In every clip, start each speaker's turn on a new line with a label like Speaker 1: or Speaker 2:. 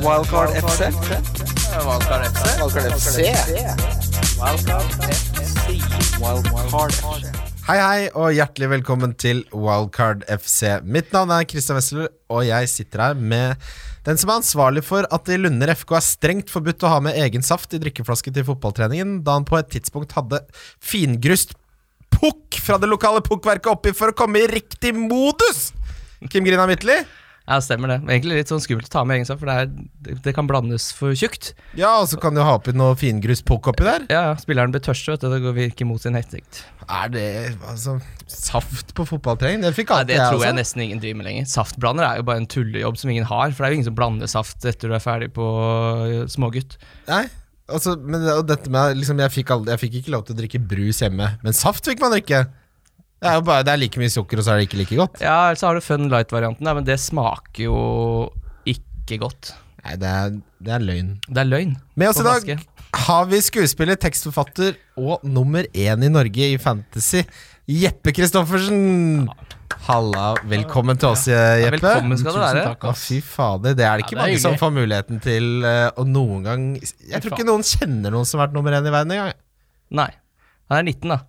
Speaker 1: Wildcard FC.
Speaker 2: Wildcard FC.
Speaker 1: Wildcard FC. Wildcard FC.
Speaker 3: Hei, hei, og hjertelig velkommen til Wildcard FC. Mitt navn er Christian Wessel, og jeg sitter her med den som er ansvarlig for at det i Lunder FK er strengt forbudt å ha med egen saft i drikkeflaske til fotballtreningen, da han på et tidspunkt hadde fingrust pukk fra det lokale pukkverket oppi for å komme i riktig modus! Kim Grina Midtly?
Speaker 4: Ja, stemmer det. Egentlig litt sånn skummelt å ta med egen saft, for det, er, det- det kan blandes for tjukt.
Speaker 3: Ja, og så kan du ha oppi noe fingrust pukk oppi der.
Speaker 4: Ja, ja, spilleren blir tørst, vet du. Det går virker mot sin hensikt.
Speaker 3: Er det altså saft på fotballtrening? Det fikk
Speaker 4: Nei,
Speaker 3: alltid
Speaker 4: det tror jeg
Speaker 3: altså.
Speaker 4: nesten ingen driver med lenger. Saftblander er jo bare en tullejobb som ingen har, for det er jo ingen som blander saft etter du er ferdig på øh, smågutt.
Speaker 3: Nei, altså, men det- og dette med liksom, jeg, fikk aldri, jeg fikk ikke lov til å drikke brus hjemme, men saft fikk man drikke. Det er jo bare, det er like mye sukker, og så er det ikke like godt.
Speaker 4: Ja, eller så har du Fun Light-varianten, da, men det smaker jo ikke godt.
Speaker 3: Nei, det er, det er løgn.
Speaker 4: Det er løgn.
Speaker 3: Med oss
Speaker 4: på
Speaker 3: i dag
Speaker 4: flaske.
Speaker 3: altså, har vi skuespiller, tekstforfatter og nummer én i Norge i fantasy, Jeppe Christoffersen. Halla, velkommen til oss,
Speaker 4: Ja,
Speaker 3: Jeppe.
Speaker 4: velkommen skal du
Speaker 2: Tusen
Speaker 4: være.
Speaker 2: takk,
Speaker 3: Å,
Speaker 2: ass.
Speaker 3: fy fader, det er det ikke
Speaker 2: Ja, det er
Speaker 3: mange som
Speaker 2: hyggelig.
Speaker 3: får muligheten til eh, å noen gang Jeg tror
Speaker 2: faen.
Speaker 3: ikke noen kjenner noen som har vært nummer én i verden engang.
Speaker 4: Nei. Han er 19, da.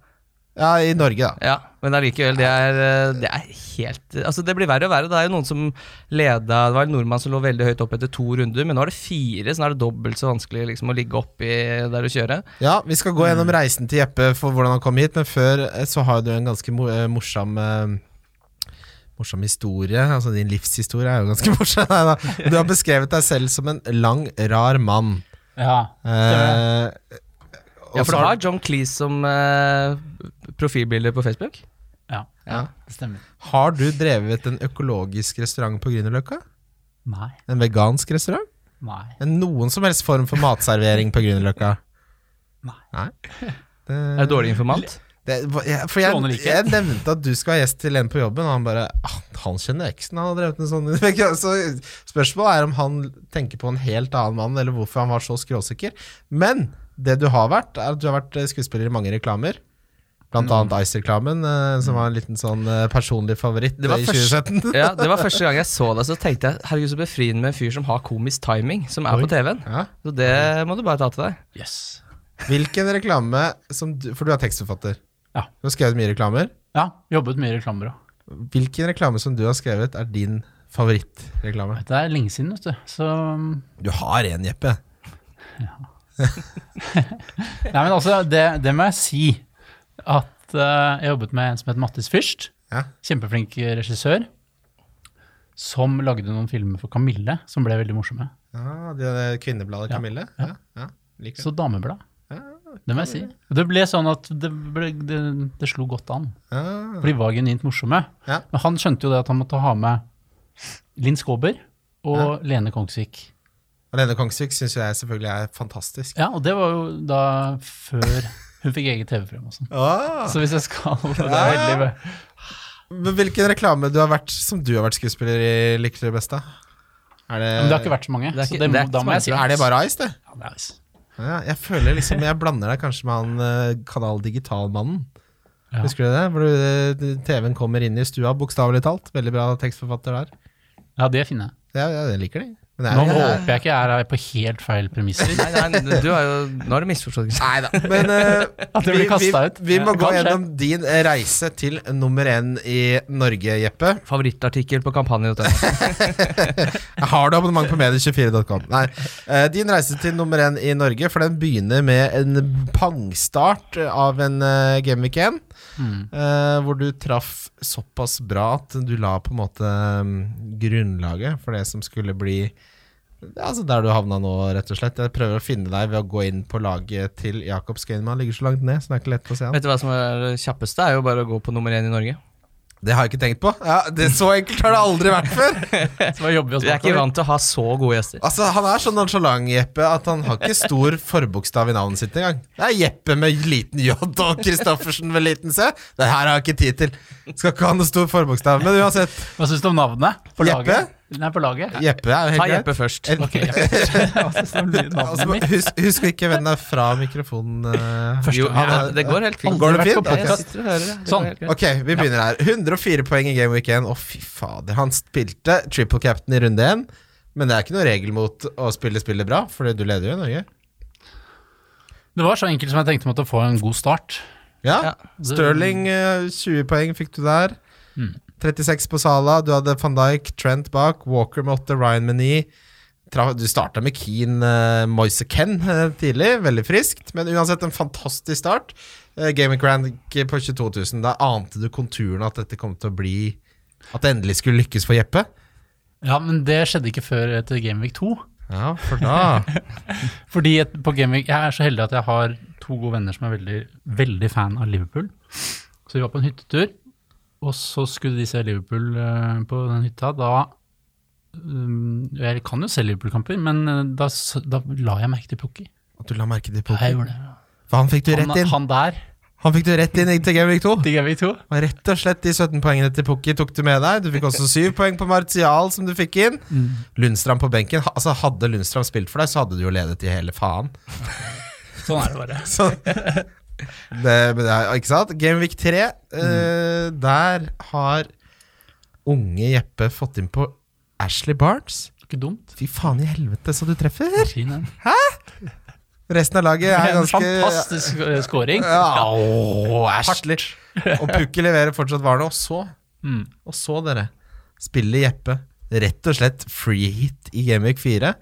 Speaker 3: Ja, i Norge, da.
Speaker 4: Ja, men allikevel, det er, eh, det er helt Altså, det blir verre og verre. Det er jo noen som leda Det var en nordmann som lå veldig høyt opp etter to runder, men nå er det fire, så nå er det dobbelt så vanskelig liksom, å ligge oppi der du kjører.
Speaker 3: Ja, vi skal gå
Speaker 2: Mm.
Speaker 3: gjennom reisen til Jeppe for hvordan han kom hit, men før eh, så har du en ganske mo- eh, morsom eh, Morsom historie. Altså din livshistorie er jo ganske morsom. Nei, da. Du har beskrevet deg selv som en lang, rar mann.
Speaker 2: Ja.
Speaker 3: Eh,
Speaker 4: Ja, for
Speaker 3: så
Speaker 4: du
Speaker 3: har-
Speaker 4: har John Cleese som eh, profilbilde på Facebook?
Speaker 2: ja.
Speaker 4: Ja.
Speaker 2: Det stemmer.
Speaker 3: har du drevet en økologisk restaurant på Grünerløkka?
Speaker 2: Nei.
Speaker 3: En vegansk restaurant?
Speaker 2: Nei.
Speaker 3: En noen som helst form for matservering på Grünerløkka?
Speaker 2: Nei.
Speaker 3: Det,
Speaker 4: Er du dårlig informant?
Speaker 3: det, jeg, for jeg,
Speaker 2: Slående likhet.
Speaker 3: jeg nevnte at du skal være gjest til en på jobben, og han bare ah, Han kjenner eksen, han har drevet en sånn Så spørsmålet er om han tenker på en helt annen mann, eller hvorfor han var så skråsikker. Men det du har vært, er at du har vært eh, skuespiller i mange reklamer. Blant annet Ice-reklamen, eh, som var en liten sånn eh, personlig favoritt
Speaker 4: Det var
Speaker 3: eh, i
Speaker 4: først-
Speaker 3: 2017.
Speaker 4: Ja, det var første gang jeg så deg, så tenkte jeg herregud, så befriende med en fyr som har komisk timing, som er på TV-en.
Speaker 3: Ja.
Speaker 4: Så det må du bare ta til deg.
Speaker 2: Jøss. Yes.
Speaker 3: Hvilken reklame som du For du er tekstforfatter.
Speaker 2: Ja.
Speaker 3: Du har skrevet mye reklamer.
Speaker 2: Ja, jobbet mye i reklamebyrå.
Speaker 3: Hvilken reklame som du har skrevet, er din favorittreklame?
Speaker 2: Det er lenge siden, vet du. Så
Speaker 3: Du har en, Jeppe.
Speaker 2: Nei, men altså, det, det må jeg si. At eh, jeg jobbet med en som het Mattis Fürst.
Speaker 3: Ja.
Speaker 2: Kjempeflink regissør. Som lagde noen filmer for Kamille, som ble veldig morsomme.
Speaker 3: Ja, Ah, det er Kvinnebladet
Speaker 2: Ja.
Speaker 3: Kamille? Ja. ja. Liker det.
Speaker 2: Så dameblad.
Speaker 3: Ja,
Speaker 2: Det må jeg si. Det ble sånn at det, ble, det, det slo godt an.
Speaker 3: Ah,
Speaker 2: For de var genuint morsomme.
Speaker 3: Ja.
Speaker 2: Men han skjønte jo det at han måtte ha med Linn Skåber og Lene Kongsvik.
Speaker 3: Alene Kongsvik syns jeg selvfølgelig er fantastisk.
Speaker 2: Ja, og det var jo da før hun fikk eget TV-program og sånn.
Speaker 3: Ah,
Speaker 2: Så hvis jeg skal det er veldig,
Speaker 3: men hvilken reklame du har vært som du har vært skuespiller i, liker du best, da? Er det,
Speaker 2: Men det har ikke vært så mange,
Speaker 4: Det er ikke-
Speaker 2: så det,
Speaker 4: det er
Speaker 2: må-
Speaker 4: ikke
Speaker 2: da
Speaker 4: så
Speaker 2: må jeg si
Speaker 4: mange.
Speaker 3: er det bare Ice, det?
Speaker 2: Ja, det er nice.
Speaker 3: Ja, jeg føler liksom Jeg blander deg kanskje med han eh, Kanal Digital-mannen.
Speaker 2: Ja.
Speaker 3: Husker du det? Hvor du, eh, TV-en kommer inn i stua, bokstavelig talt. Veldig bra tekstforfatter der.
Speaker 2: Ja, det finner jeg.
Speaker 3: Ja, ja, jeg liker det. Men det
Speaker 2: Nå
Speaker 3: er,
Speaker 2: håper jeg ikke jeg er her på helt feil premisser.
Speaker 4: Nei, nei, du er jo, nå har du misforstått.
Speaker 3: Nei da. Men eh,
Speaker 2: At det
Speaker 3: vi,
Speaker 2: blir
Speaker 3: vi,
Speaker 2: kastet ut.
Speaker 3: vi må
Speaker 2: Ja,
Speaker 3: gå
Speaker 2: kanskje.
Speaker 3: gjennom din eh, reise til nummer én i Norge, Jeppe.
Speaker 4: Favorittartikkel på kampanjen.
Speaker 3: Har du abonnement på medie24.com? Nei. Eh, din reise til nummer én i Norge, for den begynner med en pangstart av en uh, Gameweek 1.
Speaker 2: Mm.
Speaker 3: eh, hvor du traff såpass bra at du la på en måte mm, grunnlaget for det som skulle bli ja, altså der du havna nå, rett og slett. Jeg prøver å finne deg ved å gå inn på laget til Jakob Skøyenman. Han Ligger så langt ned, så det er ikke lett å se han.
Speaker 4: Vet du hva som er det kjappeste? er jo bare å gå på nummer én i Norge.
Speaker 3: Det har jeg ikke tenkt på. Ja, det Så enkelt har det aldri vært før.
Speaker 2: Så bare jobber vi oss
Speaker 4: Vi er ikke
Speaker 2: bakover.
Speaker 4: vant til å ha så gode gjester.
Speaker 3: Altså, Han er så nonchalant, Jeppe, at han har ikke stor forbokstav i navnet sitt engang. Det er Jeppe med liten J og Christoffersen med liten C. Det her har jeg ikke tid til. Skal ikke ha noe stor forbokstav. Men uansett,
Speaker 2: Hva syns du om navnet? På
Speaker 3: Jeppe?
Speaker 2: laget? Nei, på laget.
Speaker 3: Jeppe er jo
Speaker 4: Ta
Speaker 3: helt greit.
Speaker 4: Jeppe først.
Speaker 3: En-
Speaker 2: Ok, Jeppe. Hva syns du om navnet
Speaker 3: Altså,
Speaker 2: mitt?
Speaker 3: husk, husk å ikke vende deg fra mikrofonen. eh.
Speaker 4: Jo,
Speaker 3: Han er-
Speaker 4: ja, det går helt fint.
Speaker 3: Går det
Speaker 2: Aldri vært
Speaker 3: fint?
Speaker 2: på
Speaker 3: Ok.
Speaker 2: podcast.
Speaker 4: sitter og hører, det. Det
Speaker 2: Sånn.
Speaker 4: går helt greit.
Speaker 3: Ok, vi begynner her. 104 poeng i Game Week 1. Å, fy fader. Han spilte triple captain i runde 1, Men det er ikke noe regel mot å spille spillet bra, for du leder jo i Norge.
Speaker 2: Det var så enkelt som jeg tenkte om at å få en god start.
Speaker 3: Ja,
Speaker 4: Ja.
Speaker 3: Sterling, eh, 20 poeng fikk du der.
Speaker 2: Mm.
Speaker 3: 36 på Sala. Du hadde van Dijk, Trent bak, Walker med 8, Ryan med 9. Tra du starta med Keane, eh, Moise Ken eh, tidlig, veldig friskt. Men uansett en fantastisk start. Eh, Gaming Rank på 22 000. Da ante du konturene at dette kom til å bli At det endelig skulle lykkes for Jeppe.
Speaker 2: Ja, men det skjedde ikke før etter Gameweek 2.
Speaker 3: Ja, for da
Speaker 2: Fordi et, på Gameweek, jeg er så heldig at jeg har to gode venner som er veldig, veldig fan av Liverpool. Så vi var på en hyttetur, og så skulle de se Liverpool eh, på den hytta. Da um, Jeg kan jo se Liverpool-kamper, men eh, da, s- da la jeg merke til Pukki.
Speaker 3: At du la merke til
Speaker 2: Jeg
Speaker 3: Pokémon.
Speaker 2: gjorde det.
Speaker 3: For han fikk du
Speaker 2: Han,
Speaker 3: rett inn.
Speaker 2: han der
Speaker 3: Han fikk du rett inn til Gameweek 2.
Speaker 2: til Gameweek 2.
Speaker 3: Og rett og slett de 17 poengene til Pukki tok du med deg. Du fikk også 7 poeng på Martial, som du fikk inn.
Speaker 2: Mm.
Speaker 3: Lundstrand på benken. Ha- Altså, hadde Lundstrand spilt for deg, så hadde du jo ledet i hele faen.
Speaker 2: Sånn er det bare.
Speaker 3: Så, det, men det er, ikke sant? Gameweek 3, eh,
Speaker 2: Mm.
Speaker 3: der har unge Jeppe fått inn på Ashley Barnes.
Speaker 2: Ikke dumt.
Speaker 3: Fy faen i helvete, så du treffer!
Speaker 2: Fin, den.
Speaker 3: Resten av laget er
Speaker 2: En
Speaker 3: ganske
Speaker 2: fantastisk eh, scoring.
Speaker 3: Ja, åh, Ashley. Og Pukki leverer fortsatt varene. Og så,
Speaker 2: Mm.
Speaker 3: og så dere, spiller Jeppe rett og slett free hit i Gameweek 4.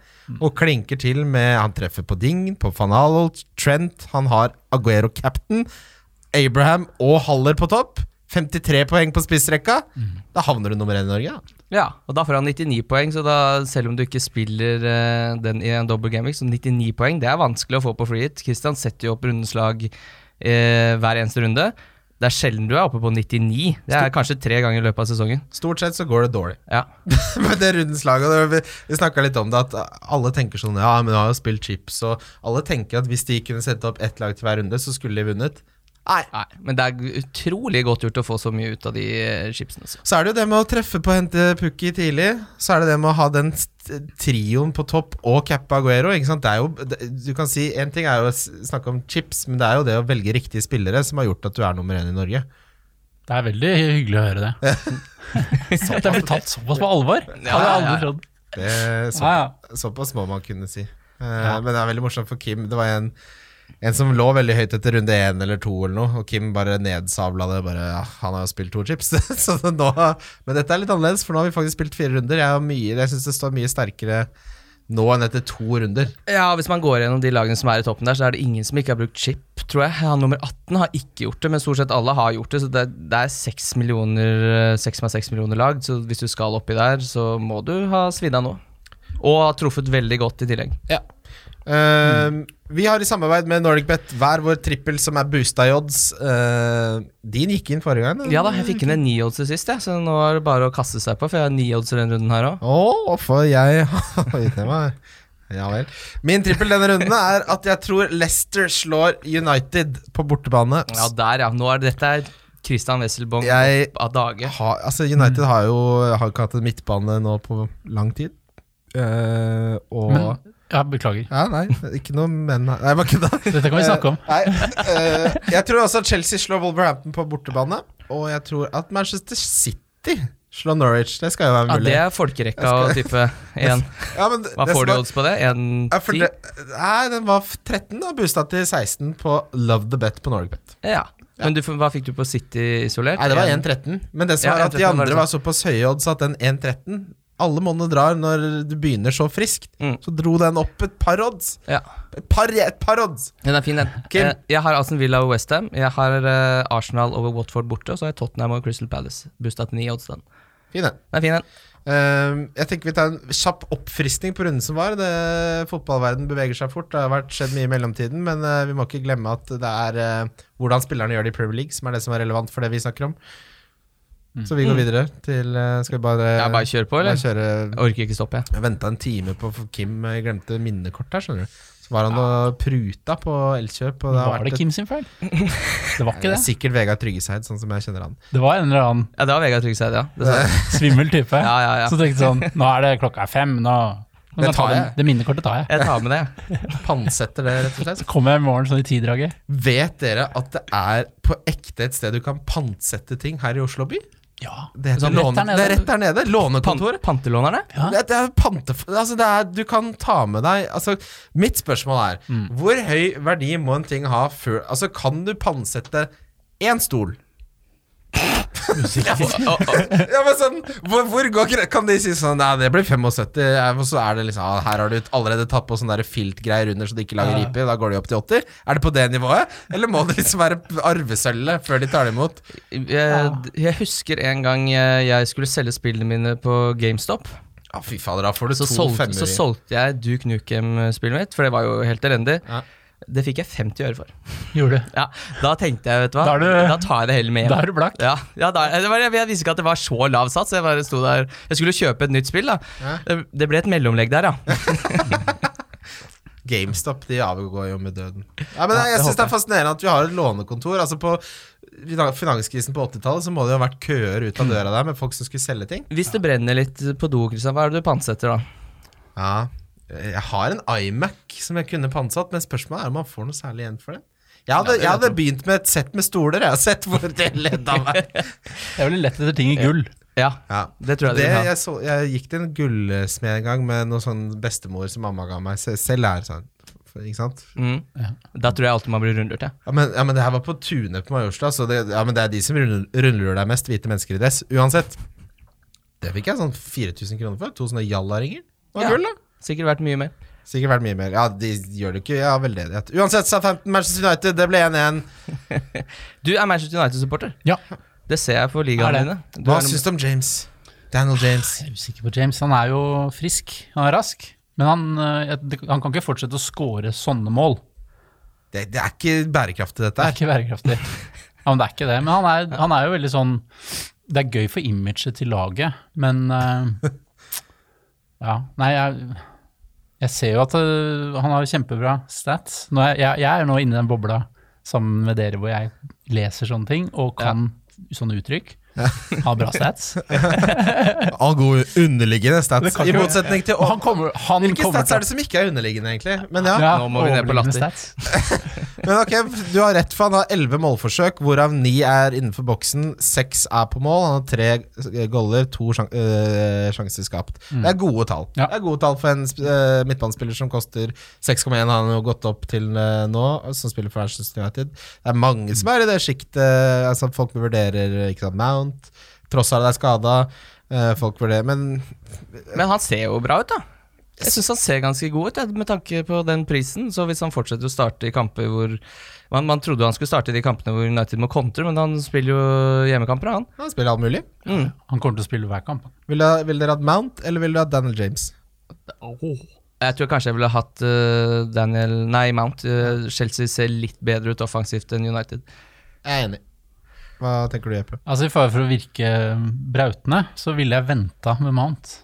Speaker 3: Og klinker til med Han treffer på Ding, på Fanalo, Trent. Han har Aguero captain, Abraham og Haller på topp. 53 poeng på spissrekka. Da havner du nummer én i Norge. da.
Speaker 4: Ja, og da får han 99 poeng, så da, selv om du ikke spiller eh, den i en double gaming, så 99 poeng, det er vanskelig å få på free hit. Christian setter jo opp rundeslag eh, hver eneste runde. Det er sjelden du er oppe på 99. Det er kanskje tre ganger i løpet av sesongen.
Speaker 3: Stort sett så går det dårlig.
Speaker 4: Ja.
Speaker 3: Men det rundens lag, og det- vi, vi snakka litt om det, at alle tenker sånn Ja, men du har jo spilt chips, og alle tenker at hvis de kunne sette opp ett lag til hver runde, så skulle de vunnet. Nei.
Speaker 4: Nei, men det er utrolig godt gjort å få så mye ut av de eh, chipsene. altså.
Speaker 3: Så er det jo det med å treffe på å hente Pukki tidlig. Så er det det med å ha den st- trioen på topp og cappe Aguero. Ikke sant? Det er jo, det- du kan si, En ting er jo å s- snakke om chips, men det er jo det å velge riktige spillere som har gjort at du er nummer én i Norge.
Speaker 2: Det er veldig hyggelig å høre det. At jeg blir tatt såpass på alvor, hadde jeg aldri trodd.
Speaker 3: Det, så,
Speaker 2: Ja, ja.
Speaker 3: Såpass må man kunne si. Eh, Men det er veldig morsomt for Kim. Det var en, en som lå veldig høyt etter runde én eller to, eller noe, og Kim bare nedsabla det. Bare, ja, han har jo spilt to chips. så det nå, men dette er litt annerledes, for nå har vi faktisk spilt fire runder. Jeg, har mye- jeg syns det står mye sterkere nå enn etter to runder.
Speaker 4: Ja, Hvis man går gjennom de lagene som er i toppen der, så er det ingen som ikke har brukt chip, tror jeg. Han nummer 18 har ikke gjort det, men stort sett alle har gjort det. Så det, det er 6 millioner, eh, 6,6 millioner lag, så hvis du skal oppi der, så må du ha svidd av nå. Og har truffet veldig godt i tillegg.
Speaker 3: Eh, Vi har i samarbeid med NordicBet hver vår trippel som er boosta i odds. Eh, din gikk inn forrige gang?
Speaker 4: Ja da, jeg fikk inn en ni-odds til sist, jeg, så nå er det bare å kaste seg på, for jeg har ni-odds i denne runden her òg.
Speaker 3: Å, for jeg har gitt ned meg. Ja vel. Min trippel denne runden er at jeg tror Leicester slår United på bortebane.
Speaker 4: Ja, der, ja. Nå er det, dette er Christian Wesselbong
Speaker 3: Jeg-
Speaker 4: opp av dage.
Speaker 3: Ha, altså United har jo har ikke hatt en midtbane nå på lang tid. Eh, og
Speaker 2: Men- Ja, beklager.
Speaker 3: Ja, nei, ikke noe men Nei, jeg bare kødda.
Speaker 2: Dette kan vi snakke om.
Speaker 3: Nei, eh, jeg tror også at Chelsea slår Wolverhampton på bortebane. Og jeg tror at Manchester City slår Norwich. Det skal jo være
Speaker 4: Ja,
Speaker 3: mulig.
Speaker 4: det er folkerekka og type én.
Speaker 3: Ja, men det-
Speaker 4: Hva
Speaker 3: det som
Speaker 4: får du
Speaker 3: er-
Speaker 4: odds på det?
Speaker 3: Ja, for
Speaker 4: 1,10?
Speaker 3: det, nei, den var f- 13 og boosta til 16 på Love the Bet på NorgeBet.
Speaker 4: Ja. Men du, f- hva fikk du på City isolert?
Speaker 3: Nei, det var
Speaker 4: En-
Speaker 3: 1,13, men det som
Speaker 4: Ja,
Speaker 3: var at de
Speaker 4: 1,13 var det
Speaker 3: andre var såpass høye odds at den 1,13 Alle månedene drar når du begynner så friskt.
Speaker 4: Mm.
Speaker 3: Så dro den opp et par odds.
Speaker 4: Ja,
Speaker 3: Et par, et par odds!
Speaker 4: den er fin, den.
Speaker 3: Kim?
Speaker 4: Eh, Jeg har Aston Villa og Westham. Jeg har eh, Arsenal over Watford borte, og så har jeg Tottenham og Crystal Palace. Busta til ni odds, den.
Speaker 3: Fin den.
Speaker 4: Den er fin, den.
Speaker 3: Ehm, jeg tenker vi tar en kjapp oppfriskning på runden som var. Det, fotballverden beveger seg fort. Det har vært skjedd mye i mellomtiden, men eh, vi må ikke glemme at det er eh, hvordan spillerne gjør det i Premier League, som er det som er relevant for det vi snakker om. Så vi går videre til eh, Skal vi bare,
Speaker 4: Ja, bare kjør på, eller?
Speaker 3: bare kjøre
Speaker 4: Jeg orker ikke stoppe, jeg.
Speaker 3: Jeg venta en time på for Kim. eh, glemte minnekort her, skjønner du. Så var han og pruta på Elkjøp. Og det har
Speaker 2: Var
Speaker 3: vært
Speaker 2: det
Speaker 3: et-
Speaker 2: Kim sin feil? Det var ikke det.
Speaker 3: Sikkert Vegard Tryggeseid, sånn som jeg kjenner han.
Speaker 2: Det var en eller annen
Speaker 4: Ja, det var Vegard Tryggeseid, ja. Det sa jeg.
Speaker 2: svimmel type
Speaker 4: Ja, ja, ja.
Speaker 2: som tenkte sånn Nå er det klokka er fem, nå nå kan
Speaker 3: Det
Speaker 2: jeg
Speaker 3: tar
Speaker 2: ta den.
Speaker 3: jeg.
Speaker 2: Det minnekortet tar jeg.
Speaker 4: Jeg tar med det, jeg.
Speaker 3: Pantsetter det, rett og slett.
Speaker 2: Så kommer jeg i morgen sånn i tidraget.
Speaker 3: Vet dere at det er på ekte et sted du kan pantsette ting her i Oslo by?
Speaker 2: Ja.
Speaker 3: Det, heter
Speaker 4: Sånn, rett
Speaker 3: låne,
Speaker 2: der nede.
Speaker 3: det er rett der nede.
Speaker 4: Pan
Speaker 3: Lånekontoret.
Speaker 4: pantelånerne?
Speaker 2: Ja.
Speaker 3: Det, det er pante... Altså, det er, du kan ta med deg altså, Mitt spørsmål er
Speaker 4: Mm.
Speaker 3: Hvor høy verdi må en ting ha før Altså, kan du pantsette én stol? ja, men sånn, hvor, hvor går gre- Kan de si sånn Nei, det blir 75, ja, og så er det liksom ah, Her har du allerede tatt på sånne der filtgreier under, så det ikke lager
Speaker 2: Ja.
Speaker 3: riper. Da går de opp til 80. Er det på det nivået? Eller må det liksom være arvesølvet før de tar det imot?
Speaker 4: Jeg, Eh, jeg husker en gang eh, jeg skulle selge spillene mine på GameStop.
Speaker 3: Ja, fy fader, da får du
Speaker 4: Så,
Speaker 3: to
Speaker 4: solgte, så
Speaker 3: femmer.
Speaker 4: solgte jeg Duke Nukem-spillet mitt, for det var jo helt elendig.
Speaker 3: Ja.
Speaker 4: Det fikk jeg 50 øre for.
Speaker 2: Gjorde det.
Speaker 4: Ja, Da tenkte jeg, vet du hva,
Speaker 2: Da er du-
Speaker 4: da tar jeg det heller med
Speaker 2: Da
Speaker 4: hjem.
Speaker 2: er du blakk.
Speaker 4: Ja, ja da, det var, jeg, jeg visste ikke at det var så lav sats. Jeg bare sto der Jeg skulle kjøpe et nytt spill, da.
Speaker 3: Ja.
Speaker 4: Det, det ble et mellomlegg der, ja.
Speaker 3: GameStop de avgår jo med døden. Ja, men
Speaker 4: Ja,
Speaker 3: jeg
Speaker 4: det
Speaker 3: synes
Speaker 4: håper
Speaker 3: det er fascinerende at vi har et lånekontor. Altså På finan- finanskrisen på 80-tallet Så må det jo ha vært køer ut av døra der med folk som skulle selge ting.
Speaker 4: Hvis det brenner litt på do, Kristian, hva er det du pantsetter da?
Speaker 3: Ja Jeg har en iMac som jeg kunne pantsatt, men spørsmålet er om man får noe særlig igjen for det. Jeg hadde,
Speaker 4: Ja, det
Speaker 3: jeg hadde
Speaker 4: vet
Speaker 3: begynt med et sett med stoler. Jeg har sett hvor det leda meg.
Speaker 2: Det er vel lett etter ting i gull.
Speaker 4: Ja,
Speaker 3: Ja.
Speaker 4: det tror jeg
Speaker 3: Det,
Speaker 4: du vil ha.
Speaker 3: jeg, så, jeg gikk til en gullsmed en gang med noe sånn bestemor som mamma ga meg. Se- Selv er sånn, ikke sant?
Speaker 4: Mm.
Speaker 2: Ja.
Speaker 4: Da tror jeg alltid man blir rundlurt, jeg.
Speaker 3: Ja men, ja, men det her var på Tune på Majorstua, så det, ja, men det er de som rund- rundlurer deg mest, hvite mennesker i dress. Uansett. Det fikk jeg sånn 4000 kroner for. To sånne jallaringer. Det var
Speaker 4: Ja.
Speaker 3: gull, da.
Speaker 4: Sikkert verdt mye mer.
Speaker 3: Sikkert verdt mye mer. Ja, de gjør det ikke av veldedighet. Uansett, Southampton, Manchester United, det ble 1-1.
Speaker 4: Du er Manchester United-supporter.
Speaker 2: Ja.
Speaker 4: Det ser jeg på
Speaker 2: Er
Speaker 4: ligaene
Speaker 2: det?
Speaker 4: dine. Du
Speaker 3: Hva
Speaker 4: er-
Speaker 3: syns du om James? Daniel James.
Speaker 2: Jeg er usikker på James. Han er jo frisk, han er rask. Men han, eh, jeg- han kan ikke fortsette å score sånne mål.
Speaker 3: Det, det er ikke bærekraftig, dette
Speaker 2: Det er
Speaker 3: her.
Speaker 2: ikke bærekraftig. Ja, men det er ikke det. Men han er, han er jo veldig sånn Det er gøy for imaget til laget, men eh, Ja. Nei, jeg, jeg ser jo at eh, han har kjempebra stats. Nå er, jeg, jeg er nå inne i den bobla sammen med dere hvor jeg leser sånne ting og kan sånne uttrykk. Har bra stats.
Speaker 3: All god underliggende stats.
Speaker 2: kan
Speaker 3: I
Speaker 2: ikke-
Speaker 3: motsetning til
Speaker 2: Og han kommer, han
Speaker 3: Hvilke
Speaker 2: kommer
Speaker 3: stats er det som ikke er underliggende, egentlig? Men ja.
Speaker 2: Ja,
Speaker 4: Nå må vi ned på latter.
Speaker 2: overliggende stats.
Speaker 3: Men ok, du har rett for han har 11 målforsøk, hvorav 9 er innenfor boksen, 6 er på mål, han har 3 goller, 2 sjan øh, sjanser skapt. Det er gode tall.
Speaker 2: Ja.
Speaker 3: Det er gode tall for en sp- øh, midtbanespiller som koster 6,1, han har jo gått opp til øh, nå, som spiller for Manchester United. Det er mange som er i det sjiktet, altså folk vurderer ikke sant, Mount, Trossard er skada, øh, folk vurderer, men
Speaker 4: Men han ser jo bra ut, da. Jeg syns han ser ganske god ut, jeg, med tanke på den prisen. Så hvis han fortsetter å starte i kamper hvor Man, man trodde han skulle starte i de kampene hvor United må kontre, men han spiller jo hjemmekamper, han.
Speaker 3: han spiller all mulig.
Speaker 4: Mm.
Speaker 2: Han kommer til å spille hver kamp.
Speaker 3: Vil dere vil dere ha Mount, eller vil dere ha Daniel James?
Speaker 4: Jeg tror kanskje jeg ville hatt eh, Daniel Nei, Mount. Eh, Chelsea ser litt bedre ut offensivt enn United.
Speaker 3: Jeg er enig. Hva tenker du, Jeppe?
Speaker 2: Altså I fare for å virke brautende, så ville jeg venta med Mount.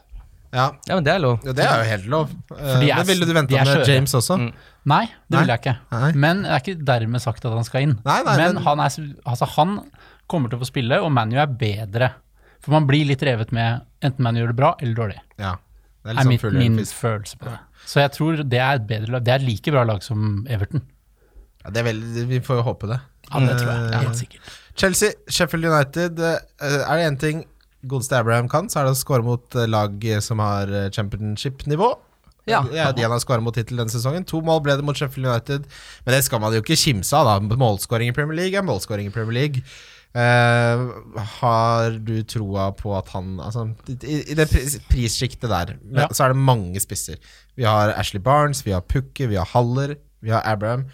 Speaker 3: Ja,
Speaker 4: Ja, men det er lov.
Speaker 3: Ja, det er jo helt lov. Eh,
Speaker 2: de er-
Speaker 3: men ville du venta
Speaker 2: de er
Speaker 3: med
Speaker 2: skjøre.
Speaker 3: James også?
Speaker 4: Mm.
Speaker 2: Nei, det
Speaker 3: Nei.
Speaker 2: ville jeg ikke.
Speaker 3: Nei.
Speaker 2: Men det er ikke dermed sagt at han skal inn.
Speaker 3: Nei, nei,
Speaker 2: men
Speaker 3: men-
Speaker 2: han, er, altså, han kommer til å få spille, og ManU er bedre. For man blir litt revet med enten ManU gjør det bra eller dårlig.
Speaker 3: Ja. Det er
Speaker 2: Det
Speaker 3: litt
Speaker 2: er
Speaker 3: sånn
Speaker 2: mitt,
Speaker 3: full
Speaker 2: min
Speaker 3: ølfisk.
Speaker 2: følelse på det. Så jeg tror det er et bedre lag. Det er et like bra lag som Everton.
Speaker 3: Ja, det er vel, vi får jo håpe det.
Speaker 2: Ja, det tror jeg.
Speaker 3: Eh,
Speaker 2: Helt sikkert.
Speaker 3: Chelsea, Sheffield United. eh, er det én ting godeste Abraham kan, så er det å score mot eh, lag som har eh, championship-nivå.
Speaker 4: Ja.
Speaker 3: Det er de han har skåra mot hittil denne sesongen. To mål ble det mot Sheffield United, men det skal man jo ikke kimse av. da Målskåring i Premier League er målskåring i Premier League. Eh, har du troa på at han altså, I, i det pris, prissjiktet der men,
Speaker 2: Ja.
Speaker 3: så er det mange spisser. Vi har Ashley Barnes, vi har Pukki, vi har Haller, vi har Abraham.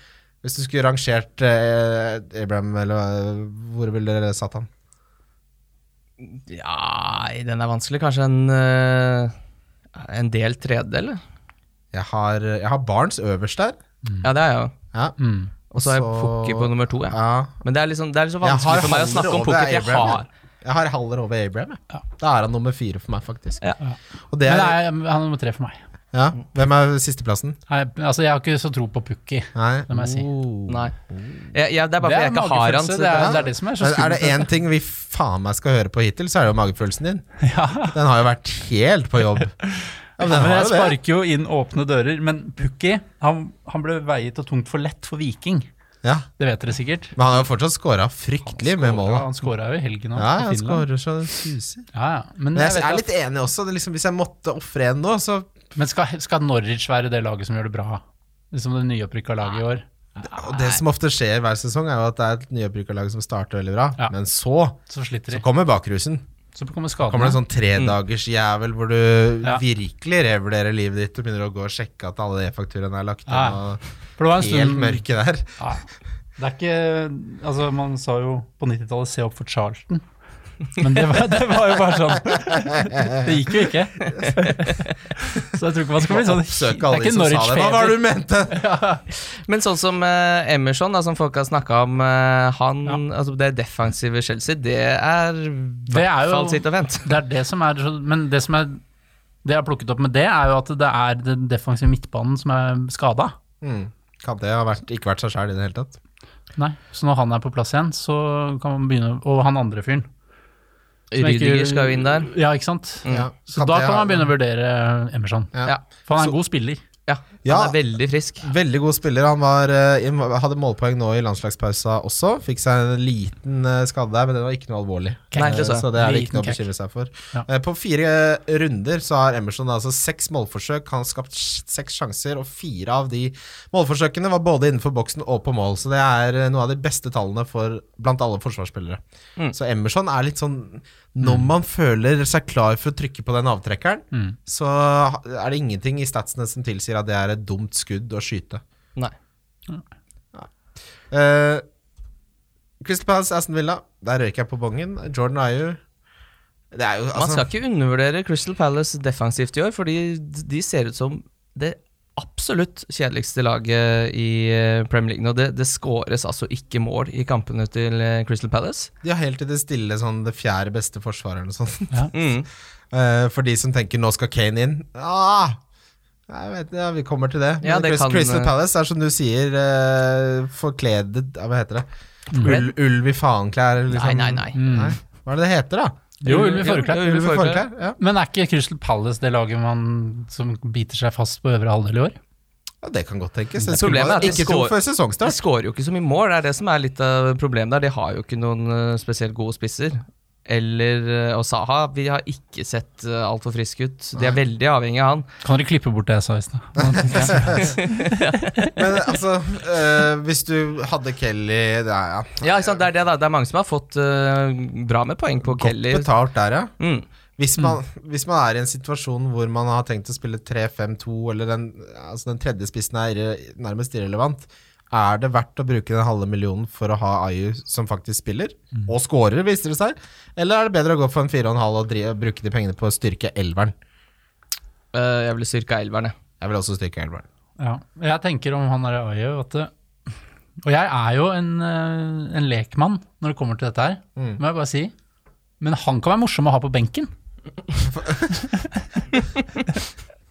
Speaker 3: Hvis du skulle rangert eh, Abraham, eller eh, hvor ville dere satt han?
Speaker 4: Ja, den er vanskelig. Kanskje en eh, En del tredel? eller?
Speaker 3: Jeg har, jeg har Barnes øverst der.
Speaker 4: Ja, det er jeg jo.
Speaker 3: Ja.
Speaker 2: Mm.
Speaker 4: Og så har jeg
Speaker 3: Så-
Speaker 4: Pukki på nummer to. Ja.
Speaker 3: Ja.
Speaker 4: Men det er liksom, det er liksom
Speaker 3: Jeg har
Speaker 4: vanskelig for meg å
Speaker 3: Haller
Speaker 4: snakke om
Speaker 3: over
Speaker 4: poker. for Jeg
Speaker 3: Abraham,
Speaker 4: har
Speaker 3: jeg. Jeg har Haller over Abraham. jeg.
Speaker 2: Ja.
Speaker 3: Da er han nummer fire for meg, faktisk.
Speaker 4: Ja.
Speaker 3: Og det
Speaker 2: Men
Speaker 3: er,
Speaker 2: det er, han er nummer tre for meg.
Speaker 3: ja. Hvem er sisteplassen?
Speaker 2: Nei, altså, jeg har ikke så tro på Pukki,
Speaker 3: Nei.
Speaker 2: det må jeg si.
Speaker 3: Oh.
Speaker 4: Nei. Jeg, jeg, det er bare fordi jeg ikke har han.
Speaker 2: magefølelse.
Speaker 4: Så
Speaker 2: Det er,
Speaker 3: Ja.
Speaker 2: det er det som er så
Speaker 3: Men er det
Speaker 2: skummelt.
Speaker 3: én ting vi faen meg skal høre på hittil, så er det jo magefølelsen din.
Speaker 2: Ja.
Speaker 3: Den har jo vært helt på jobb. Ja, men
Speaker 2: Ja,
Speaker 3: den
Speaker 2: men
Speaker 3: har
Speaker 2: jeg
Speaker 3: jo det.
Speaker 2: sparker jo inn åpne dører, men Pukki han, han ble veiet og tungt for lett for Viking.
Speaker 3: Ja,
Speaker 2: Det vet dere sikkert.
Speaker 3: Men han har jo fortsatt scora fryktelig med mål. da.
Speaker 2: Han skåra jo i helgen òg.
Speaker 3: Ja, han scorer så det suser.
Speaker 2: Ja, ja. Men,
Speaker 3: Men
Speaker 2: jeg
Speaker 3: jeg er
Speaker 2: vet
Speaker 3: litt enig også. Det er liksom, hvis jeg måtte ofre en nå, så
Speaker 2: at, men skal, skal Norwich være det laget som gjør det bra? Liksom det nyopprykka laget i år?
Speaker 3: Og det som ofte skjer hver sesong, er jo at det er et nyopprykkerlag som starter veldig bra,
Speaker 2: Ja.
Speaker 3: men så
Speaker 2: Så sliter
Speaker 3: så
Speaker 2: de.
Speaker 3: kommer bakrusen.
Speaker 2: Så kommer
Speaker 3: Så kommer
Speaker 2: skadene.
Speaker 3: det en sånn tredagersjævel hvor du
Speaker 2: Ja.
Speaker 3: virkelig revurderer livet ditt og begynner å gå og sjekke at alle e-fakturaene er lagt inn.
Speaker 2: Ja.
Speaker 3: Og
Speaker 2: For det var en
Speaker 3: helt
Speaker 2: stund
Speaker 3: mørke der.
Speaker 2: ja. Det er ikke Altså, man sa jo på 90-tallet 'se opp for Charlton'. Men det var, det var jo bare sånn. Det gikk jo ikke. Så jeg tror ikke man skal bli sånn
Speaker 3: Oppsøke alle de som sa det. Hva var
Speaker 2: Norwich-feber.
Speaker 3: det du mente?
Speaker 4: Men sånn som eh, Emerson, da, som folk har snakka om, eh, han, altså det defensive Chelsea, det er i
Speaker 2: Det er
Speaker 4: hvert
Speaker 2: jo-
Speaker 4: fall sitt og vent.
Speaker 2: Det er det som er så- Men det som er Det jeg har plukket opp med det, er jo at det er den defensive midtbanen som er skada.
Speaker 3: Mm. Kan det ha vært, ikke vært seg sjæl i det hele tatt?
Speaker 2: Nei, så når han er på plass igjen, så kan man begynne Og han andre fyren. som jeg ikke-
Speaker 4: Rydiger skal jo inn der. Mm.
Speaker 2: Ja, ikke sant?
Speaker 3: Ja.
Speaker 2: Mm. Så da
Speaker 3: det
Speaker 2: kan
Speaker 3: ha-
Speaker 2: man begynne å vurdere Emerson.
Speaker 3: Ja.
Speaker 4: Ja.
Speaker 2: For han er en god spiller.
Speaker 4: ja.
Speaker 3: Ja.
Speaker 4: Han er veldig frisk.
Speaker 3: Veldig god spiller. Han var, eh, i- hadde målpoeng nå i landslagspausa også. Fikk seg en liten eh, skade der, men den var ikke noe alvorlig.
Speaker 4: Nei, det
Speaker 3: Eh,
Speaker 4: så jeg.
Speaker 3: så det er det ikke
Speaker 2: Liten
Speaker 3: noe å bekymre seg for.
Speaker 2: Ja.
Speaker 3: Eh, På fire runder så har Emerson da altså seks målforsøk. Han har skapt sj- seks sjanser, og fire av de målforsøkene var både innenfor boksen og på mål. Så det er eh, noe av de beste tallene for blant alle forsvarsspillere.
Speaker 4: Mm.
Speaker 3: Så Emerson er litt sånn Når man føler seg klar for å trykke på den avtrekkeren,
Speaker 2: Mm.
Speaker 3: så ha- er det ingenting i statsene som tilsier at det er et dumt skudd å skyte.
Speaker 4: Nei.
Speaker 3: Eh, Crystal Palace, Aston Villa. Der røyk jeg på bongen. Jordan Ayew. Det er jo
Speaker 4: Man
Speaker 3: altså
Speaker 4: skal ikke undervurdere Crystal Palace defensivt i år, fordi de ser ut som det absolutt kjedeligste laget i eh, Premier League. nå. det, det skåres altså ikke mål i kampene til eh, Crystal Palace.
Speaker 3: De har helt til det stille sånn det fjerde beste forsvareren og sånn.
Speaker 4: Mm.
Speaker 3: Eh, for de som tenker nå skal Kane inn. Ah, jeg vet det, ja, vi kommer til det. Men
Speaker 4: Ja, det
Speaker 3: Crystal,
Speaker 4: kan- eh,
Speaker 3: Crystal Palace er som du sier, eh, forkledet ja, Hva heter det? Ul, ulv i faenklær?
Speaker 4: Nei,
Speaker 3: eller Liksom.
Speaker 4: nei, nei.
Speaker 2: Mm.
Speaker 3: Nei. Hva er det det heter, da?
Speaker 2: Jo, Ulv i
Speaker 4: Ja,
Speaker 2: forklær.
Speaker 4: Ulv i
Speaker 3: Ulv i
Speaker 4: forklær.
Speaker 3: forklær? Ja.
Speaker 2: Men er ikke Crystal Palace det laget man, som biter seg fast på øvre halvdel i år?
Speaker 3: ja, det kan godt
Speaker 4: Men
Speaker 3: tenkes. Det skulle
Speaker 4: problemet er
Speaker 3: man
Speaker 4: at de
Speaker 3: ikke tro
Speaker 4: skår-
Speaker 3: før
Speaker 4: De
Speaker 3: sesongstart.
Speaker 4: skårer jo ikke så mye mål, det er det som er litt av problemet der. De har jo ikke noen eh, spesielt gode spisser. Eller eh, Og Saha, vi har ikke sett eh, altfor friske ut. De er veldig avhengig av han.
Speaker 2: Kan dere klippe bort det jeg sa i stad?
Speaker 3: Men altså, eh, hvis du hadde Kelly det er, ja.
Speaker 4: Ja, ikke sant, det er det, da. Det er mange som har fått eh, bra med poeng på
Speaker 3: Godt
Speaker 4: Kelly.
Speaker 3: betalt der, ja.
Speaker 4: Mm.
Speaker 3: Hvis man, hvis man er i en situasjon hvor man har tenkt å spille 3-5-2, eller den, altså den tredje spissen er irre- nærmest irrelevant, er det verdt å bruke den halve millionen for å ha Ayu som faktisk spiller, og scorer, viser det seg? Eller er det bedre å gå for en 4,5 og dri bruke de pengene på å styrke elveren?
Speaker 4: Eh, jeg ville styrka elverne.
Speaker 3: Jeg vil også styrke elveren.
Speaker 2: Ja. Jeg tenker om han der Ayew at det- Og jeg er jo en, eh, en lekmann når det kommer til dette her,
Speaker 3: Mm.
Speaker 2: må jeg bare si. Men han kan være morsom å ha på benken.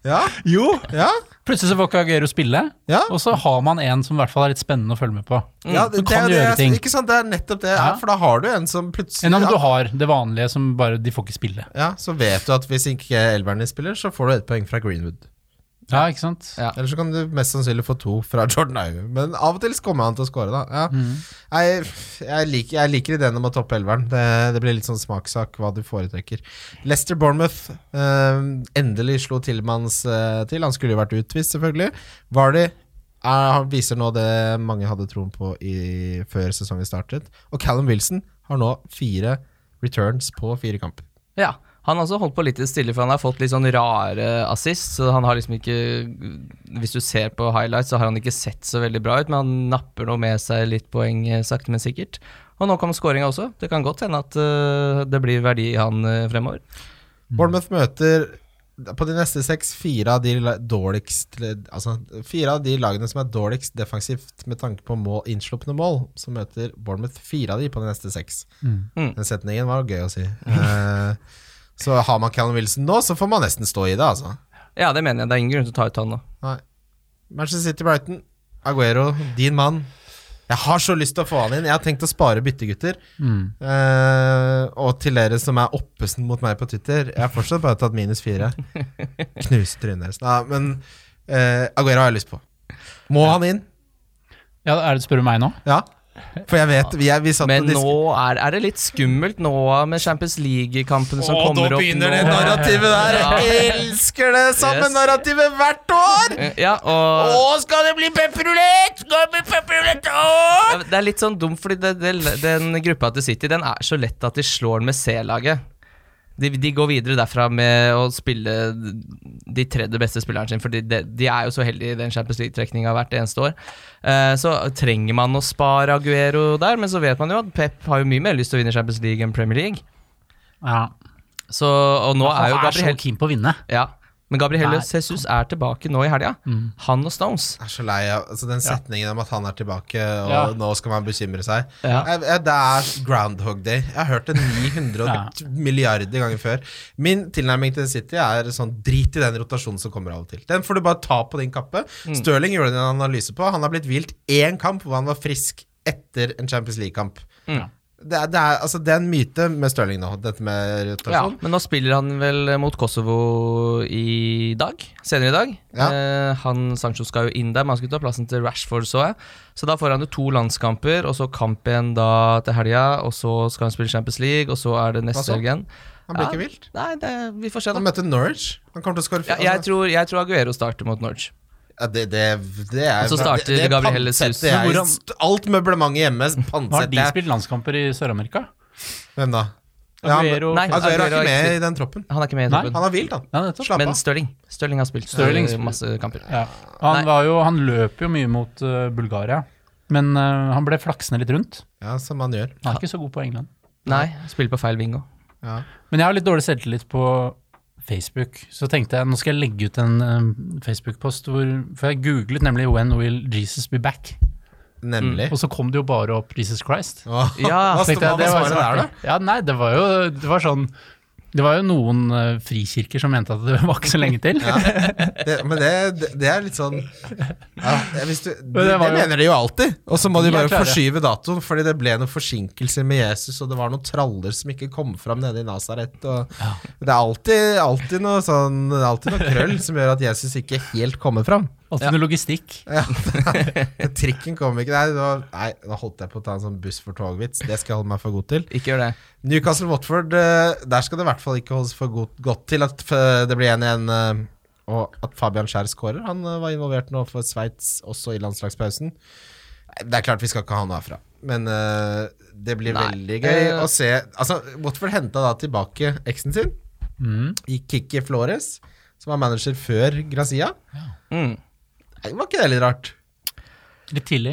Speaker 3: Ja?
Speaker 2: Jo.
Speaker 3: Ja?
Speaker 2: Plutselig så får ikke Aguero spille,
Speaker 3: Ja?
Speaker 2: og så har man en som i hvert fall er litt spennende å følge med på.
Speaker 3: ja det,
Speaker 2: Som
Speaker 3: det,
Speaker 2: kan
Speaker 3: er det,
Speaker 2: gjøre
Speaker 3: jeg-
Speaker 2: ting.
Speaker 3: ikke sant? det er nettopp det. Mm. Ja.
Speaker 2: Ja.
Speaker 3: For da har du en som plutselig
Speaker 2: Enn om du har det vanlige som bare de får ikke spille.
Speaker 3: ja, Så vet du at hvis ikke elveren din spiller, så får du ett poeng fra Greenwood.
Speaker 2: Ja, ikke sant?
Speaker 4: Ja.
Speaker 3: Eller så kan du mest sannsynlig få to fra Jordan Ayew. Men av og til så kommer han til å score, da. Ja. Jeg, jeg, liker, jeg liker ideen om å toppe elveren. Det, det blir litt sånn smakssak hva du foretrekker. Lester Bournemouth eh, endelig slo Tillmans eh, til. Han skulle jo vært utvist, selvfølgelig. Vardy er, viser nå det mange hadde troen på i, før sesongen startet. Og Callum Wilson har nå fire returns på fire kamper.
Speaker 4: Ja. Han har også holdt på litt stille, for han har fått litt sånn rare assist. Så han har liksom ikke Hvis du ser på highlights, så har han ikke sett så veldig bra ut, men han napper nå med seg litt poeng eh, sakte, men sikkert. Og nå kom skåringa også. Det kan godt hende at eh, det blir verdi i han eh, fremover.
Speaker 3: Bournemouth møter på de neste seks fire av de la- dårligst Altså fire av de lagene som er dårligst defensivt med tanke på mål, innslupne mål, så møter Bournemouth fire av de på de neste seks.
Speaker 2: Mm.
Speaker 4: Mm.
Speaker 3: Den setningen var gøy å si. Eh, så har man Callum Wilson nå, så får man nesten stå i det, altså.
Speaker 4: Ja, det mener jeg. Det er ingen grunn til å ta ut han nå.
Speaker 3: Nei. Manchester City Brighton, Aguero, din mann. Jeg har så lyst til å få han inn. Jeg har tenkt å spare byttegutter.
Speaker 2: Mm.
Speaker 3: Eh, og til dere som er oppesen mot meg på Twitter, jeg har fortsatt bare tatt minus fire. Knuse trynet deres. Nei, men eh, Aguero har jeg lyst på. Må han inn?
Speaker 2: Ja, er det spør du meg nå?
Speaker 3: Ja. For jeg vet Vi, er, vi satt
Speaker 4: Men
Speaker 3: og
Speaker 4: nå
Speaker 3: disk-
Speaker 4: er, er det litt skummelt nå med Champions League-kampene som
Speaker 3: Å,
Speaker 4: kommer
Speaker 3: nå
Speaker 4: opp
Speaker 3: begynner
Speaker 4: nå.
Speaker 3: det narrativet der!
Speaker 4: Ja.
Speaker 3: Jeg elsker det samme
Speaker 4: Yes.
Speaker 3: narrativet hvert år!
Speaker 4: Ja, og...
Speaker 3: Å, skal det bli pepperulett? Skal det bli pepperulett? Å!
Speaker 4: Ja, men Det er litt sånn dumt, fordi det, det, den gruppa til City Den er så lett at de slår den med C-laget. De, de går videre derfra med å spille de tredje beste spilleren sin, for de, de er jo så heldige i den Champions League-trekninga hvert eneste år. Eh, så trenger man å spare Aguero der, men så vet man jo at Pep har jo mye mer lyst til å vinne Champions League enn Premier League.
Speaker 2: Ja.
Speaker 4: Så, og nå er jo
Speaker 2: Han er så
Speaker 4: Gabriel
Speaker 2: keen på å vinne.
Speaker 4: ja. Men Gabriel
Speaker 2: Nei. Mm.
Speaker 4: Jesus er tilbake nå i helga. Han og Stones.
Speaker 3: Jeg er så lei av altså, den setningen om at han er tilbake, og
Speaker 2: Ja.
Speaker 3: nå skal man bekymre seg.
Speaker 4: Ja.
Speaker 3: Jeg, jeg, det er Groundhog Day. Jeg har hørt det 900 milliarder ganger før. Min tilnærming til City er sånn drit i den rotasjonen som kommer av og til. Den får du bare ta på din kappe.
Speaker 4: Mm.
Speaker 3: Stirling gjorde en analyse på. Han har blitt hvilt én kamp hvor han var frisk etter en Champions League-kamp.
Speaker 4: Mm.
Speaker 3: Det, er- det, er- altså, det er en myte med Stirling nå, dette med
Speaker 4: Ja,
Speaker 3: rotasjon.
Speaker 4: men nå spiller han vel mot Kosovo i dag. Senere i dag.
Speaker 3: Ja.
Speaker 4: Eh, han Sancho skal jo inn der, men han skulle ta plassen til Rashford, så jeg. Så da får han jo to landskamper, og så kamp igjen da til helga, og så skal han spille Champions League, og så er det
Speaker 3: Hva så?
Speaker 4: neste helgen.
Speaker 3: Han ble
Speaker 4: Ja.
Speaker 3: ikke vilt. altså-
Speaker 4: Nei, det, vi får se,
Speaker 3: Han
Speaker 4: da.
Speaker 3: møtte Norwich. Han kommer til å skåre
Speaker 4: Ja, jeg, tror, jeg tror Aguero starter mot Norge.
Speaker 3: Ja, det, det, det er
Speaker 4: Og så starter
Speaker 3: det, det
Speaker 4: Gabriel
Speaker 3: pantsetter
Speaker 4: Jesus.
Speaker 3: jeg.
Speaker 2: Men hvordan-
Speaker 3: St- Alt møblementet hjemme
Speaker 2: Har
Speaker 3: pantsetter
Speaker 2: de
Speaker 3: jeg.
Speaker 2: spilt landskamper i Sør-Amerika?
Speaker 3: Hvem da? Ja, men-
Speaker 2: Aguero
Speaker 4: Nei.
Speaker 3: Altså, Aguero er
Speaker 4: Aguero er
Speaker 3: ikke med
Speaker 4: ikke-
Speaker 3: i den troppen.
Speaker 4: Han er ikke med i
Speaker 2: Nei,
Speaker 4: troppen.
Speaker 3: Han har hvilt, han.
Speaker 2: Ja, nettopp.
Speaker 3: Slapp
Speaker 4: Men
Speaker 3: av.
Speaker 4: Stirling. Stirling har spilt
Speaker 2: Stirling
Speaker 4: eh,
Speaker 2: spil-
Speaker 4: masse kamper.
Speaker 2: Ja. Han,
Speaker 4: Nei.
Speaker 2: var jo, han løp jo mye mot eh, Bulgaria, men eh, han ble flaksende litt rundt.
Speaker 3: Ja, som han gjør.
Speaker 2: Han er ikke så god på England.
Speaker 4: Nei, spiller på feil bingo.
Speaker 3: Ja.
Speaker 2: Men jeg har litt dårlig selvtillit på Facebook, så tenkte jeg nå skal jeg legge ut en eh, Facebook-post hvor For jeg googlet nemlig 'When will Jesus be back?',
Speaker 3: Nemlig.
Speaker 2: og så kom det jo bare opp 'Jesus Christ'.
Speaker 3: Åh,
Speaker 4: Ja,
Speaker 3: hva
Speaker 2: Tenkte jeg,
Speaker 3: står
Speaker 2: sånn.
Speaker 3: det
Speaker 2: så
Speaker 3: svaret der, da?
Speaker 2: artig. Ja, nei, det var jo det var sånn Det var jo noen eh, frikirker som mente at det var ikke så lenge til.
Speaker 3: Det, men det, det, det er litt sånn ja, hvis du, de,
Speaker 2: det
Speaker 3: det
Speaker 2: var jo-
Speaker 3: mener de jo alltid. Og så må
Speaker 2: De
Speaker 3: de bare
Speaker 2: er klare.
Speaker 3: forskyve datoen, fordi det ble noen forsinkelser med Jesus, og det var noen traller som ikke kom fram nede i Nasaret. og Det er alltid, alltid, noe sånn, det er alltid noe krøll som gjør at Jesus ikke helt kommer fram.
Speaker 2: Alltid noe logistikk.
Speaker 3: Trikken kom ikke Nei, det var, nei, nå holdt jeg på å ta en sånn buss for tog-vits. Det skal jeg holde meg for god til.
Speaker 4: Ikke gjør det.
Speaker 3: Newcastle-Watford, eh, der skal det i hvert fall ikke holdes for godt, godt til at eh, det blir 1-1. eh, Og at Fabian Skjær skårer. Han eh, var involvert nå for Sveits, også i landslagspausen. Nei, Det er klart vi skal ikke ha han herfra, men eh, det blir
Speaker 4: Nei,
Speaker 3: veldig gøy
Speaker 4: eh,
Speaker 3: å se Altså, Watford henta da tilbake eksen sin,
Speaker 2: Mm.
Speaker 3: i Kikki Flores, som var manager før Grazia.
Speaker 4: Mm.
Speaker 3: Nei, Var ikke det litt rart?
Speaker 2: Litt tidlig.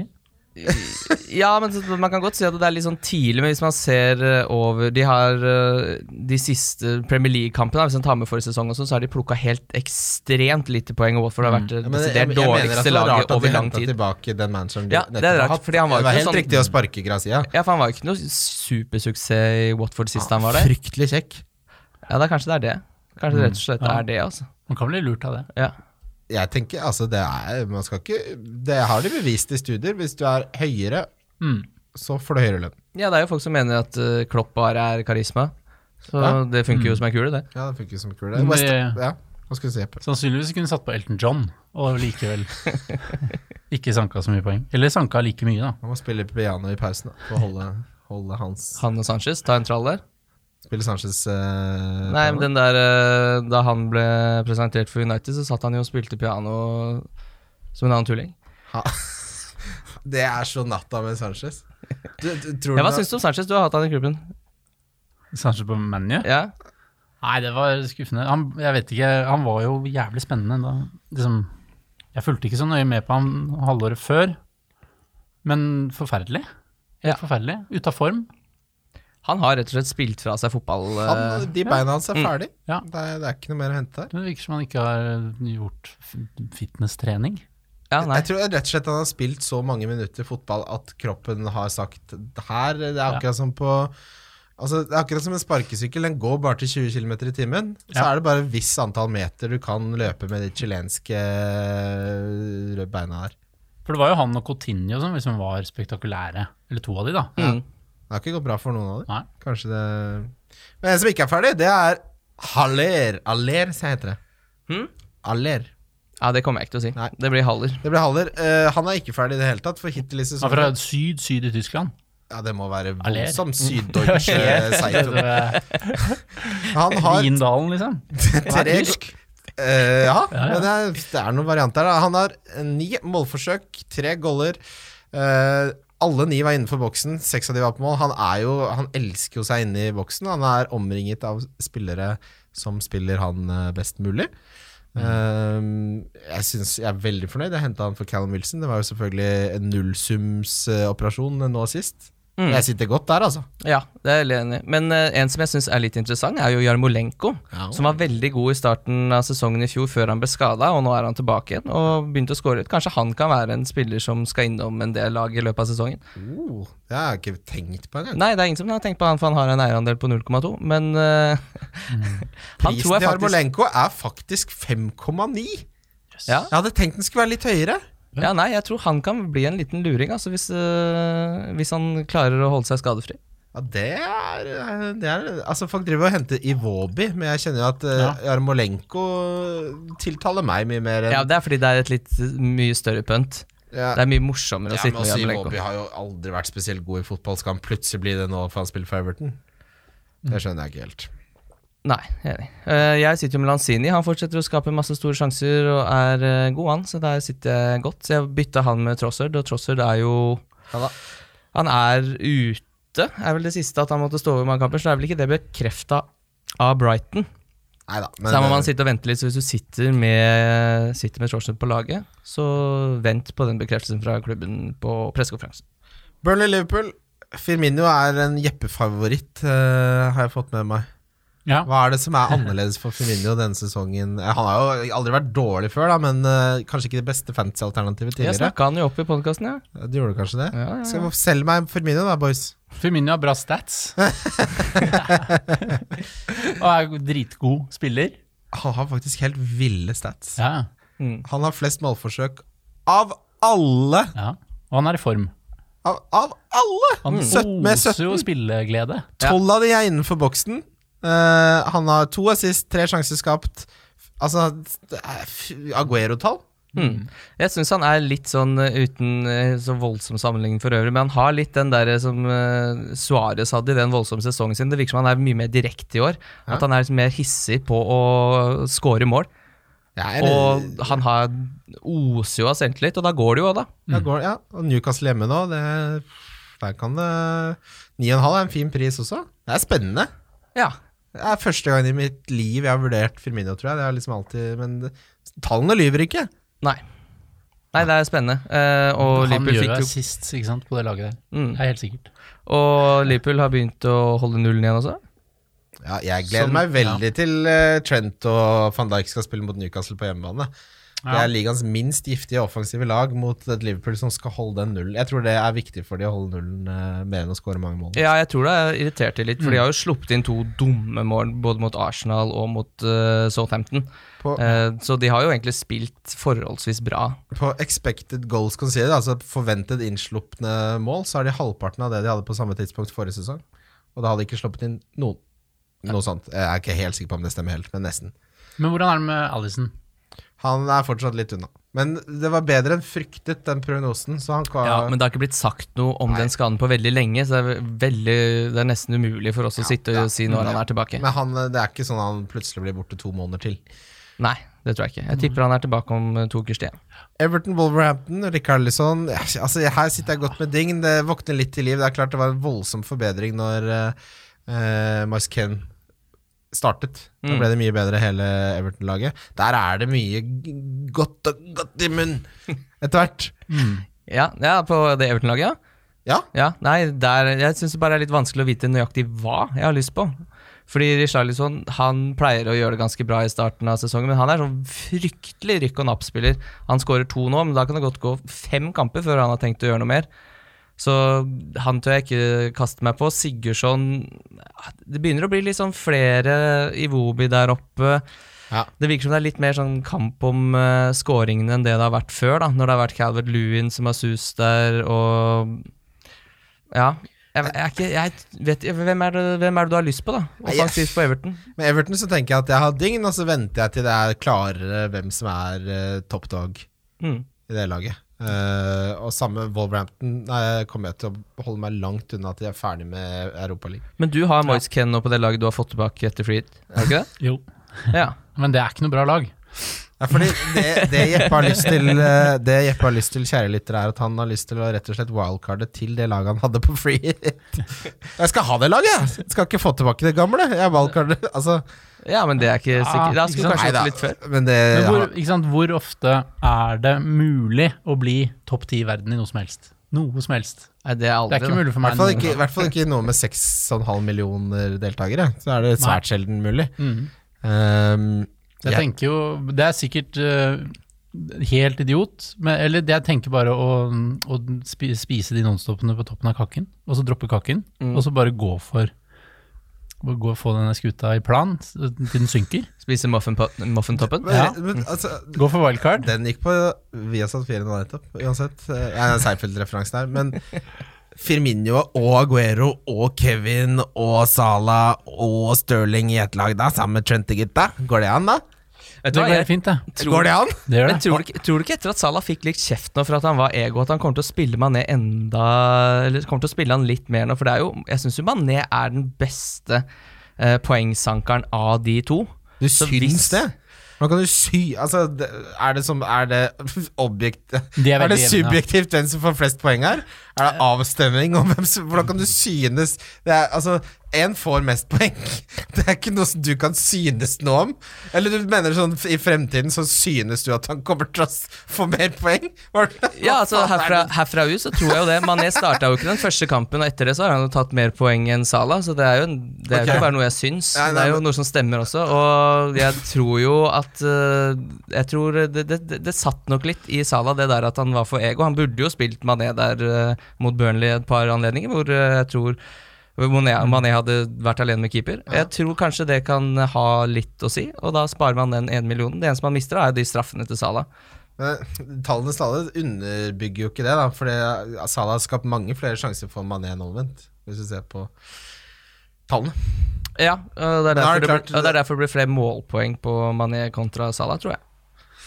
Speaker 4: Ja, men så- man kan godt si at det er litt sånn tidlig, men hvis man ser eh, over De har eh, de siste Premier League-kampene, hvis man tar med forrige sesong og sånn, så har de plukka helt ekstremt lite poeng, og Watford har vært Altså, det
Speaker 3: Mm. Ja, men jeg-
Speaker 4: desidert
Speaker 3: jeg mener at
Speaker 4: dårligste
Speaker 3: det var rart
Speaker 4: laget
Speaker 3: at de
Speaker 4: over lang
Speaker 3: hentet
Speaker 4: tid.
Speaker 3: tilbake den manageren de
Speaker 4: Ja, det er
Speaker 3: nettopp har
Speaker 4: rart,
Speaker 3: hatt.
Speaker 4: fordi han var
Speaker 3: det
Speaker 4: jo
Speaker 3: var
Speaker 4: ikke
Speaker 3: helt
Speaker 4: sånn-
Speaker 3: riktig å sparke Grazia.
Speaker 4: Ja, for han var jo ikke noe supersuksess i Watford sist han var der.
Speaker 3: Fryktelig kjekk. Mm.
Speaker 4: Ja, da kanskje det er det. Kanskje det rett og slett
Speaker 2: Ja.
Speaker 4: er det, altså.
Speaker 2: Man kan bli lurt av det.
Speaker 4: Ja.
Speaker 3: Jeg tenker, altså det er Man skal ikke Det har de bevist i studier. Hvis du er høyere,
Speaker 2: Mm.
Speaker 3: så får du høyere lønn.
Speaker 4: ja, det er jo folk som mener at eh, Klopp bare er karisma, så
Speaker 3: Ja. Mm.
Speaker 4: det funker jo som ei kule, det.
Speaker 3: Ja, det funker som kule.
Speaker 2: Men
Speaker 3: West,
Speaker 2: det-
Speaker 3: ja, hva skal du si? Jeppe?
Speaker 2: Sannsynligvis kunne satt på Elton John, og likevel ikke sanka så mye poeng. Eller sanka like mye, da.
Speaker 3: Han må spille piano i pausen da, for å holde, holde hans
Speaker 4: Han og Sanchez, ta en trall der.
Speaker 3: Spille Sanchez eh,
Speaker 4: Nei,
Speaker 3: piano.
Speaker 4: men den der eh, Da han ble presentert for United, så satt han jo og spilte piano som en annen tulling.
Speaker 3: Det er så natta med Sanchez. Du, du, tror
Speaker 4: Ja, Hva
Speaker 3: du
Speaker 4: syns du om Sanchez? Du har hatt han i klubben.
Speaker 2: Sanchez på ManU?
Speaker 4: Ja,
Speaker 2: Nei, det var skuffende. Han, jeg vet ikke, han var jo jævlig spennende da. Liksom, jeg fulgte ikke så nøye med på han halvåret før, men forferdelig.
Speaker 4: Ja.
Speaker 2: Helt forferdelig. Ute av form.
Speaker 4: Han har rett og slett spilt fra seg fotball... eh,
Speaker 3: han, De beina hans er
Speaker 4: Mm.
Speaker 3: ferdig.
Speaker 2: Ja.
Speaker 3: Det, er, det er ikke noe mer å hente her.
Speaker 2: Det virker som han ikke har eh, gjort f- fitness-trening.
Speaker 4: ja, nei.
Speaker 3: Jeg tror rett og slett han har spilt så mange minutter fotball at kroppen har sagt her Det er akkurat som på Altså, det er akkurat som en sparkesykkel. Den går bare til 20 km i timen. Så
Speaker 2: Ja.
Speaker 3: er det bare et visst antall meter du kan løpe med de chilenske eh, røde beina her.
Speaker 2: For det var jo han og Coutinho som liksom var spektakulære. Eller to av de, da.
Speaker 4: Mm.
Speaker 3: Det har ikke gått bra for noen av dem.
Speaker 2: Nei.
Speaker 3: Kanskje det Men en som ikke er ferdig, det er Haller. Aller, så heter det.
Speaker 4: Hm?
Speaker 3: Aller.
Speaker 4: Ja, det kommer jeg ikke til å si.
Speaker 3: Nei.
Speaker 4: Det blir Haller.
Speaker 3: Det blir Haller. Eh, han er ikke ferdig i det hele tatt, for hittil i
Speaker 2: Han er fra
Speaker 3: sesongen
Speaker 2: syd, syd i Tyskland.
Speaker 3: Ja, det må være
Speaker 2: Aller.
Speaker 3: voldsom syddeutsche seier. Han har
Speaker 2: Vindalen, liksom. Han
Speaker 3: tre
Speaker 2: er tysk.
Speaker 3: Eh, ja,
Speaker 2: Ja, ja.
Speaker 3: men det er, det er noen varianter. Da. Han har ni målforsøk, tre goller. Eh, alle ni var innenfor boksen, seks av de var på mål. Han, er jo, han elsker jo seg inne i boksen. Han er omringet av spillere som spiller han eh, best mulig. Eh, jeg, synes, jeg er veldig fornøyd. Jeg henta han for Callum Wilson. Det var jo selvfølgelig en nullsumsoperasjon nå sist.
Speaker 4: Mm.
Speaker 3: Jeg sitter godt der, altså.
Speaker 4: Ja, det er jeg veldig enig i. Men eh, en som jeg syns er litt interessant, er jo Jarmolenko.
Speaker 3: Ja.
Speaker 4: Som var veldig god i starten av sesongen i fjor, før han ble skada. Og nå er han tilbake igjen og begynte å skåre ut. Kanskje han kan være en spiller som skal innom en del lag i løpet av sesongen.
Speaker 3: Oh, det har jeg ikke tenkt på engang.
Speaker 4: Nei, det er ingen som har tenkt på han, for han har en eierandel på 0,2, men eh, han tror
Speaker 3: Prisen
Speaker 4: jeg
Speaker 3: til
Speaker 4: faktisk
Speaker 3: Armolenko er faktisk 5,9.
Speaker 4: ja,
Speaker 3: Jeg hadde tenkt den skulle være litt høyere.
Speaker 4: ja, nei, jeg tror han kan bli en liten luring, altså, hvis, eh, hvis han klarer å holde seg skadefri.
Speaker 3: Ja, det er, det er Altså, folk driver og henter Iwobi, men jeg kjenner jo at uh, Jarmolenko tiltaler meg mye mer enn
Speaker 4: Ja, det er fordi det er et litt mye større pønt.
Speaker 3: Ja.
Speaker 4: Det er mye morsommere å
Speaker 3: Ja, men
Speaker 4: sitte med
Speaker 3: også
Speaker 4: Jarmolenko.
Speaker 3: Iwobi har jo aldri vært spesielt god i fotball. Skal han plutselig bli det nå for han spiller for Everton?
Speaker 4: Mm.
Speaker 3: Det skjønner jeg ikke helt.
Speaker 4: Nei, jeg er enig. Eh, jeg sitter jo med Lanzini. Han fortsetter å skape masse store sjanser og er eh, god, han, så der sitter jeg godt. Så jeg bytta han med Trossard, og Trossard er jo
Speaker 3: Ja da.
Speaker 4: Han er ute, er vel det siste at han måtte stå over mange kamper, så det er vel ikke det bekrefta av Brighton.
Speaker 3: Nei da.
Speaker 4: så her må man sitte og vente litt, så hvis du sitter med, sitter med Trossard på laget, så vent på den bekreftelsen fra klubben på pressekonferansen.
Speaker 3: Burnley-Liverpool. Firmino er en jeppefavoritt, eh, har jeg fått med meg.
Speaker 2: Ja.
Speaker 3: Hva er det som er annerledes for Firmino denne sesongen? Eh, Han har jo aldri vært dårlig før, da, men eh, kanskje ikke det beste fantasy-alternativet
Speaker 4: Jeg
Speaker 3: tidligere.
Speaker 4: snakka han jo opp i podkasten, ja.
Speaker 3: Ja, Du gjorde kanskje det?
Speaker 4: Ja, ja, ja.
Speaker 3: Skal vi selge meg Firmino da, boys?
Speaker 2: Firmino har bra stats. og er dritgod spiller.
Speaker 3: Han har faktisk helt ville stats.
Speaker 2: Ja,
Speaker 4: Mm.
Speaker 3: Han har flest målforsøk av alle!
Speaker 2: ja. Og han er i form.
Speaker 3: Av, av alle!
Speaker 4: Mm.
Speaker 2: Han
Speaker 3: Søtt- med
Speaker 2: oser jo
Speaker 3: 17.
Speaker 2: spilleglede.
Speaker 3: Tolv av de er innenfor boksen. Eh, han har to assist, tre sjanser skapt. Altså, det er f- Aguero-tall.
Speaker 4: Mm. Jeg syns han er litt sånn eh, uten eh, så voldsom sammenligning for øvrig, men han har litt den der eh, som eh, Suarez hadde i den voldsomme sesongen sin. Det virker som han er mye mer direkte i år.
Speaker 3: Ja.
Speaker 4: At han er litt mer hissig på å score mål.
Speaker 3: Ja, eller-
Speaker 4: Og han har oser jo av selvtillit, og da går det jo òg, da.
Speaker 3: Ja,
Speaker 2: Mm.
Speaker 3: går, ja. Og Newcastle hjemme nå, det, der kan det 9,5 er en fin pris også. Det er spennende.
Speaker 4: Ja.
Speaker 3: Det er første gang i mitt liv jeg har vurdert Firmino, tror jeg. Det er liksom alltid, men det- tallene lyver ikke.
Speaker 4: Nei. Nei, det er spennende. Eh, og,
Speaker 2: Han
Speaker 4: Liverpool
Speaker 2: gjør
Speaker 4: fikk
Speaker 2: altså. jo
Speaker 4: jo,
Speaker 2: assist ikke sant, på det laget der.
Speaker 4: Mm.
Speaker 2: Det er helt sikkert.
Speaker 4: og Liverpool har begynt å holde nullen igjen også.
Speaker 3: Ja, jeg gleder
Speaker 2: Som-
Speaker 3: meg veldig til eh, Trent og van Dijk skal spille mot Newcastle på hjemmebane. Det
Speaker 2: Ja.
Speaker 3: er ligaens minst giftige offensive lag mot et Liverpool som skal holde den nullen. Jeg tror det er viktig for de å holde nullen eh, mer enn å skåre mange mål.
Speaker 4: Ja, jeg tror det er irritert de litt, for de har jo sluppet inn to dumme mål både mot Arsenal og mot eh, Southampton.
Speaker 3: På-
Speaker 4: Eh, så de har jo egentlig spilt forholdsvis bra.
Speaker 3: På expected goals conceded, altså forventet innslupne mål, så er de halvparten av det de hadde på samme tidspunkt forrige sesong. Og da hadde de ikke sluppet inn noen. Noe sånt. Jeg er ikke helt sikker på om det stemmer helt, men nesten.
Speaker 2: Men hvordan er det med Alison?
Speaker 3: Han er fortsatt litt unna. Men det var bedre enn fryktet, den prognosen. Så han kan,
Speaker 4: Ja, Men det har ikke blitt sagt noe om den skaden på veldig lenge, så det er, veldig, det er nesten umulig for oss å sitte og si når han er tilbake.
Speaker 3: men han, det er ikke sånn han plutselig blir borte to måneder til.
Speaker 4: Nei, det tror jeg ikke. Jeg tipper han er tilbake om eh, to ukers tid.
Speaker 3: Everton, Wolverhampton, Rikarlison altså, Her sitter jeg godt med Ding. Det våkner litt til liv. Det er klart det var en voldsom forbedring når eh, uh, Ken startet. Da ble det mye bedre, hele Everton-laget. Der er det mye g- godt og godt i munnen etter hvert.
Speaker 4: Ja, ja på det Everton-laget, ja.
Speaker 3: Ja,
Speaker 4: Ja, nei, der, jeg syns det bare er litt vanskelig å vite nøyaktig hva jeg har lyst på. Fordi Richarlison han pleier å gjøre det ganske bra i starten av sesongen, men han er sånn fryktelig rykk og napp-spiller. Han skårer to nå, men da kan det godt gå fem kamper før han har tenkt å gjøre noe mer. Så han tør jeg ikke kaste meg på. Sigurdsson Det begynner å bli litt sånn flere i Wobi der oppe.
Speaker 3: Ja.
Speaker 4: Det virker som det er litt mer sånn kamp om eh, skåringene enn det det har vært før, da. Når det har vært Calvert Lewin som har sus der, og ja. Jeg, jeg, er ikke, jeg vet Hvem er, det, hvem er det du har lyst på, da?
Speaker 3: Nei, jeg-
Speaker 4: Offensivt på Everton.
Speaker 3: Med Everton så tenker jeg at jeg har Dign, og så venter jeg til det er klarere hvem som er eh, top dog i
Speaker 4: Mm.
Speaker 3: det laget. Eh, og samme Wolverhampton nei, kommer jeg til å holde meg langt unna til jeg er ferdig med Europaligaen.
Speaker 4: Men du har Moise Ken nå på det laget du har fått tilbake etter free hit, har du ikke det?
Speaker 2: Jo.
Speaker 4: Ja.
Speaker 2: Men det er ikke noe bra lag.
Speaker 3: Ja, fordi det, det Jeppe har lyst til, eh, Det Jeppe har lyst til kjære lyttere, er at han har lyst til å rett og slett wildcarde til det laget han hadde på free hit. Jeg skal ha det laget! jeg. Jeg skal ikke få tilbake det gamle. Jeg wildcarder altså,
Speaker 4: ja, men det er ikke sikkert. Da skulle
Speaker 2: ikke sant?
Speaker 4: du kanskje
Speaker 3: neida,
Speaker 4: hatt det litt før.
Speaker 3: Men det
Speaker 2: Men hvor,
Speaker 3: Eh, ja.
Speaker 2: ikke sant, hvor ofte er det mulig å bli topp ti i verden i noe som helst? Noe som helst.
Speaker 4: Nei, det er
Speaker 2: Det
Speaker 4: aldri
Speaker 2: er ikke mulig for
Speaker 3: I
Speaker 2: meg.
Speaker 3: hvert fall
Speaker 2: noen
Speaker 3: ikke- I
Speaker 2: gang.
Speaker 3: hvert fall ikke noe med 6,5 millioner deltakere. Så er det svært sjelden mulig.
Speaker 2: Mhm.
Speaker 3: Ehm,
Speaker 2: Jeg
Speaker 3: Ja.
Speaker 2: tenker jo Det er sikkert eh, helt idiot, men, eller det jeg tenker bare å, å spi- spise de nonstopene på toppen av kakken, og så droppe kakken,
Speaker 4: Mm.
Speaker 2: og så bare gå for å gå få denne skuta i plan s- til den synker.
Speaker 4: da. Spise muffinpo- muffintoppen.
Speaker 3: men,
Speaker 2: Ja.
Speaker 3: men altså
Speaker 2: Gå for wildcard.
Speaker 3: Den gikk på Viasat 4 nå nettopp, uansett. Eh, Jeg er en Seinfeld-referanse der, men Firmino og Aguero og Kevin og Salah og Sterling i ett lag da, sammen med Trent gutta. Går det an, da?
Speaker 4: Vet du
Speaker 2: Det
Speaker 4: hva,
Speaker 2: går
Speaker 4: jeg
Speaker 2: helt fint, det.
Speaker 3: Går det an?
Speaker 2: Det gjør
Speaker 4: Men
Speaker 2: det.
Speaker 4: tror du, ikke- tror du ikke etter at Salah fikk litt kjeft nå for at han var ego, at han kommer til å spille Mané enda Eller kommer til å spille han litt mer nå? For det er jo, jeg syns jo Mané er den beste eh, poengsankeren av de to.
Speaker 3: Du
Speaker 4: Så
Speaker 3: syns
Speaker 4: hvis-
Speaker 3: det? Hvordan kan du sy Altså, det- er det som Er det objekt
Speaker 2: De er
Speaker 3: er, det
Speaker 2: veldig jevne, ja.
Speaker 3: subjektivt hvem som får flest poeng her? Er
Speaker 4: Eh.
Speaker 3: det avstemning om hvem som Hvordan kan du synes Det er altså Én får mest poeng. Det er ikke noe som du kan synes noe om. Eller du mener sånn i fremtiden så synes du at han kommer til å s- få mer poeng? Hva-
Speaker 4: Ja,
Speaker 3: hva
Speaker 4: altså
Speaker 3: faen er
Speaker 4: herfra,
Speaker 3: det?
Speaker 4: herfra ut så tror jeg jo det. Mané starta jo ikke den første kampen, og etter det så har han jo tatt mer poeng enn Salah, så det er jo, en- det er jo
Speaker 3: Ok.
Speaker 4: ikke bare noe jeg syns,
Speaker 3: Nei, nei,
Speaker 4: det er jo
Speaker 3: men-
Speaker 4: noe som stemmer også. Og jeg tror jo at eh, Jeg tror det, det, det, det satt nok litt i Salah, det der at han var for ego. Han burde jo spilt Mané der eh, mot Burnley et par anledninger, hvor eh, jeg tror Mané, Mané hadde vært alene med keeper. Jeg tror kanskje det kan ha litt å si, og da sparer man den ene millionen. Det eneste man mister, da, er jo de straffene til Salah.
Speaker 3: Men Tallenes tale underbygger jo ikke det, da. For Salah har skapt mange flere sjanser for Mané enn omvendt, hvis du ser på tallene.
Speaker 4: Ja, og det er
Speaker 3: Men er
Speaker 4: derfor
Speaker 3: det
Speaker 4: det,
Speaker 3: klart-
Speaker 4: blir, og det er derfor det blir flere målpoeng på Mané kontra Salah, tror jeg.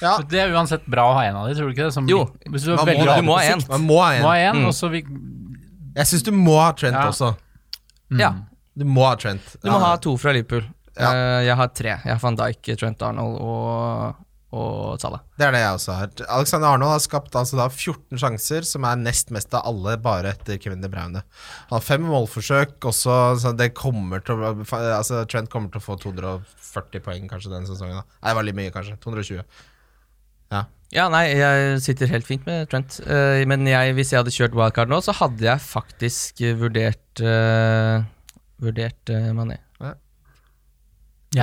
Speaker 3: Ja,
Speaker 2: Det er uansett bra å ha en av de, tror du ikke det? Som,
Speaker 4: Jo,
Speaker 2: hvis du,
Speaker 3: man må
Speaker 2: velger
Speaker 3: det.
Speaker 2: å ha
Speaker 4: Du må ha
Speaker 2: på
Speaker 4: en.
Speaker 2: sikt.
Speaker 3: man må ha en.
Speaker 2: Må ha en,
Speaker 4: Mm.
Speaker 2: og så vi,
Speaker 3: Jeg syns du må ha Trent
Speaker 2: Ja.
Speaker 3: også.
Speaker 4: Ja,
Speaker 3: Du må ha Trent.
Speaker 4: Du må ha to fra Liverpool.
Speaker 3: Ja.
Speaker 4: Eh, jeg har tre. Jeg har van Dijk, Trent Arnold og, og Salah.
Speaker 3: Det er det jeg også har. Alexander Arnold har skapt altså da 14 sjanser, som er nest mest av alle, bare etter Kevin De Bruyne. Han har fem målforsøk også, så det kommer til å Altså, Trent kommer til å få 240 poeng kanskje den sesongen. Da. Nei, det var litt mye, kanskje. 220.
Speaker 4: Ja, nei, jeg sitter helt fint med Trent. Eh, men jeg, hvis jeg hadde kjørt wildcard nå, så hadde jeg faktisk eh, vurdert eh, Vurdert eh, Mané.
Speaker 2: Jeg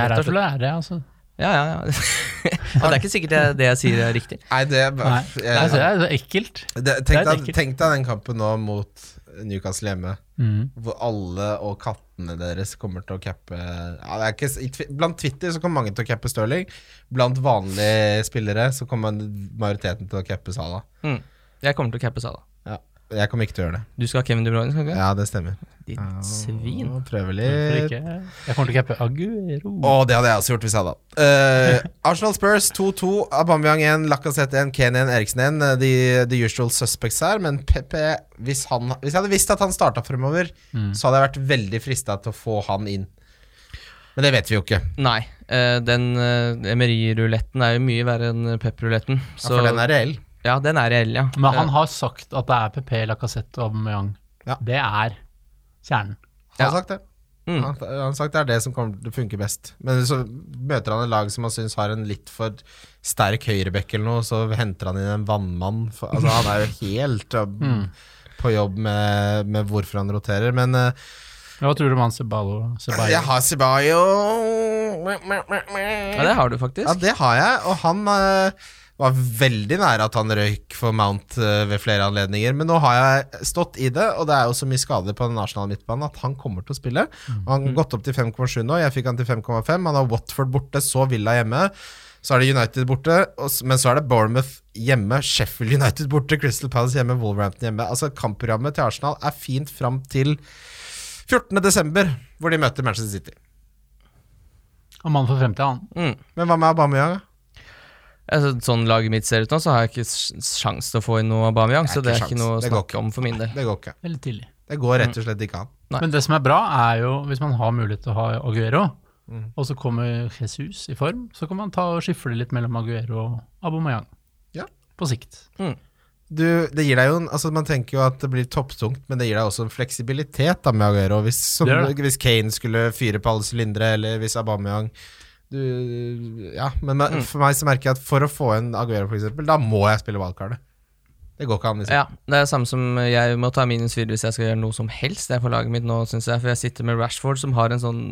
Speaker 4: Rett
Speaker 2: er
Speaker 4: og
Speaker 2: her for å lære, altså.
Speaker 4: Ja, ja, ja. det er ikke sikkert jeg, det jeg sier er riktig.
Speaker 3: Nei, det,
Speaker 2: Nei. Nei, så det er så ekkelt.
Speaker 3: det
Speaker 2: det er
Speaker 3: tenk, deg,
Speaker 2: ekkelt.
Speaker 3: tenk deg den kampen nå mot Newcastle hjemme.
Speaker 2: Mm.
Speaker 3: hvor alle og kattene deres kommer til å cappe ja, det er ikke, s- i, Twi- Blant Twitter så kommer mange til å cappe Stirling. Blant vanlige spillere så kommer majoriteten til å cappe Sala.
Speaker 4: Mm. Jeg kommer til å cappe Salah.
Speaker 3: Ja. Jeg kommer ikke til å gjøre det.
Speaker 4: Du skal ha Kevin De Bruyne, skal du ikke?
Speaker 3: Ja, det stemmer.
Speaker 4: Ditt svin.
Speaker 3: Å, Prøve
Speaker 2: Hvorfor
Speaker 3: litt.
Speaker 2: ikke? Jeg kommer til å cappe Aguero.
Speaker 3: Å, det hadde jeg også gjort hvis jeg hadde hatt. Eh, Arsenal Spurs 2-2. Aubameyang 1, Lacassette 1, Kane 1, Eriksen 1. eh, The, the usual suspects her. Men PP hvis, han, hvis jeg hadde visst at han starta fremover, så hadde jeg vært veldig frista til å få han inn. Men det vet vi jo ikke.
Speaker 4: Nei. eh, den uh, Emery-ruletten er jo mye verre enn Pep-ruletten.
Speaker 3: Ja, for den er reell.
Speaker 4: Ja, den er reell, ja.
Speaker 2: Men han har sagt at det er PP, Lacassette og Aubameyang.
Speaker 3: Ja.
Speaker 2: Det er kjernen.
Speaker 3: Han har
Speaker 4: Ja.
Speaker 3: sagt det.
Speaker 4: Mm.
Speaker 3: Han, han har sagt det er det som kommer til å funke best. Men så møter han et lag som han syns har en litt for sterk høyrebekk eller noe, så henter han inn en vannmann. For, altså, han er jo helt ja,
Speaker 4: Mm.
Speaker 3: på jobb med, med hvorfor han roterer. Men eh,
Speaker 2: Men Hva tror du om han Ceballo? Ceballo?
Speaker 3: jeg har Sibayo
Speaker 4: Ja, det har du faktisk.
Speaker 3: Ja, det har jeg, og han eh, var veldig nære at han røyk for Mount eh, ved flere anledninger, men nå har jeg stått i det, og det er jo så mye skader på den nasjonale midtbanen at han kommer til å spille. Og han har gått opp til 5,7 nå, jeg fikk han til 5,5, han har Watford borte, så Villa hjemme. Så er det United borte, og, s- men så er det Bournemouth hjemme, Sheffield United borte, Crystal Palace hjemme, Wolverhampton hjemme. Altså Kampprogrammet til Arsenal er fint fram til 14.12., hvor de møter Manchester City.
Speaker 2: Og mannen for fremtida, han.
Speaker 4: Mm.
Speaker 3: Men hva med Aubameyang? da?
Speaker 4: Altså, sånn laget mitt ser ut nå, så har jeg ikke sj- sjans til å få inn noe Aubameyang,
Speaker 3: Det er
Speaker 4: så det er
Speaker 3: ikke
Speaker 4: ikke
Speaker 3: sjans.
Speaker 4: noe å
Speaker 3: Det går
Speaker 4: snakke om for min del.
Speaker 3: Det går ikke.
Speaker 2: Veldig tidlig.
Speaker 3: Det går rett og slett ikke an.
Speaker 4: Nei.
Speaker 2: Men det som er bra, er jo hvis man har mulighet til å ha Aguero, og så kommer Jesus i form, så kan man ta og skifle litt mellom Aguero og Abomayang.
Speaker 3: Ja.
Speaker 2: På sikt.
Speaker 3: du, det gir deg jo en, altså Man tenker jo at det blir topptungt, men det gir deg også en fleksibilitet da med Aguero. Hvis, som,
Speaker 2: Det gjør
Speaker 3: hvis Kane skulle fyre på alle sylindere, eller hvis Aubameyang du, ja, Men me-
Speaker 2: Mm.
Speaker 3: for meg så merker jeg at for å få en Aguero, for eksempel da må jeg spille wildcardet. Det går ikke an. Liksom.
Speaker 4: Ja, det er samme som jeg må ta minus fire hvis jeg skal gjøre noe som helst. Det er på laget mitt nå, synes jeg. For jeg sitter med Rashford, som har en sånn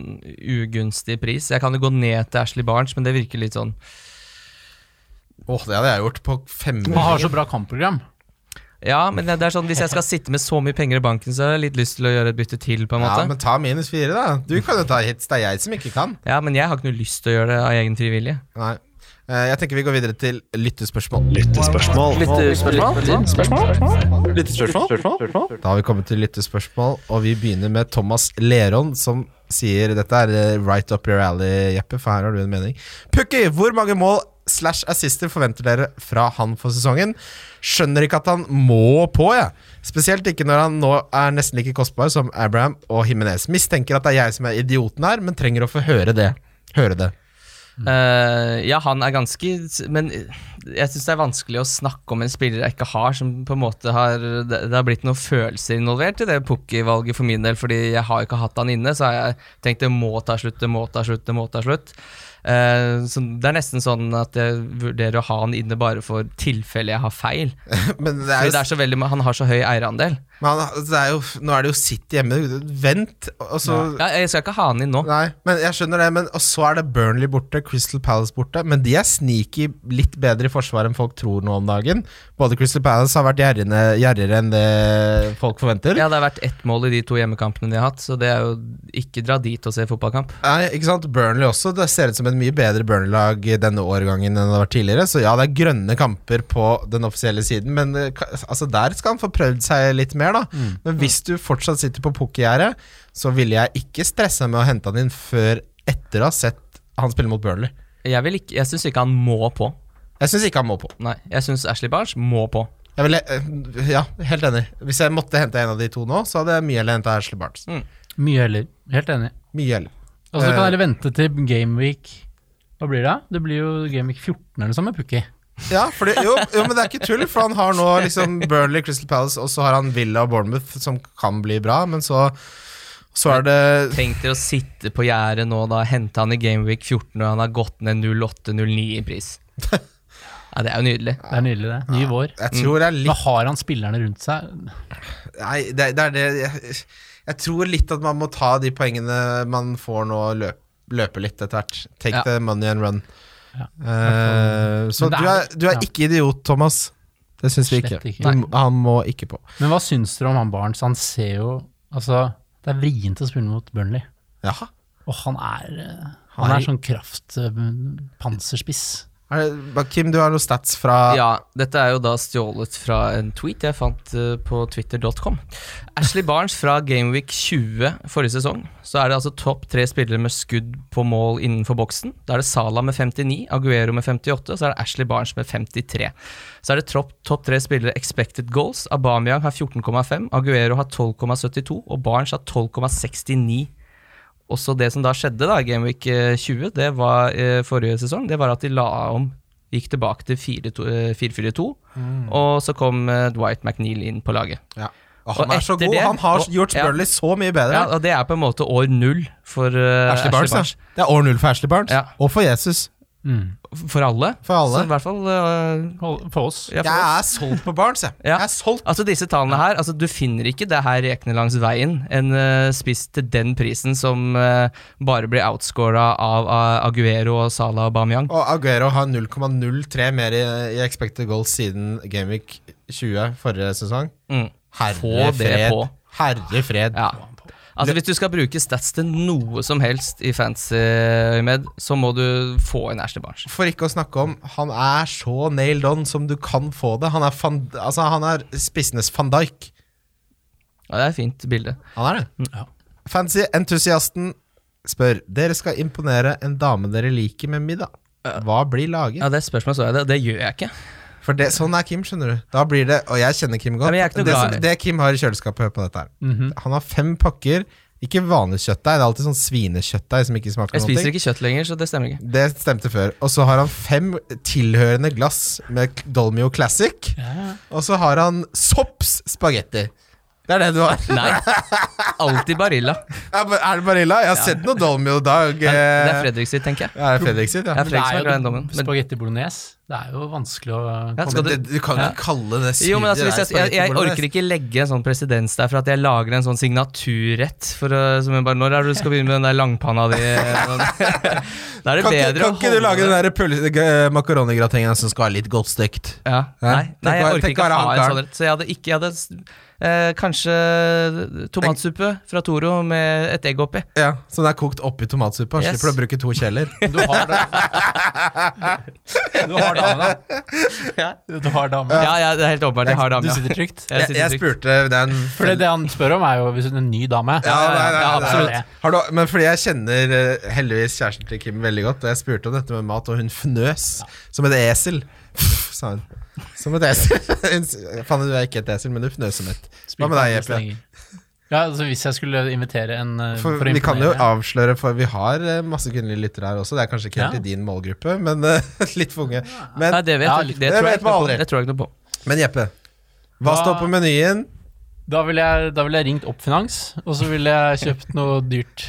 Speaker 4: ugunstig pris. Jeg kan jo gå ned til Ashley Barnes, men det virker litt sånn
Speaker 3: Åh, det hadde jeg gjort på
Speaker 2: Man har
Speaker 3: femmer.
Speaker 2: så bra kampprogram.
Speaker 4: Ja, men det er sånn hvis jeg skal sitte med så mye penger i banken, så har jeg litt lyst til å gjøre et bytte til, på en
Speaker 3: Ja,
Speaker 4: måte.
Speaker 3: men ta minus fire, da. Du kan jo ta hits. Det er jeg som ikke kan.
Speaker 4: Ja, men jeg har ikke noe lyst til å gjøre det av egen fri vilje.
Speaker 3: Nei. Eh, Jeg tenker vi går videre til lyttespørsmål.
Speaker 5: Lyttespørsmål.
Speaker 3: Da har vi kommet til lyttespørsmål, og vi begynner med Thomas Leron, som sier Dette er eh, right up your alley, Jeppe, for her har du en mening. Pukki, hvor mange mål slash assister forventer dere fra han for sesongen? Skjønner ikke at han må på, jeg. Spesielt ikke når han nå er nesten like kostbar som Abraham og Himinez. Mistenker at det er jeg som er idioten her, men trenger å få høre det. Høre det.
Speaker 4: Eh, ja, han er ganske Men eh, jeg syns det er vanskelig å snakke om en spiller jeg ikke har, som på en måte har Det, det har blitt noen følelser involvert i det Pukki-valget for min del, fordi jeg har ikke hatt han inne, så har jeg tenkt det må ta slutt, det må ta slutt, det må ta slutt. Eh, så det er nesten sånn at jeg vurderer å ha han inne bare for tilfelle jeg har feil.
Speaker 3: Men det
Speaker 4: Fordi
Speaker 3: er
Speaker 4: det
Speaker 3: jo
Speaker 4: er så veldig, han har så høy eierandel.
Speaker 3: men han- altså, det er jo, nå er det jo sitt hjemme. Vent, og så
Speaker 4: Ja, jeg skal ikke ha han inn nå.
Speaker 3: Nei, men jeg skjønner det. Men, og så er det Burnley borte, Crystal Palace borte. Men de er sneaky litt bedre i forsvaret enn folk tror nå om dagen. Både Crystal Palace har vært gjerrene- gjerrigere enn det folk forventer.
Speaker 4: Ja, Det har vært ett mål i de to hjemmekampene de har hatt, så det er jo ikke dra dit og se fotballkamp.
Speaker 3: Nei, ikke sant? Burnley også. Det ser ut som et mye bedre Burnley-lag i denne årgangen enn det har vært tidligere. Så ja, det er grønne kamper på den offisielle siden, men eh, ka- altså, der skal han få prøvd seg litt mer, da. Men hvis du fortsatt sitter på pukkegjerdet, så ville jeg ikke stressa med å hente han inn før etter å ha sett han spille mot Burnley.
Speaker 4: Jeg, vil ikke, jeg syns ikke han må på.
Speaker 3: Jeg syns ikke han må på.
Speaker 4: Nei, jeg syns Ashley Barnes må på.
Speaker 3: Jeg ville, eh, ja, helt enig. Hvis jeg måtte hente en av de to nå, så hadde jeg mye heller henta Ashley Barnes.
Speaker 2: Mye heller. Helt enig.
Speaker 3: Mye heller.
Speaker 2: Og så Altså, kan
Speaker 3: Eh.
Speaker 2: jeg heller vente til gameweek Hva blir det? da? Det blir jo gameweek 14 eller noe sånt med Pukki.
Speaker 3: Ja, fordi, jo, jo, men det er ikke tull, for han har nå liksom Burnley, Crystal Palace, og så har han Villa og Bournemouth, som kan bli bra, men så så er det
Speaker 4: Tenk dere å sitte på gjerdet nå, da. Hente han i Gameweek 14 når han har gått ned 08-09 i pris. Ja, det er jo nydelig.
Speaker 2: Det er nydelig, det. Ny vår.
Speaker 3: Jeg tror det er
Speaker 2: Nå
Speaker 3: litt
Speaker 2: har han spillerne rundt seg.
Speaker 3: Nei, det, det er det jeg, jeg tror litt at man må ta de poengene man får nå, og løp, løpe litt etter hvert. Take
Speaker 4: Ja.
Speaker 3: the money and run.
Speaker 2: Ja.
Speaker 3: Eh, så
Speaker 2: Men det
Speaker 3: du
Speaker 2: er-
Speaker 3: er, du er
Speaker 2: ja.
Speaker 3: ikke idiot, Thomas. Det syns vi ikke.
Speaker 2: Slett ikke.
Speaker 3: Du- Han må ikke på.
Speaker 2: Men hva syns dere om han Barnes? Han ser jo Altså, det er vrient å spille mot Burnley.
Speaker 3: Jaha.
Speaker 2: Og han er eh,
Speaker 3: Han
Speaker 2: Han
Speaker 3: er-
Speaker 2: er sånn kraft eh, Panserspiss.
Speaker 3: Er det, Ba- Kim, du har noen stats fra
Speaker 4: Ja, dette er jo da stjålet fra en tweet jeg fant eh, på twitter.com. Ashley Barnes fra Gameweek 20 forrige sesong. Så er det altså topp tre spillere med skudd på mål innenfor boksen. Da er det Salah med 59, Aguero med 58, og så er det Ashley Barnes med 53. Så er det tropp- topp tre spillere expected goals. Aubameyang har 14,5, Aguero har 12,72, og Barnes har 12,69. Også det som da skjedde da, i Gameweek eh, 20, det var eh, forrige sesong, det var at de la om Gikk tilbake til 4-2, eh, 4-4-2, og så kom eh, Dwight McNeil inn på laget.
Speaker 3: Ja. Å,
Speaker 4: Og
Speaker 3: han er så
Speaker 4: etter
Speaker 3: god!
Speaker 4: det-
Speaker 3: han har
Speaker 4: og-
Speaker 3: gjort
Speaker 4: ja.
Speaker 3: Burnley så mye bedre.
Speaker 4: Ja, og Det er på en måte år null for eh,
Speaker 3: Ashley Barnes, ja. Det er år null for Ashley Barnes.
Speaker 4: Ja.
Speaker 3: Og for Jesus.
Speaker 4: For alle.
Speaker 3: For alle.
Speaker 4: Så i hvert fall eh,
Speaker 2: For for oss.
Speaker 4: ja, for
Speaker 3: Jeg
Speaker 4: oss.
Speaker 3: er solgt på Barnes, jeg.
Speaker 4: Ja.
Speaker 3: Jeg er solgt.
Speaker 4: Altså Disse tallene her, altså du finner ikke det her rekne langs veien. En eh, spiss til den prisen som eh, bare blir outscora av eh, Aguero og Salah og Bamiyang.
Speaker 3: Og Aguero har 0,03 mer i, i expected goals siden Gameweek 20 forrige sesong.
Speaker 4: Mm.
Speaker 3: Herre
Speaker 4: Få det
Speaker 3: fred.
Speaker 4: på.
Speaker 3: Herre fred.
Speaker 4: Ja. Altså Hvis du skal bruke stats til noe som helst i fancy-øyemed, så må du få en Ashley Barnes.
Speaker 3: For ikke å snakke om, han er så nailed on som du kan få det. Han er, van, altså, han er spissenes van Dijk.
Speaker 4: Ja, det er et fint bilde.
Speaker 3: Han er
Speaker 4: Mm,
Speaker 3: det.
Speaker 2: Ja.
Speaker 3: Fancy-entusiasten spør Dere skal imponere en dame dere liker med middag. Hva blir laget?
Speaker 4: Ja, Det spørsmålet så jeg det. Det gjør jeg ikke.
Speaker 3: For det, Sånn er Kim, skjønner du. Da blir det, Og jeg kjenner Kim
Speaker 4: Ja,
Speaker 3: godt.
Speaker 4: men jeg er ikke noe
Speaker 3: det,
Speaker 4: glad i- Mhm.
Speaker 3: som, det Kim har i kjøleskapet, hør på dette her. Han har fem pakker, ikke vanlig kjøttdeig. Det er alltid sånn svinekjøttdeig som ikke smaker
Speaker 4: Jeg
Speaker 3: noe.
Speaker 4: spiser ikke kjøtt lenger, så det stemmer ikke.
Speaker 3: Det stemte før. Og så har han fem tilhørende glass med Dolmio Classic. Og så har han Sopps spagetti. Det er det du har.
Speaker 4: Nei. Alltid Barilla.
Speaker 3: Er ba- er det Barilla? Jeg har sett noe Dolmio i dag.
Speaker 4: Men det er
Speaker 3: eh,
Speaker 4: Fredrik sitt, tenker jeg.
Speaker 3: ja, det er Fredrik sitt, ja.
Speaker 4: Jeg er
Speaker 2: Det
Speaker 4: Fredrik som
Speaker 2: er
Speaker 4: er glad i den
Speaker 2: jo
Speaker 4: dommen. Men,
Speaker 2: spagetti bolognese. Det er jo vanskelig å
Speaker 4: Ja,
Speaker 2: komme
Speaker 4: skal
Speaker 3: Men
Speaker 4: du-
Speaker 3: det, du kan jo ikke kalle det
Speaker 4: jo, men altså,
Speaker 3: svidde
Speaker 4: hvis jeg, jeg,
Speaker 3: spagetti
Speaker 4: jeg
Speaker 3: bolognese.
Speaker 4: orker ikke legge en sånn presedens der for at jeg lager en sånn signaturrett. For, å- som jeg bare, når er det du skal begynne med den der langpanna di? Da er det
Speaker 3: Kan,
Speaker 4: bedre
Speaker 3: ikke, kan
Speaker 4: å
Speaker 3: ikke du
Speaker 4: holde
Speaker 3: lage
Speaker 4: det-
Speaker 3: den der pølse- g- makaronigratengen som skal ha litt godt stekt?
Speaker 4: Ja.
Speaker 3: Hæ?
Speaker 4: Nei, nei, jeg
Speaker 3: Tenk å-
Speaker 4: orker
Speaker 3: tenk
Speaker 4: ikke
Speaker 3: å
Speaker 4: å
Speaker 3: være
Speaker 4: ha en
Speaker 3: han
Speaker 4: sånn rett. Så jeg hadde ikke jeg hadde, s- eh, Kanskje tomatsuppe fra Toro med et egg oppi.
Speaker 3: Ja, Som er kokt oppi tomatsuppa.
Speaker 4: Yes.
Speaker 3: Slipper du å bruke to kjeler.
Speaker 2: Du har det. Du har dame, da. Du har dame.
Speaker 4: Ja, ja, det er helt åpenbart. Jeg har dame.
Speaker 2: Du
Speaker 4: Ja.
Speaker 2: sitter trygt.
Speaker 4: Jeg
Speaker 3: Jeg,
Speaker 4: sitter
Speaker 3: jeg
Speaker 4: trygt.
Speaker 3: spurte det er en
Speaker 2: For det han spør om, er jo hvis hun er en ny dame.
Speaker 3: Ja, nei, nei,
Speaker 2: Ja,
Speaker 3: nei,
Speaker 2: absolutt.
Speaker 3: nei. Har du, men fordi jeg kjenner eh, heldigvis kjæresten til Kim veldig godt, og jeg spurte om dette med mat, og hun fnøs som et esel. Sa hun. Som et esel. Hun s- Fanny, du er ikke et esel, men du fnøs som et. Hva med deg, Jeppe?
Speaker 2: Ja, altså Hvis jeg skulle invitere en eh,
Speaker 3: For,
Speaker 2: å
Speaker 3: vi kan jo
Speaker 2: imponere.
Speaker 3: avsløre, for vi har eh, masse kvinnelige lyttere her også. Det er kanskje ikke helt
Speaker 2: Ja.
Speaker 3: i din målgruppe, men eh, litt for unge. Men,
Speaker 4: Nei, det vet
Speaker 2: Ja,
Speaker 4: jeg ikke.
Speaker 3: det
Speaker 4: Det tror jeg
Speaker 3: vet
Speaker 4: ikke
Speaker 3: man
Speaker 4: noe på.
Speaker 3: aldri.
Speaker 4: Det tror jeg ikke noe på.
Speaker 3: men Jeppe, hva
Speaker 2: Hva-
Speaker 3: står på menyen?
Speaker 2: Da ville jeg, da ville jeg ringt opp Finans, og så ville jeg kjøpt noe dyrt.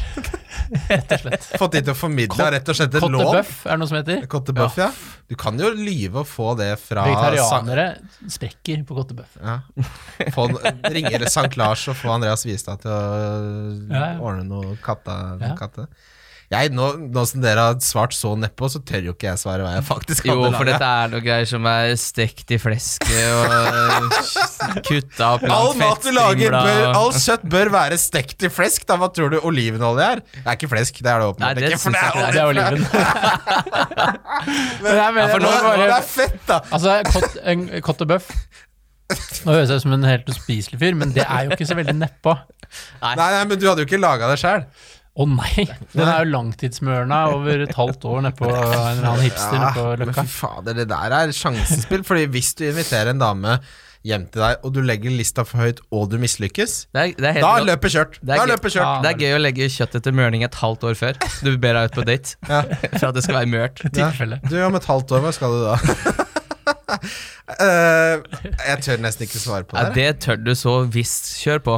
Speaker 2: Rett og slett.
Speaker 3: Fått de til å formidle rett og slett et
Speaker 2: Cotte
Speaker 3: lån?
Speaker 2: Bøff er det noe som heter.
Speaker 3: Cotte Buff, ja. Du kan jo lyve og få det fra sa-
Speaker 2: Vegetarianere sprekker på Cotte Bøff.
Speaker 3: Ja. Få en, ringer Sankt Lars og få Andreas Vistad til å
Speaker 2: Ja, ja.
Speaker 3: ordne noe katta,
Speaker 2: Ja.
Speaker 3: katte. Jeg, nå, nå som dere har svart så nedpå, så tør jo ikke jeg svare hva jeg faktisk
Speaker 4: Jo,
Speaker 3: hadde
Speaker 4: for
Speaker 3: laget.
Speaker 4: dette er noe greier som er stekt i flesket
Speaker 3: eh,
Speaker 4: og kutta opp
Speaker 3: All
Speaker 4: langt
Speaker 3: mat du lager, bør,
Speaker 4: fettstrimla.
Speaker 3: all kjøtt bør være stekt i flesk. Da, hva tror du olivenolje er? Det er ikke flesk, det er det
Speaker 4: Nei,
Speaker 3: åpenbart
Speaker 4: det
Speaker 3: ikke. For
Speaker 4: synes
Speaker 3: det
Speaker 4: jeg
Speaker 3: er,
Speaker 4: ikke
Speaker 2: Det er jo liven. Men jeg
Speaker 4: Ja, for nå-
Speaker 2: mener, nå
Speaker 3: olivenolje. det
Speaker 2: bare,
Speaker 3: er fett, da!
Speaker 2: altså, cot- en Cotte Bøff Nå høres jeg ut som en helt uspiselig fyr, men det er jo ikke så veldig nedpå.
Speaker 3: Nei, nei, men du hadde jo ikke laga det sjøl.
Speaker 2: Å nei! Den er jo langtidsmørna over et halvt år nedpå en eller annen hipster
Speaker 3: Ja,
Speaker 2: nedpå
Speaker 3: men
Speaker 2: Løkka.
Speaker 3: fy fader, det der er sjansespill. Fordi hvis du inviterer en dame hjem til deg, og du legger lista for høyt, og du mislykkes,
Speaker 4: Det er, det er helt
Speaker 3: Da er
Speaker 4: rått.
Speaker 3: løpet kjørt.
Speaker 4: Det er,
Speaker 3: Da er
Speaker 4: gøy.
Speaker 3: løpet kjørt.
Speaker 2: Ja.
Speaker 4: det er gøy å legge kjøttet til mørning et halvt år før. Du ber deg ut på date
Speaker 3: Ja.
Speaker 4: for at det skal være mørt.
Speaker 2: Tilfelle.
Speaker 3: Du, om et halvt år, hva skal du da? Eh, jeg tør nesten ikke svare på
Speaker 4: Ja,
Speaker 3: det.
Speaker 4: det tør du så visst. Kjør på.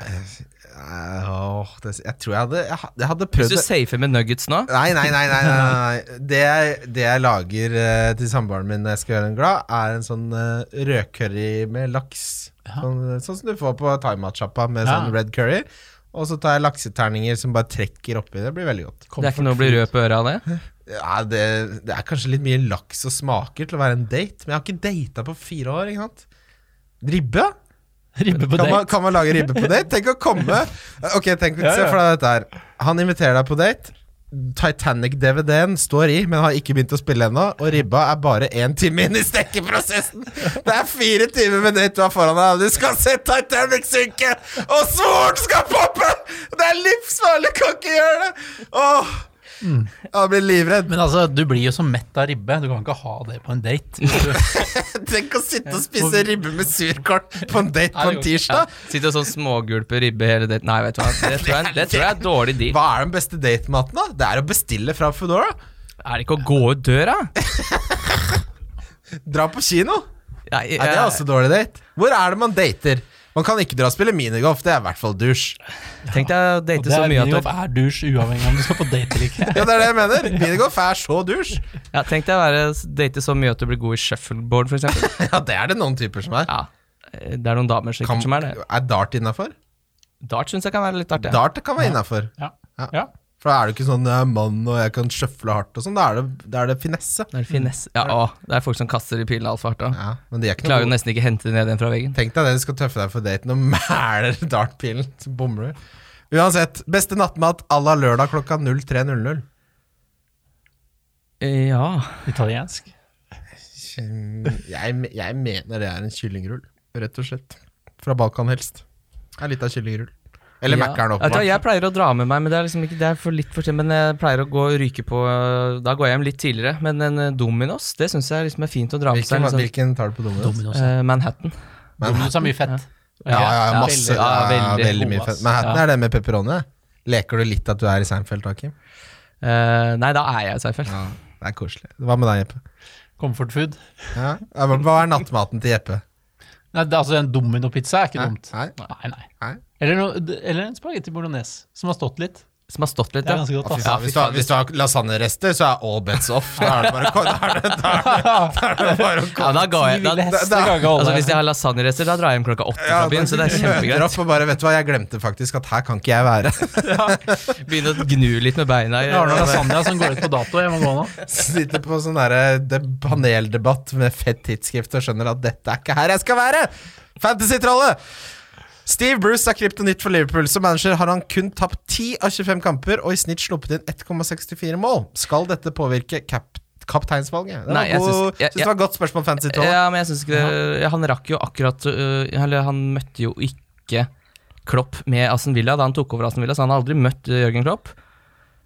Speaker 3: Eh, åh, det jeg tror jeg hadde Jeg, ha- jeg hadde prøvd
Speaker 4: Hvis du
Speaker 3: det.
Speaker 4: safer med nuggets nå
Speaker 3: Nei, nei, nei. nei, nei, nei, nei. Det, jeg, det jeg lager eh, til samboeren min når jeg skal gjøre henne glad, er en sånn uh, rødcurry med laks. Sånn, sånn som du får på thaimatsjappa med
Speaker 2: Ja.
Speaker 3: sånn red curry. Og så tar jeg lakseterninger som bare trekker oppi. Det blir veldig godt.
Speaker 4: Det er ikke noe å bli rød på øret av det.
Speaker 3: Ja, det, det er kanskje litt mye laks og smaker til å være en date, men jeg har ikke data på fire år. ikke sant? Ribbe?
Speaker 2: Ribbe på
Speaker 3: Kan man,
Speaker 2: date.
Speaker 3: kan man lage ribbe på date? Tenk å komme Ok, tenk
Speaker 2: Ja,
Speaker 3: se
Speaker 2: ja.
Speaker 3: for deg dette her. Han inviterer deg på date. Titanic-DVD-en står i, men har ikke begynt å spille ennå. Og ribba er bare én time inn i stekeprosessen! Det er fire timer med date du har foran deg, og du skal se Titanic synke! Og svoren skal poppe! Det er livsfarlig! Kan ikke gjøre det! Åh,
Speaker 2: Mm.
Speaker 3: jeg blir livredd.
Speaker 2: Men altså, du blir jo så mett av ribbe. Du kan ikke ha det på en date. Du-
Speaker 3: Tenk å sitte og spise ribbe med surkål på en date på en
Speaker 4: Ja.
Speaker 3: tirsdag!
Speaker 4: Sitter og sånn smågulper ribbe hele daten. Nei, vet du hva. Det tror jeg, det tror jeg er dårlig deal.
Speaker 3: Hva er den beste datematen, da? Det er å bestille fra Foodora.
Speaker 4: Er det ikke å gå ut døra?
Speaker 3: Dra på kino.
Speaker 4: Nei, eh,
Speaker 3: Nei, det er
Speaker 4: altså-
Speaker 3: også dårlig date. Hvor er det man dater? Man kan ikke dra og spille minigolf, det er i hvert fall dusj.
Speaker 4: Tenk deg å
Speaker 2: Og
Speaker 4: date
Speaker 2: det
Speaker 4: så
Speaker 2: er
Speaker 4: mye
Speaker 2: min jobb
Speaker 4: at du,
Speaker 2: er dusj, uavhengig om du skal på date eller ikke.
Speaker 3: Ja, det er det jeg mener. Minigolf er så dusj.
Speaker 4: ja, tenk deg å være- date så mye at du blir god i shuffleboard, for eksempel.
Speaker 3: Ja, det er det noen typer som er.
Speaker 4: Ja, eh, det er noen damer sikkert
Speaker 3: Kan,
Speaker 4: som er det.
Speaker 3: er dart innafor?
Speaker 4: Dart syns jeg kan være litt artig.
Speaker 3: Dart kan være innafor.
Speaker 2: Ja.
Speaker 3: Ja.
Speaker 2: Ja.
Speaker 3: For da er du ikke sånn jeg er 'mann og jeg kan sjøfle hardt' og sånn. Da er det, da er det finesse.
Speaker 4: Det er finesse. Ja, å, det er folk som kaster i pilene altfor hardt. da.
Speaker 3: Ja, men de er ikke noe
Speaker 4: Klarer jo nesten ikke å hente det ned igjen fra veggen.
Speaker 3: Tenk deg det, du skal tøffe deg for daten og mæler dartpilen, så bommer du. Uansett, beste nattmat à la lørdag klokka 03.00.
Speaker 4: Eh, Ja
Speaker 2: Italiensk.
Speaker 3: Jeg, jeg mener det er en kyllingrull, rett og slett. Fra Balkan helst. Det er litt av kyllingrull. Eller
Speaker 4: ja. Vet
Speaker 3: Mækkern,
Speaker 4: du hva,
Speaker 3: åpenbart.
Speaker 4: Jeg pleier å dra med meg, men det er liksom ikke Det er for litt for sent. Men jeg pleier å gå og ryke på øh, Da går jeg hjem litt tidligere. Men en øh, Dominos, det syns jeg liksom er fint å dra med seg.
Speaker 3: Hvilken,
Speaker 4: Liksom,
Speaker 3: hvilken tar du på Domino's?
Speaker 2: Dominos.
Speaker 4: øh, Manhattan.
Speaker 2: Dominos har mye fett.
Speaker 3: Ja, ja, ja, masse.
Speaker 4: veldig-
Speaker 3: Ja,
Speaker 4: ja,
Speaker 3: veldig,
Speaker 4: veldig
Speaker 3: mye
Speaker 4: god,
Speaker 3: fett.
Speaker 4: ass.
Speaker 3: Manhattan
Speaker 4: Ja.
Speaker 3: er det med pepperoni. Leker du litt at du er i Seinfeld, Hakim?
Speaker 4: Eh, nei, da er jeg i Seifeld.
Speaker 3: Ja, det er koselig. Hva med deg, Jeppe?
Speaker 2: Comfort food.
Speaker 3: Ja? Hva hva er nattmaten til Jeppe?
Speaker 2: Nei, det, er altså En dominopizza er ikke
Speaker 3: Nei,
Speaker 2: dumt.
Speaker 3: nei.
Speaker 2: nei, nei.
Speaker 3: Nei.
Speaker 2: Eller, no, eller en spagetti bolognese som har stått litt.
Speaker 4: Som har stått litt,
Speaker 2: Det er
Speaker 4: ja.
Speaker 2: ganske godt.
Speaker 3: Ja,
Speaker 2: Da.
Speaker 3: hvis, du har, hvis du har lasagnerester, så er all bets off. Da er det bare, å- da er det, da er det, da er det bare å
Speaker 4: ja da ga jeg, da,
Speaker 3: da-
Speaker 4: altså, hvis jeg har lasagnerester, da drar jeg hjem klokka åtte fra byen. Så det er
Speaker 3: Møter
Speaker 4: kjempegreit.
Speaker 3: opp og bare, vet du hva, jeg glemte faktisk at her kan ikke jeg være.
Speaker 4: Begynne å gnu litt med beina. i-
Speaker 2: Jeg har noe lasagne som går ut på dato. Jeg må gå nå.
Speaker 3: Sitter på sånn derre de- paneldebatt med fett tidsskrift og skjønner at dette er ikke her jeg skal være! Fantasy-trollet! Steve Bruce er kryptonitt for Liverpool. Som manager har han kun tapt 10 av 25 kamper og i snitt sluppet inn 1,64 mål. Skal dette påvirke kap kapteinsvalget? Det var,
Speaker 4: Nei, jeg
Speaker 3: god,
Speaker 4: syns- jeg-
Speaker 3: syns det var et godt spørsmål, Fantasy-trollet.
Speaker 4: Ja, men jeg synes ikke det, Han rakk jo akkurat øh, Eller han møtte jo ikke Klopp med Aston Villa da han tok over Aston Villa, så han har aldri møtt øh, Jørgen Klopp.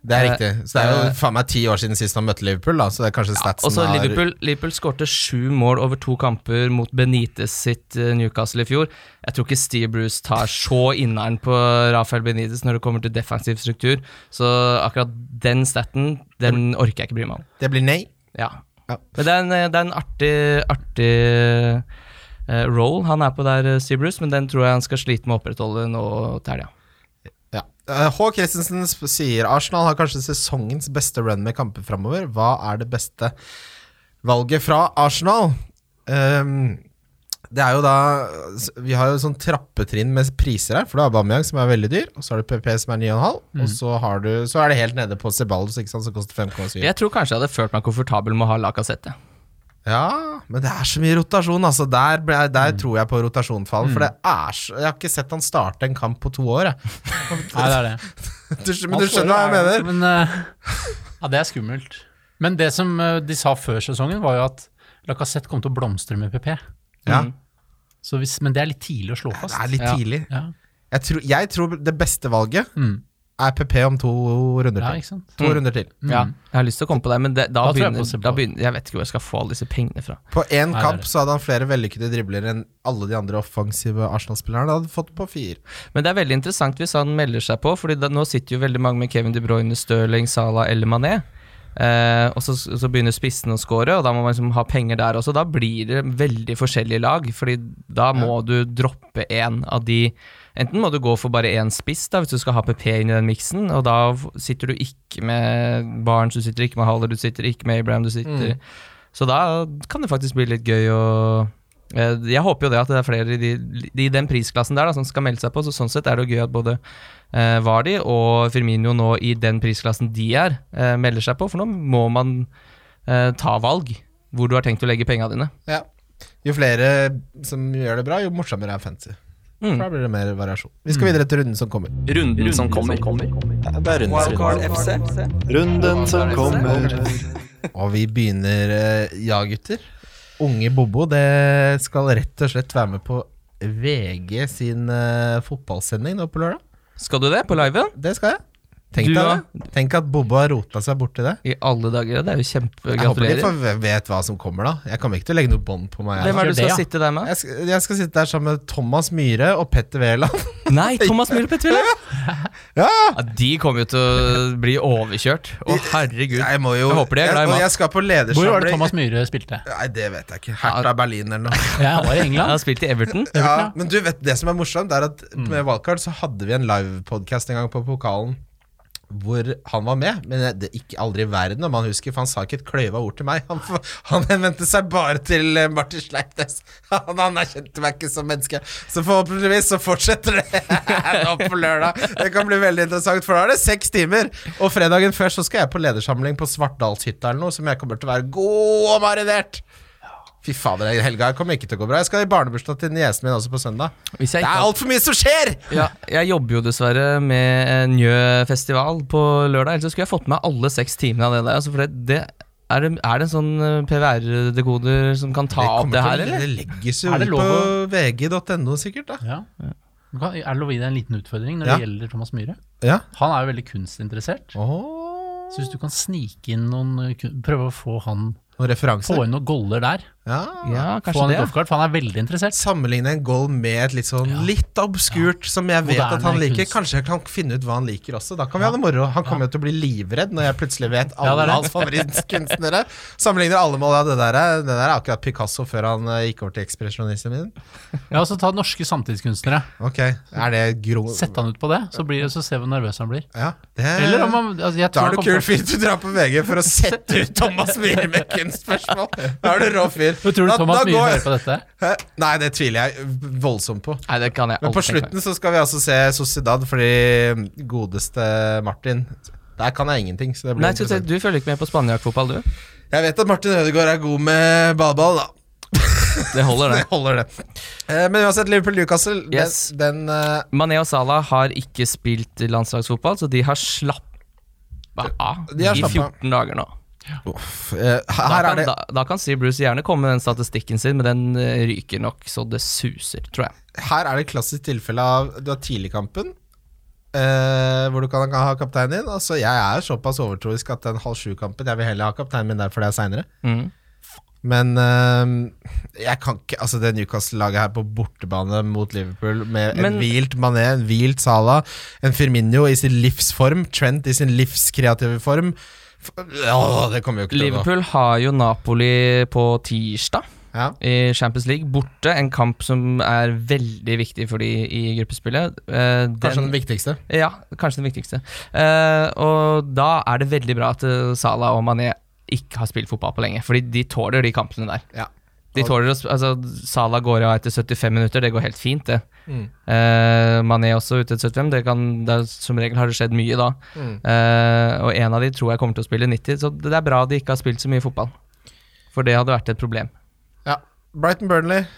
Speaker 3: Det er riktig. Så det er jo
Speaker 4: eh,
Speaker 3: faen meg ti år siden sist han møtte Liverpool, da, så det er kanskje statsen
Speaker 4: Og så
Speaker 3: har-
Speaker 4: Liverpool, Liverpool skårte sju mål over to kamper mot Benitez sitt øh, Newcastle i fjor. Jeg tror ikke Steve Bruce tar så inneren på Rafael Benitez når det kommer til defensiv struktur, så akkurat den staten, den orker jeg ikke bry meg om.
Speaker 3: Det blir nei.
Speaker 4: Ja.
Speaker 3: Ja.
Speaker 4: Men det er en, det er en artig, artig eh, role han er på der, eh, Steve Bruce, men den tror jeg han skal slite med å opprettholde nå til helga.
Speaker 3: Ja. Eh, H. Christensen sp- sier Arsenal har kanskje sesongens beste run med kamper framover. Hva er det beste valget fra Arsenal? Ehm, det er jo da s- Vi har jo sånn trappetrinn med priser her. For du har Bamiang, som er veldig dyr. Og så har du PP, som er 9,5. Og så, har du, så er det helt nede på Ceballos, ikke sant, som koster 5,7.
Speaker 4: Jeg tror kanskje jeg hadde følt meg komfortabel med å ha Lacassette.
Speaker 3: Ja, men det er så mye rotasjon, altså. Der, ble, der tror jeg på rotasjonfall. For det er så Jeg har ikke sett han starte en kamp på to år, jeg.
Speaker 2: Nei, det er det.
Speaker 3: Du, skj- men du skjønner hva jeg mener?
Speaker 2: Men, eh, ja, det er skummelt. Men det som eh, de sa før sesongen, var jo at Lacassette kom til å blomstre med PP.
Speaker 3: Ja,
Speaker 4: Mm.
Speaker 2: Så hvis, men det er litt tidlig å slå
Speaker 3: det
Speaker 2: fast.
Speaker 3: er litt
Speaker 4: Ja.
Speaker 3: tidlig.
Speaker 2: Ja,
Speaker 3: Jeg tror, jeg tror det beste valget
Speaker 2: mm.
Speaker 3: er PP om to runder
Speaker 2: ja
Speaker 3: til.
Speaker 2: ikke sant?
Speaker 3: To
Speaker 4: Mm.
Speaker 3: runder til.
Speaker 2: Mm.
Speaker 4: Ja, jeg har lyst til å komme på det, men det, da,
Speaker 2: Da tror jeg på
Speaker 4: begynner,
Speaker 2: Sebald.
Speaker 4: da begynner Jeg vet ikke hvor jeg skal få alle disse pengene fra.
Speaker 3: På én
Speaker 2: Nei, det
Speaker 3: kamp
Speaker 2: er det.
Speaker 3: så hadde han flere vellykkede dribler enn alle de andre offensive Arsenal-spillerne hadde fått på fire.
Speaker 4: Men det er veldig interessant hvis han melder seg på, Fordi da, nå sitter jo veldig mange med Kevin De Bruyne, Stirling, Salah eller Mané. Eh, og så, så begynner spissen å score, og da må man liksom ha penger der også. Da blir det veldig forskjellige lag, Fordi da må du droppe én av de Enten må du gå for bare én spiss da hvis du skal ha PP inn i den miksen, og da f- sitter du ikke med Barnes, du sitter ikke med Haller, du sitter ikke med Abraham, du sitter Så da kan det faktisk bli litt gøy å Eh, Jeg håper jo det at det er flere i, de, i den prisklassen der da, som skal melde seg på. Så sånn sett er det jo gøy at både eh, Vardi og Firmino nå i den prisklassen de er, eh, melder seg på. For nå må man eh, ta valg hvor du har tenkt å legge penga dine.
Speaker 3: Ja. Jo flere som gjør det bra, jo morsommere er fancy.
Speaker 4: Mm.
Speaker 3: For da blir det mer variasjon. Vi skal videre til runden som kommer.
Speaker 5: Runden som kommer.
Speaker 1: Det er rundt Wildcard FC.
Speaker 5: Runden som kommer.
Speaker 3: Og vi begynner, eh, ja gutter. Unge Bobo, det skal rett og slett være med på VG sin eh, fotballsending nå på lørdag.
Speaker 4: Skal du det på liven?
Speaker 3: Det skal jeg. Tenk,
Speaker 4: Du
Speaker 3: deg,
Speaker 4: da?
Speaker 3: det. Tenk at Bobo har rota seg borti det.
Speaker 4: I alle dager, det er jo
Speaker 3: Jeg håper de
Speaker 4: kjempegratulering.
Speaker 3: får v- vet hva som kommer, da. Jeg kommer ikke til å legge noe bånd på meg.
Speaker 4: Hvem
Speaker 3: Jeg,
Speaker 4: er det du
Speaker 2: Gjør det,
Speaker 4: skal
Speaker 2: ja.
Speaker 4: sitte der med?
Speaker 3: jeg, skal, jeg skal sitte der sammen med Thomas Myhre og Petter Wæland.
Speaker 4: Nei, Thomas Müller Petville!
Speaker 3: Ja,
Speaker 4: Ja, de kommer jo til å bli overkjørt. Å, herregud.
Speaker 3: Jeg må jo
Speaker 4: Jeg håper de er glad i
Speaker 3: jeg, og
Speaker 4: mat.
Speaker 3: jeg skal på
Speaker 2: Hvor var det
Speaker 3: ledersamling.
Speaker 2: Thomas Myhre spilte?
Speaker 3: Nei, det vet jeg ikke. Hertha Berlin eller noe.
Speaker 2: Jeg var i
Speaker 4: Jeg
Speaker 2: England.
Speaker 4: har spilt i Everton.
Speaker 3: Ja, men du vet, det som er morsomt, er at med Wildcard så hadde vi en livepodkast en gang på pokalen hvor han var med, men det gikk aldri i verden om han husker, for han sa ikke et kløyva ord til meg. Han, han henvendte seg bare til eh, Martin Sleipnes. Han, han erkjente meg ikke som menneske. Så forhåpentligvis så fortsetter det nå på lørdag. Det kan bli veldig interessant, for da er det seks timer. Og fredagen før så skal jeg på ledersamling på Svartdalshytta eller noe, som jeg kommer til å være god og marinert. Fy fader, den helga her kommer ikke til å gå bra. Jeg skal i barnebursdag til niesen min også på søndag.
Speaker 4: Hvis jeg
Speaker 3: Det er
Speaker 4: ikke hadde-
Speaker 3: altfor mye som skjer!
Speaker 4: Ja, jeg jobber jo dessverre med en Njø-festival på lørdag, ellers så skulle jeg fått med alle seks timene av det der. Altså, for det, det er, det, er det en sånn eh, PVR-dekoder som kan ta opp
Speaker 3: kommer
Speaker 4: det her,
Speaker 3: til å-
Speaker 4: eller?
Speaker 3: det legges jo
Speaker 2: Er det
Speaker 3: ut
Speaker 2: lov
Speaker 3: på
Speaker 2: å-
Speaker 3: vg.no, sikkert. da
Speaker 2: Ja. Du kan- Er det lov å gi deg en liten utfordring når
Speaker 3: Ja.
Speaker 2: det gjelder Thomas Myhre?
Speaker 3: Ja.
Speaker 2: Han er jo veldig kunstinteressert.
Speaker 3: Åh,
Speaker 2: Så hvis du kan snike inn noen eh, kun- Prøve å få han
Speaker 3: noen
Speaker 2: Få
Speaker 3: referanser.
Speaker 2: inn noen goller der.
Speaker 3: Ja.
Speaker 4: Ja,
Speaker 2: Få
Speaker 4: kanskje
Speaker 2: han
Speaker 4: det.
Speaker 2: et golfkart, for han er veldig interessert.
Speaker 3: Sammenligne en goal med et litt sånn litt obskurt som jeg vet
Speaker 2: Moderne
Speaker 3: at han liker.
Speaker 2: kunst.
Speaker 3: Kanskje jeg kan finne ut hva han liker også. Da kan vi ha det moro. Han kommer jo til å bli livredd når jeg plutselig vet
Speaker 2: Ja,
Speaker 3: alle
Speaker 2: det er det.
Speaker 3: hans favorittkunstnere. Sammenligner alle mål. Ja, det der er, det der er akkurat Picasso før han eh, gikk over til ekspresjonismen.
Speaker 2: Ja, og så ta norske samtidskunstnere.
Speaker 3: Ok, er det gro...
Speaker 2: Sett han ut på det, så, blir, så ser vi hvor nervøs han blir.
Speaker 3: Ja, det
Speaker 2: Eller om han altså, jeg
Speaker 3: Eh, Da
Speaker 2: tror
Speaker 3: er du
Speaker 2: han kommer
Speaker 3: kul
Speaker 2: til-
Speaker 3: fyr du drar på VG for å sette ut Thomas Myhre med kunstspørsmål. Da er du rå fyr.
Speaker 2: Men Tror du
Speaker 3: Da-
Speaker 2: Thomas
Speaker 3: da
Speaker 2: Myhre
Speaker 3: går-
Speaker 2: hører på dette?
Speaker 3: Hæ? Nei, det tviler jeg voldsomt på.
Speaker 4: Nei, det kan jeg
Speaker 3: Men på
Speaker 4: aldri tenke meg.
Speaker 3: slutten så skal vi altså se Sociedad fordi mm, godeste Martin Der kan jeg ingenting, så det blir
Speaker 4: Nei, skal du, si,
Speaker 3: interessant.
Speaker 4: du følger ikke med på spanjakfotball, du?
Speaker 3: Jeg vet at Martin Ødegaard er god med ballball, da.
Speaker 4: Det holder,
Speaker 3: Det
Speaker 4: det.
Speaker 3: holder, det. Eh, Men uansett, Liverpool-Newcastle,
Speaker 4: Yes.
Speaker 3: den, den eh,
Speaker 4: Mané og Salah har ikke spilt landslagsfotball, så de har slappa av
Speaker 3: De har
Speaker 4: i
Speaker 3: slappet av.
Speaker 4: 14 dager nå.
Speaker 3: uff, eh,
Speaker 4: Da
Speaker 3: Her er
Speaker 4: kan,
Speaker 3: det
Speaker 4: da, da kan Steve Bruce gjerne komme med den statistikken sin, men den eh, ryker nok så det suser, tror jeg.
Speaker 3: her er det et klassisk tilfelle av Du har tidligkampen, eh, hvor du kan ha kapteinen din. Altså, jeg er såpass overtroisk at den halv sju-kampen Jeg vil heller ha kapteinen min der, for det er seinere.
Speaker 4: Mm.
Speaker 3: Men eh, jeg kan ikke Altså, det Newcastle-laget her på bortebane mot Liverpool, med en
Speaker 4: Men-
Speaker 3: hvilt Mané, en hvilt Salah, en Firmino i sin livsform, Trent i sin livskreative form F- Åh, det kommer jo ikke til å gå.
Speaker 4: Liverpool har jo Napoli på tirsdag
Speaker 3: Ja.
Speaker 4: i Champions League. Borte. En kamp som er veldig viktig for de i gruppespillet. Eh,
Speaker 3: Kanskje den viktigste.
Speaker 4: Ja, kanskje den viktigste. Eh, og da er det veldig bra at eh, Salah og Mané ikke har spilt fotball på lenge, fordi de tåler de kampene der.
Speaker 3: Ja.
Speaker 4: De tåler å sp- altså, Salah går av etter 75 minutter, det går helt fint, det. Eh, Mané også ute etter 75. Det kan, det er, som regel har det skjedd mye da. Eh, og en av de tror jeg kommer til å spille 90, så det er bra de ikke har spilt så mye fotball. For det hadde vært et problem.
Speaker 3: Ja. Brighton Burnley.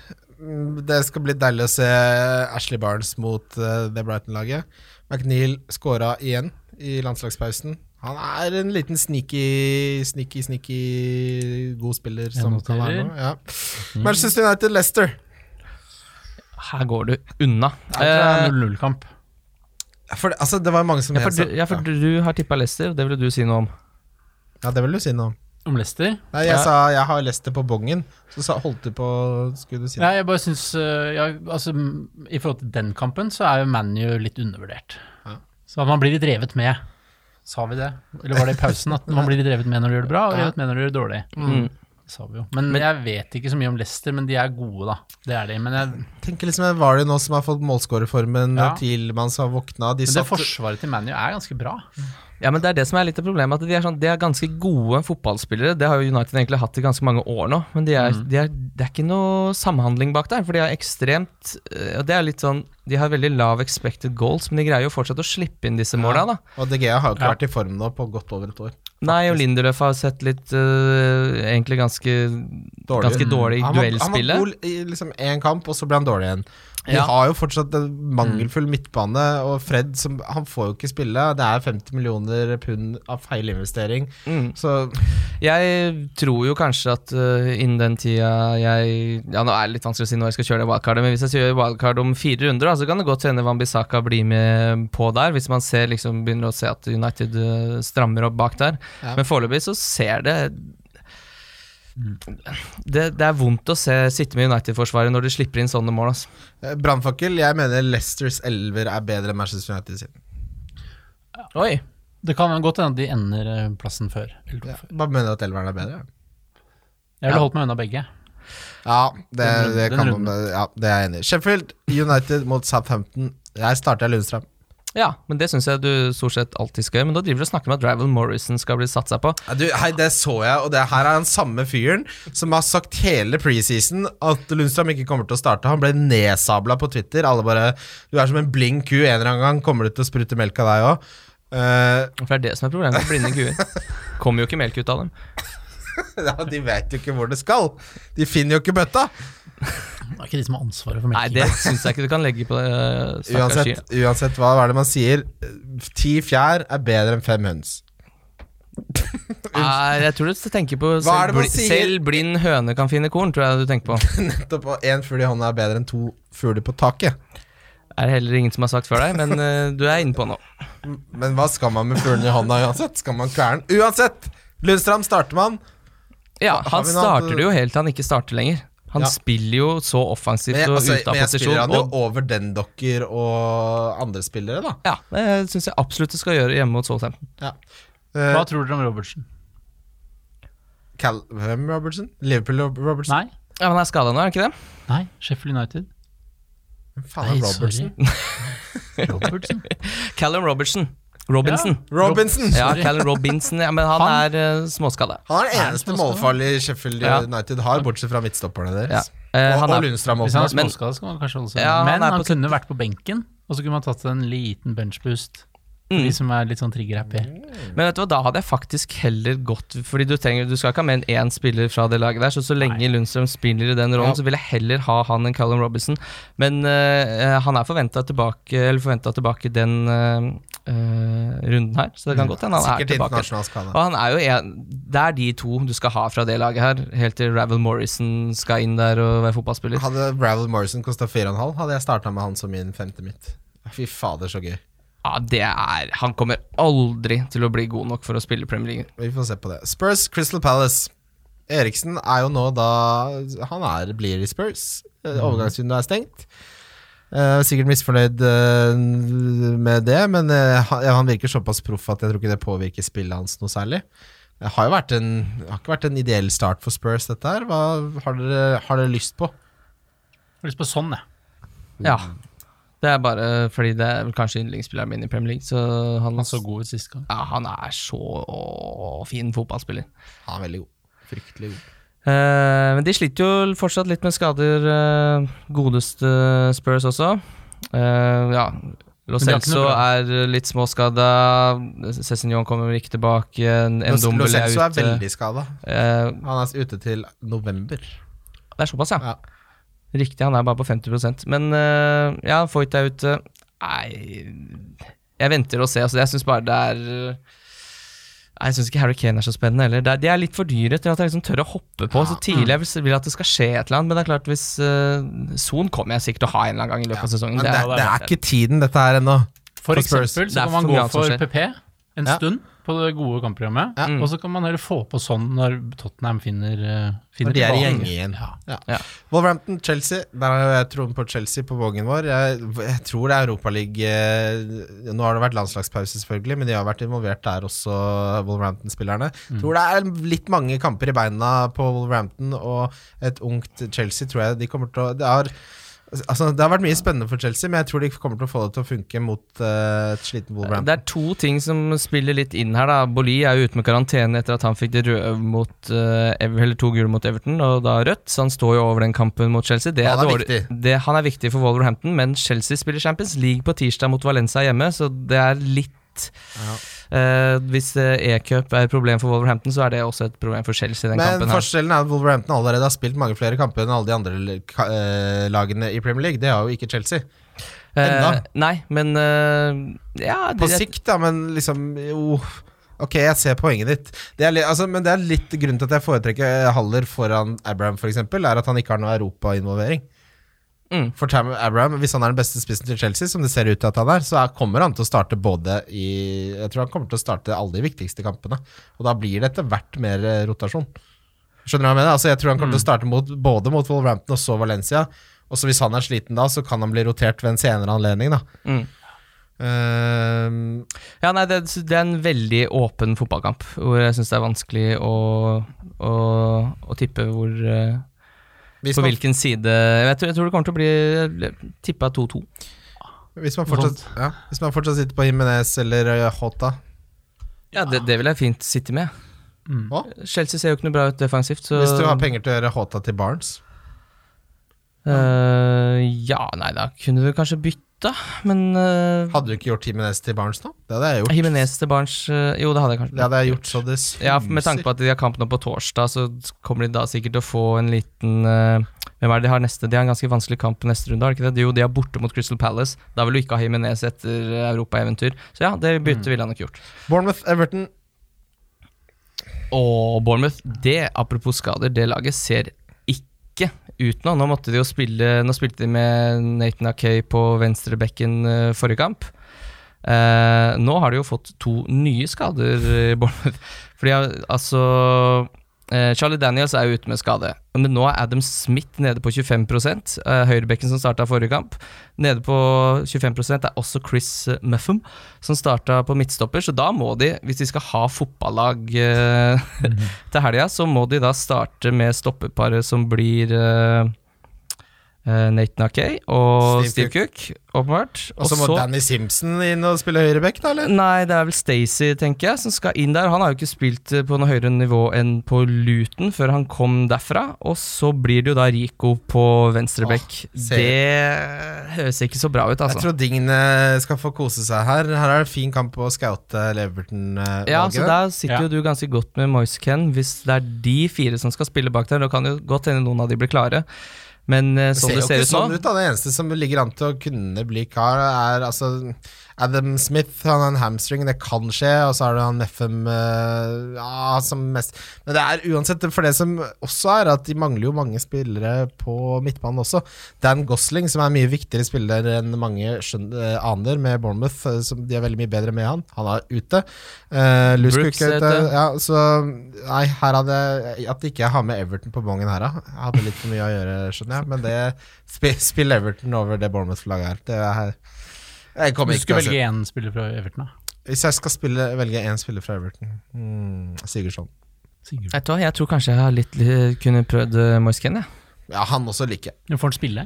Speaker 3: Mm, Det skal bli deilig å se Ashley Barnes mot eh, det Brighton-laget. McNeil skåra igjen i landslagspausen. Han er en liten sneaky, sneaky, sneaky god spiller. Som kan være
Speaker 2: noterer.
Speaker 3: noe. Ja.
Speaker 4: Mhm.
Speaker 3: Manchester United Leicester.
Speaker 4: Her går du unna.
Speaker 2: Det
Speaker 4: Eh,
Speaker 2: er 0-0-kamp.
Speaker 3: For, det- altså, det var mange som
Speaker 4: ja, for
Speaker 3: mente-
Speaker 4: du, ja, for du har tippa Leicester, det ville du si noe om.
Speaker 3: ja, det vil du si noe om.
Speaker 2: Om Leicester?
Speaker 3: Nei, jeg
Speaker 4: Ja.
Speaker 3: sa jeg har Leicester på bongen, så sa, holdt du på Skulle du si noe?
Speaker 2: Nei, jeg bare syns øh, ja, altså, m- I forhold til den kampen, så er jo ManU litt undervurdert.
Speaker 3: Ja.
Speaker 2: Så man blir litt revet med. Sa vi det? Eller var det i pausen? At man blir litt revet med når de gjør det bra, og
Speaker 3: Ja.
Speaker 2: revet med når de gjør det dårlig.
Speaker 4: Mm.
Speaker 2: Det sa vi jo. Men, jeg vet ikke så mye om Leicester, men de er gode, da. Det er de. Men, jeg, men
Speaker 3: Tenker liksom en Vardy nå som har fått målskårerformen,
Speaker 2: Ja.
Speaker 3: ja. Tilman som har våkna De
Speaker 2: det
Speaker 3: satt
Speaker 2: forsvaret til ManU er ganske bra.
Speaker 4: Ja, men det er det som er litt av problemet, at de er, sånn, de er ganske gode fotballspillere. Det har jo United egentlig hatt i ganske mange år nå, men de er, de er, det er ikke noe samhandling bak der. For de har ekstremt eh, og det er litt sånn, De har veldig lav expected goals, men de greier jo fortsatt å slippe inn disse måla. da.
Speaker 3: Og DG har jo ikke
Speaker 2: Ja.
Speaker 3: vært i form nå på godt over et år.
Speaker 4: Nei, og Lindeløf har sett litt eh, Egentlig ganske
Speaker 3: Dårlig.
Speaker 4: Ganske dårlig i
Speaker 3: Han var-
Speaker 4: duellspillet.
Speaker 3: Han var god i liksom én kamp, og så ble han dårlig igjen. De
Speaker 4: Ja. Mm.
Speaker 3: har jo fortsatt en mangelfull midtbane, og Fred som, han får jo ikke spille. Det er 50 millioner pund av feilinvestering.
Speaker 4: Mm.
Speaker 3: Så
Speaker 4: Jeg tror jo kanskje at øh, innen den tida jeg Ja, nå er det litt vanskelig å si når jeg skal kjøre det wildcardet, men hvis jeg kjører wildcard om fire runder, da, så kan det godt hende Wambisaka blir med på der, hvis man ser, liksom, begynner å se at United øh, strammer opp bak der.
Speaker 3: Ja.
Speaker 4: Men foreløpig så ser det det, det er vondt å se, sitte med United-forsvaret når de slipper inn sånne mål. Altså.
Speaker 3: eh, brannfakkel, jeg mener Leicesters elver er bedre enn Manchester United sin.
Speaker 4: Oi!
Speaker 2: Det kan godt hende at de ender øh, plassen før. Eller to
Speaker 3: Ja.
Speaker 2: før.
Speaker 3: Bare mener at elveren er bedre.
Speaker 2: Jeg ville
Speaker 4: Ja.
Speaker 2: holdt meg unna begge.
Speaker 3: Ja, det,
Speaker 2: Den-
Speaker 3: det
Speaker 2: den
Speaker 3: kan
Speaker 2: runden.
Speaker 3: man Ja, det er jeg enig i. Sheffield United mot Southampton. Der starter jeg Lundstrøm.
Speaker 4: Ja, men det syns jeg du stort sett alltid skal gjøre. Men da driver du og snakker om at Drival Morrison skal bli satsa på.
Speaker 3: Ja, Du, hei, det så jeg, og det her er den samme fyren som har sagt hele preseason at Lundstrøm ikke kommer til å starte. Han ble nedsabla på Twitter. Alle bare Du er som en blind ku. En eller annen gang kommer du til å sprute melk av deg Eh, òg.
Speaker 4: For det er det som er problemet med blinde kuer. Kommer jo ikke melk ut av dem.
Speaker 3: ja, de vet jo ikke hvor det skal. De finner jo ikke bøtta.
Speaker 2: Det er ikke de som har ansvaret for
Speaker 4: Nei,
Speaker 2: melking.
Speaker 4: det syns jeg ikke du kan legge på det. stakkars
Speaker 3: Uansett,
Speaker 4: kyr.
Speaker 3: uansett hva, hva er det man sier? Ti fjær er bedre enn fem høns.
Speaker 4: Nei, Ah, jeg tror du tenker på
Speaker 3: Hva er
Speaker 4: selv,
Speaker 3: det man
Speaker 4: bli,
Speaker 3: sier?
Speaker 4: selv blind høne kan finne korn, tror jeg du tenker på.
Speaker 3: Nettopp, og én fugl i hånda er bedre enn to fugler på taket.
Speaker 4: Er det heller ingen som har sagt før deg, men eh, du er inne på nå.
Speaker 3: Men hva skal man med fuglen i hånda uansett? Skal man kverne den? Uansett! Lundstrand starter man.
Speaker 4: Ja,
Speaker 3: Har
Speaker 4: han
Speaker 3: vi noe annet-
Speaker 4: starter det jo helt til han ikke starter lenger. Han
Speaker 3: Ja.
Speaker 4: spiller jo så offensivt
Speaker 3: Men jeg,
Speaker 4: og
Speaker 3: altså,
Speaker 4: ute av
Speaker 3: men jeg spiller
Speaker 4: posisjon.
Speaker 3: han jo
Speaker 4: Og,
Speaker 3: over den dokker og andre spillere, da.
Speaker 4: ja, det syns jeg absolutt du skal gjøre hjemme mot Southampton.
Speaker 3: Eh,
Speaker 2: Hva tror dere om Robertsen?
Speaker 3: Cal hvem, Robertson? Liverpool Rob- Robertson?
Speaker 2: Nei?
Speaker 4: Ja, men han er skada nå, er han ikke det?
Speaker 2: Nei, Sheffield United?
Speaker 3: Hvem faen er
Speaker 2: Nei,
Speaker 3: Robertson?
Speaker 2: sorry. Robertsen?
Speaker 4: Callum Robertson. Robinson.
Speaker 3: Robinson!
Speaker 4: Ja, Callum Robinson, ja, men han,
Speaker 2: Han-
Speaker 4: er uh, småskada.
Speaker 3: Han er den
Speaker 2: Er sånn. det
Speaker 3: eneste
Speaker 2: som skal-
Speaker 3: målfarlige Sheffield
Speaker 4: Ja.
Speaker 3: United har, bortsett fra midtstopperne
Speaker 4: Ja.
Speaker 3: deres.
Speaker 4: Eh,
Speaker 3: Og,
Speaker 4: han
Speaker 3: og
Speaker 4: er,
Speaker 3: Lundstrand
Speaker 2: Hvis han er
Speaker 3: åpenbart.
Speaker 4: Men-
Speaker 2: småskada, skal han kanskje holde seg
Speaker 4: Ja, han
Speaker 2: Men
Speaker 4: er
Speaker 2: han
Speaker 4: på-
Speaker 2: kunne vært på benken, og så kunne man tatt en liten benchboost. For
Speaker 4: Mm.
Speaker 2: de som er litt sånn trigger-happy.
Speaker 4: men vet du hva, da hadde jeg faktisk heller gått Fordi du trenger, du skal ikke ha mer enn én spiller fra det laget der, så så lenge Lundstrøm spiller i den rollen,
Speaker 3: Ja.
Speaker 4: så vil jeg heller ha han enn Callum Robinson. Men eh, han er forventa tilbake, eller forventet tilbake den eh, eh, runden her, så det kan godt hende han er
Speaker 3: Mm. Sikkert
Speaker 4: tilbake. Ah,
Speaker 3: internasjonal skade.
Speaker 4: Og han er jo en, Det er de to du skal ha fra det laget her, helt til Ravel Morrison skal inn der og være fotballspiller.
Speaker 3: Hadde Ravel Morrison kosta 4,5, hadde jeg starta med han som min femte mitt. Fy fader, så gøy.
Speaker 4: Ja, det er Han kommer aldri til å bli god nok for å spille Premier League.
Speaker 3: Vi får se på det. Spurs Crystal Palace. Eriksen er jo nå da Han er, blir i Spurs. Eh, Overgangsvinduet er stengt. Eh, sikkert misfornøyd eh, med det, men eh, han, ja, han virker såpass proff at jeg tror ikke det påvirker spillet hans noe særlig. Det har jo vært en, har ikke vært en ideell start for Spurs, dette her. Hva har dere, har dere lyst på?
Speaker 2: Jeg har lyst på sånn, jeg.
Speaker 4: Ja. Det er bare fordi det er vel kanskje yndlingsspilleren min i Premier League, så han,
Speaker 2: Han så god ut sist gang.
Speaker 4: ja, han er så fin fotballspiller.
Speaker 3: Han er veldig god. Fryktelig god.
Speaker 4: Eh, men de sliter jo fortsatt litt med skader, eh, godeste Spurs også. Eh, ja, Lo
Speaker 2: Men de har ikke
Speaker 4: Celso
Speaker 2: noe
Speaker 4: er litt småskada. Cézinjon kommer vel ikke tilbake. En en
Speaker 3: Lo- Lo
Speaker 4: Dombele
Speaker 3: Celso
Speaker 4: er
Speaker 3: er
Speaker 4: ute.
Speaker 3: veldig skada.
Speaker 4: Eh,
Speaker 3: Han er ute til november.
Speaker 4: det er såpass, ja.
Speaker 3: Ja.
Speaker 4: Riktig, han er bare på 50 Men eh, ja, Foyt er ute. Nei Jeg venter og ser. Altså, jeg syns bare det er eh, Nei, Jeg syns ikke Harry Kane er så spennende heller. Det er, de er litt for dyre til at jeg liksom tør å hoppe på så
Speaker 3: Mm.
Speaker 4: tidlig. Jeg vil, vil at det skal skje et eller annet, men det er klart hvis eh, Son kommer jeg sikkert til å ha en eller annen gang i løpet av sesongen.
Speaker 3: Men det,
Speaker 4: er-
Speaker 3: er- det er ikke tiden, dette her ennå.
Speaker 2: For
Speaker 3: For Spurs.
Speaker 2: eksempel
Speaker 4: Det
Speaker 2: så
Speaker 4: er
Speaker 2: kan man
Speaker 4: for mye
Speaker 2: gå
Speaker 4: annet som
Speaker 2: for
Speaker 4: skjer.
Speaker 2: PP en
Speaker 3: Ja.
Speaker 2: stund på det gode kampprogrammet,
Speaker 3: Ja.
Speaker 2: og så kan man heller få på sånn når Tottenham finner, eh, finner
Speaker 3: Når de er i
Speaker 2: tilbake.
Speaker 3: gjenge igjen.
Speaker 2: Ja.
Speaker 3: Ja.
Speaker 4: Ja.
Speaker 3: Wolverhampton, Chelsea. Der har jeg troen på Chelsea på vågen vår. Jeg, jeg tror det er Europaligaen Nå har det vært landslagspause, selvfølgelig, men de har vært involvert der også, Wolverhampton-spillerne. Tror det er litt mange kamper i beina på Wolverhampton og et ungt Chelsea, tror jeg de kommer til å Det har, altså, det har vært mye spennende for Chelsea, men jeg tror de kommer til å få det til å funke mot eh, et sliten
Speaker 4: Det
Speaker 3: Wolverhampton.
Speaker 4: er to ting som spiller litt inn her. da Boli er jo ute med karantene etter at han fikk det røde mot eh, Ever- eller to gule mot Everton, og da rødt. Så han står jo over den kampen mot Chelsea. Det
Speaker 3: Han er
Speaker 4: dårlig-
Speaker 3: viktig.
Speaker 4: Det, han er viktig for Wolverhampton, men Chelsea spiller Champions League på tirsdag mot Valencia hjemme, så det er litt eh, hvis eh, e-cup er et problem for Wolverhampton, så er det også et problem for Chelsea. i den
Speaker 3: Men
Speaker 4: kampen her
Speaker 3: forskjellen er at Wolverhampton allerede har spilt mange flere kamper enn alle de andre ka- eh, lagene i Premier League. Det har jo ikke Chelsea.
Speaker 4: Eh,
Speaker 3: enda.
Speaker 4: Nei, men eh, ja,
Speaker 3: På
Speaker 4: det-
Speaker 3: sikt, da, men liksom jo Ok, jeg ser poenget ditt. Det er litt, altså, men det er litt grunnen til at jeg foretrekker eh, Haller foran Abraham, f.eks., er at han ikke har noe europainvolvering.
Speaker 4: Mm.
Speaker 3: For Tam Abraham, hvis han er den beste spissen til Chelsea, som det ser ut til at han er, så er, kommer han til å starte både i Jeg tror han kommer til å starte alle de viktigste kampene. Og da blir det etter hvert mer eh, rotasjon. Skjønner du hva jeg mener? Altså, jeg tror han kommer
Speaker 4: Mm.
Speaker 3: til å starte mot, både mot Wolverhampton og så Valencia. Og så hvis han er sliten da, så kan han bli rotert ved en senere anledning, da.
Speaker 4: Mm.
Speaker 3: Ehm,
Speaker 4: Ja, nei, det, det er en veldig åpen fotballkamp, hvor jeg syns det er vanskelig å, å, å tippe hvor eh,
Speaker 3: Hvis
Speaker 4: På
Speaker 3: man,
Speaker 4: hvilken side jeg tror, jeg tror det kommer til å bli tippa 2-2.
Speaker 3: hvis man, fortsatt, ja, hvis man fortsatt sitter på Jimenez eller eh, Jota
Speaker 4: Ja, det, det vil jeg fint sitte med.
Speaker 2: Mm.
Speaker 3: Å?
Speaker 4: Chelsea ser jo ikke noe bra ut defensivt, så
Speaker 3: Hvis du har penger til å gjøre Jota til Barnes
Speaker 4: Eh, ja, nei, da kunne du kanskje bytte bytta, men eh,
Speaker 3: Hadde du ikke gjort Jimenez til Barnes nå? Det hadde jeg gjort.
Speaker 4: Jimenez til Barnes eh, Jo, det hadde jeg kanskje.
Speaker 3: Det hadde jeg gjort så det suser.
Speaker 4: Ja, for Med tanke på at de har kamp nå på torsdag, så kommer de da sikkert til å få en liten eh, Hvem er det de har neste? De har en ganske vanskelig kamp neste runde, har de ikke det? Jo, de har borte mot Crystal Palace. Da vil du ikke ha Jimenez etter eh, europaeventyr. Så ja, det byttet ville han nok gjort.
Speaker 3: Bournemouth, Everton
Speaker 4: Og Bournemouth, det, apropos skader, det laget ser ikke ut nå. Nå måtte de jo spille Nå spilte de med Nathan Akay på venstrebekken eh, forrige kamp. Eh, nå har de jo fått to nye skader i Bournemouth. Fordi eh, altså eh, Charlie Daniels er jo ute med skade, men nå er Adam Smith nede på 25 eh, Høyrebekken som starta forrige kamp, nede på 25 er også Chris eh, Muffum, som starta på midtstopper. Så da må de, hvis de skal ha fotballag eh, til helga, så må de da starte med stoppeparet som blir eh, eh, Nathan Akay og
Speaker 3: Steve
Speaker 4: Steve Cook, åpenbart.
Speaker 3: Og så må Danny Simpson inn og spille høyreback, da, eller?
Speaker 4: Nei, det er vel Stacey, tenker jeg, som skal inn der. Han har jo ikke spilt eh, på noe høyere nivå enn på Luton før han kom derfra. Og så blir det jo da Rico på venstrebekk.
Speaker 3: ser-
Speaker 4: det høres ikke så bra ut,
Speaker 3: Jeg
Speaker 4: altså.
Speaker 3: tror Digne skal få kose seg her. Her er det fin kamp på å scoute eh, Leverton-valget.
Speaker 4: Ja, så Der sitter
Speaker 2: Ja.
Speaker 4: jo du ganske godt med Moise Ken. Hvis det er de fire som skal spille bak der, da kan jo godt hende noen av de blir klare. Men eh,
Speaker 3: Det
Speaker 4: sånn
Speaker 3: ser
Speaker 4: det
Speaker 3: jo
Speaker 4: ser ut
Speaker 3: ikke
Speaker 4: nå
Speaker 3: sånn ut, da. Det eneste som ligger an til å kunne bli kar, er altså Adam Smith. Han har en hamstring, det kan skje. Og så har du han Neffem eh, ja, som mest Men det er uansett For det som også er, at de mangler jo mange spillere på midtbanen også. Dan Gosling, som er en mye viktigere spiller enn mange skjøn- eh, aner med Bournemouth, eh, som de er veldig mye bedre med han. Han er ute. Eh, Luce
Speaker 4: Brooks
Speaker 3: Cook er
Speaker 4: er
Speaker 3: ute.
Speaker 4: ute.
Speaker 3: Ja, så Nei, her hadde jeg At ikke jeg har med Everton på bongen her, da. Jeg hadde litt for mye å gjøre, skjønner jeg. Men det spill, spill Everton over det Bournemouth-flagget her. Det er her. Jeg
Speaker 2: Du
Speaker 3: kommer ikke
Speaker 2: skulle
Speaker 3: til å se-
Speaker 2: velge én spiller fra Everton, da.
Speaker 3: Hvis jeg skal spille, velge én spiller fra Everton mm, Sigurdsson.
Speaker 2: Sigurd.
Speaker 4: Vet du hva, Jeg tror kanskje jeg har litt, litt kunne prøvd eh, Moise Ken, jeg.
Speaker 3: Ja, han også liker jeg.
Speaker 2: Får han spille?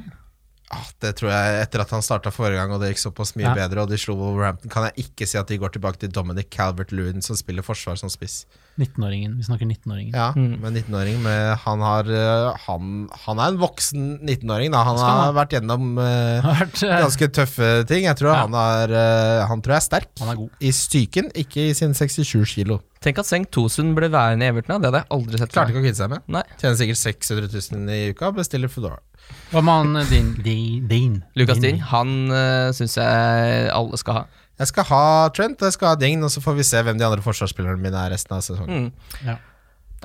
Speaker 3: Ah, det tror jeg etter at han starta forrige gang, og det gikk såpass mye
Speaker 2: Ja.
Speaker 3: bedre, og de slo Wolverhampton, kan jeg ikke si at de går tilbake til Dominic Calvert-Lewin, som spiller forsvar som spiss.
Speaker 2: 19-åringen. Vi snakker 19-åringen.
Speaker 3: Ja, men 19-åring med- han, har, eh, han, han er en voksen 19-åring, da. Han
Speaker 2: Skal
Speaker 3: har
Speaker 2: han
Speaker 3: vært gjennom eh,
Speaker 2: Har vært, eh,
Speaker 3: ganske tøffe ting. Jeg tror
Speaker 2: Ja.
Speaker 3: han, er, eh, han tror jeg er sterk.
Speaker 2: Han er god.
Speaker 3: I styken, ikke i sin 67 kilo.
Speaker 4: Tenk at Seng Tosun ble værende i Everton, da. det hadde jeg aldri sett. for
Speaker 3: Klarte
Speaker 4: meg.
Speaker 3: ikke å kvitte seg med.
Speaker 4: Nei.
Speaker 3: Tjener sikkert 600 000 i uka, bestiller Foodora.
Speaker 2: Hva med han eh, Dean? Dean- Dean.
Speaker 4: Lucas Ding, han uh, syns jeg alle skal ha.
Speaker 3: Jeg skal ha Trent og jeg skal ha Ding, og så får vi se hvem de andre forsvarsspillerne mine er resten av sesongen.
Speaker 4: Mm.
Speaker 2: Ja.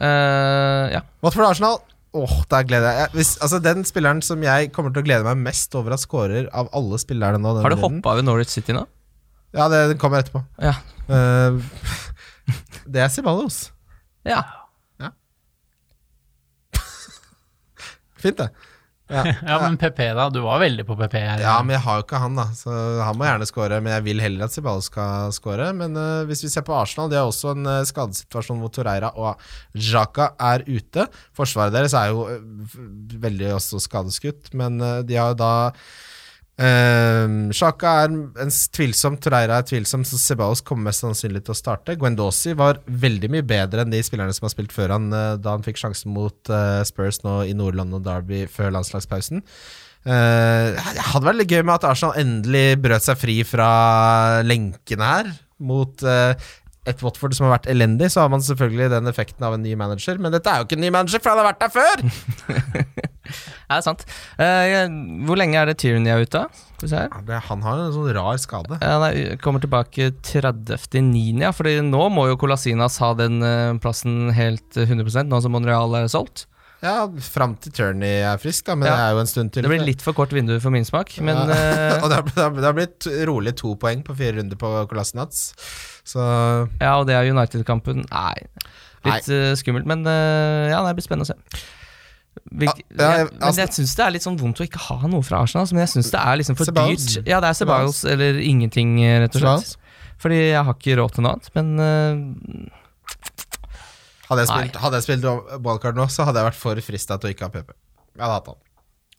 Speaker 4: Eh, ja.
Speaker 3: Watford Arsenal. Åh, der gleder jeg jeg- hvis, Altså Den spilleren som jeg kommer til å glede meg mest over at scorer av alle spillerne nå denne
Speaker 4: Har du
Speaker 3: runden-
Speaker 4: hoppa over Norwich City nå?
Speaker 3: Ja, det, den kommer etterpå.
Speaker 4: Ja.
Speaker 3: Eh, det er Ceballos.
Speaker 4: ja.
Speaker 3: Fint, det.
Speaker 2: Ja, men PP, da. Du var veldig på PP her.
Speaker 3: Ja, men jeg har jo ikke han, da. Så han må gjerne score. Men jeg vil heller at Ceballos skal score. Men eh, hvis vi ser på Arsenal, de har også en eh, skadesituasjon hvor Torreira og Jaka er ute. Forsvaret deres er jo eh, v- veldig også skadeskutt, men eh, de har jo da Ehm, Sjaka er en s- tvilsom, Torreira er tvilsom, så Ceballos kommer mest sannsynlig til å starte. Guendossi var veldig mye bedre enn de spillerne som har spilt før han, eh, da han fikk sjansen mot eh, Spurs nå i Nord-London Derby før landslagspausen. Eh, det hadde vært litt gøy med at Arsenal endelig brøt seg fri fra lenkene her, mot eh, et Watford som har vært elendig. Så har man selvfølgelig den effekten av en ny manager, men dette er jo ikke en ny manager, for han har vært der før!
Speaker 4: Er det sant? Eh, jeg- hvor lenge er det Tyranny er ute? Skal vi se her.
Speaker 3: Ja, det- Han har en sånn rar skade.
Speaker 4: Ja, nei, kommer tilbake 30.9., ja. Fordi nå må jo Colasinas ha den eh, plassen helt eh, 100 nå som Monreal er solgt.
Speaker 3: Ja, fram til Turney er frisk, da, men
Speaker 4: Ja.
Speaker 3: det er jo en stund til.
Speaker 4: Det blir litt for kort vindu for min smak, men
Speaker 3: Ja.
Speaker 4: eh,
Speaker 3: og det har, blitt- det har blitt- det har blitt rolig to poeng på fire runder på Kolassinats. Så
Speaker 4: Ja, og det er United-kampen. Nei, litt eh, skummelt, men eh, ja, nei, det blir spennende å se. Hvilk,
Speaker 3: Ja, ja,
Speaker 4: jeg, men
Speaker 3: altså-
Speaker 4: jeg syns det er litt sånn vondt å ikke ha noe fra Arsenal. altså, Men jeg syns det er liksom for
Speaker 3: Ceballos.
Speaker 4: dyrt. Ja, det er Ceballos eller ingenting, eh, rett og slett.
Speaker 3: Ceballos.
Speaker 4: Fordi jeg har ikke råd til noe annet. Men eh,
Speaker 3: hadde jeg spilt, hadde jeg spilt wildcard nå, så hadde jeg vært for frista til å ikke ha PP. Jeg hadde hatt han.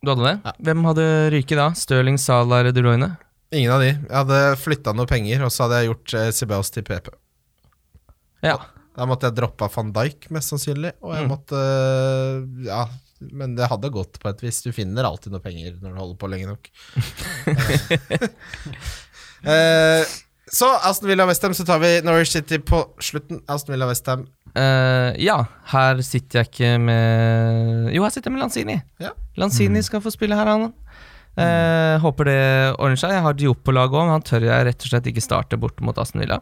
Speaker 4: du hadde det? Hvem hadde ryket da? Stirling, Salah eller De Bruyne?
Speaker 3: Ingen av de. Jeg hadde flytta noe penger, og så hadde jeg gjort eh, Ceballos til PP.
Speaker 4: Ja.
Speaker 3: Da måtte jeg droppa van Dijk, mest sannsynlig. Og jeg måtte øh, Ja, men det hadde gått på et vis. Du finner alltid noe penger når du holder på lenge nok. Eh, så Aston Villa Westham, så tar vi Norwich City på slutten. Aston Villa Westham.
Speaker 4: Eh, ja, her sitter jeg ikke med Jo, her sitter jeg med Lanzini.
Speaker 3: Ja.
Speaker 4: Lanzini skal få spille her, han. Eh, håper det ordner seg. Jeg har Diop på laget òg, men han tør jeg rett og slett ikke starte bort mot Aston Villa.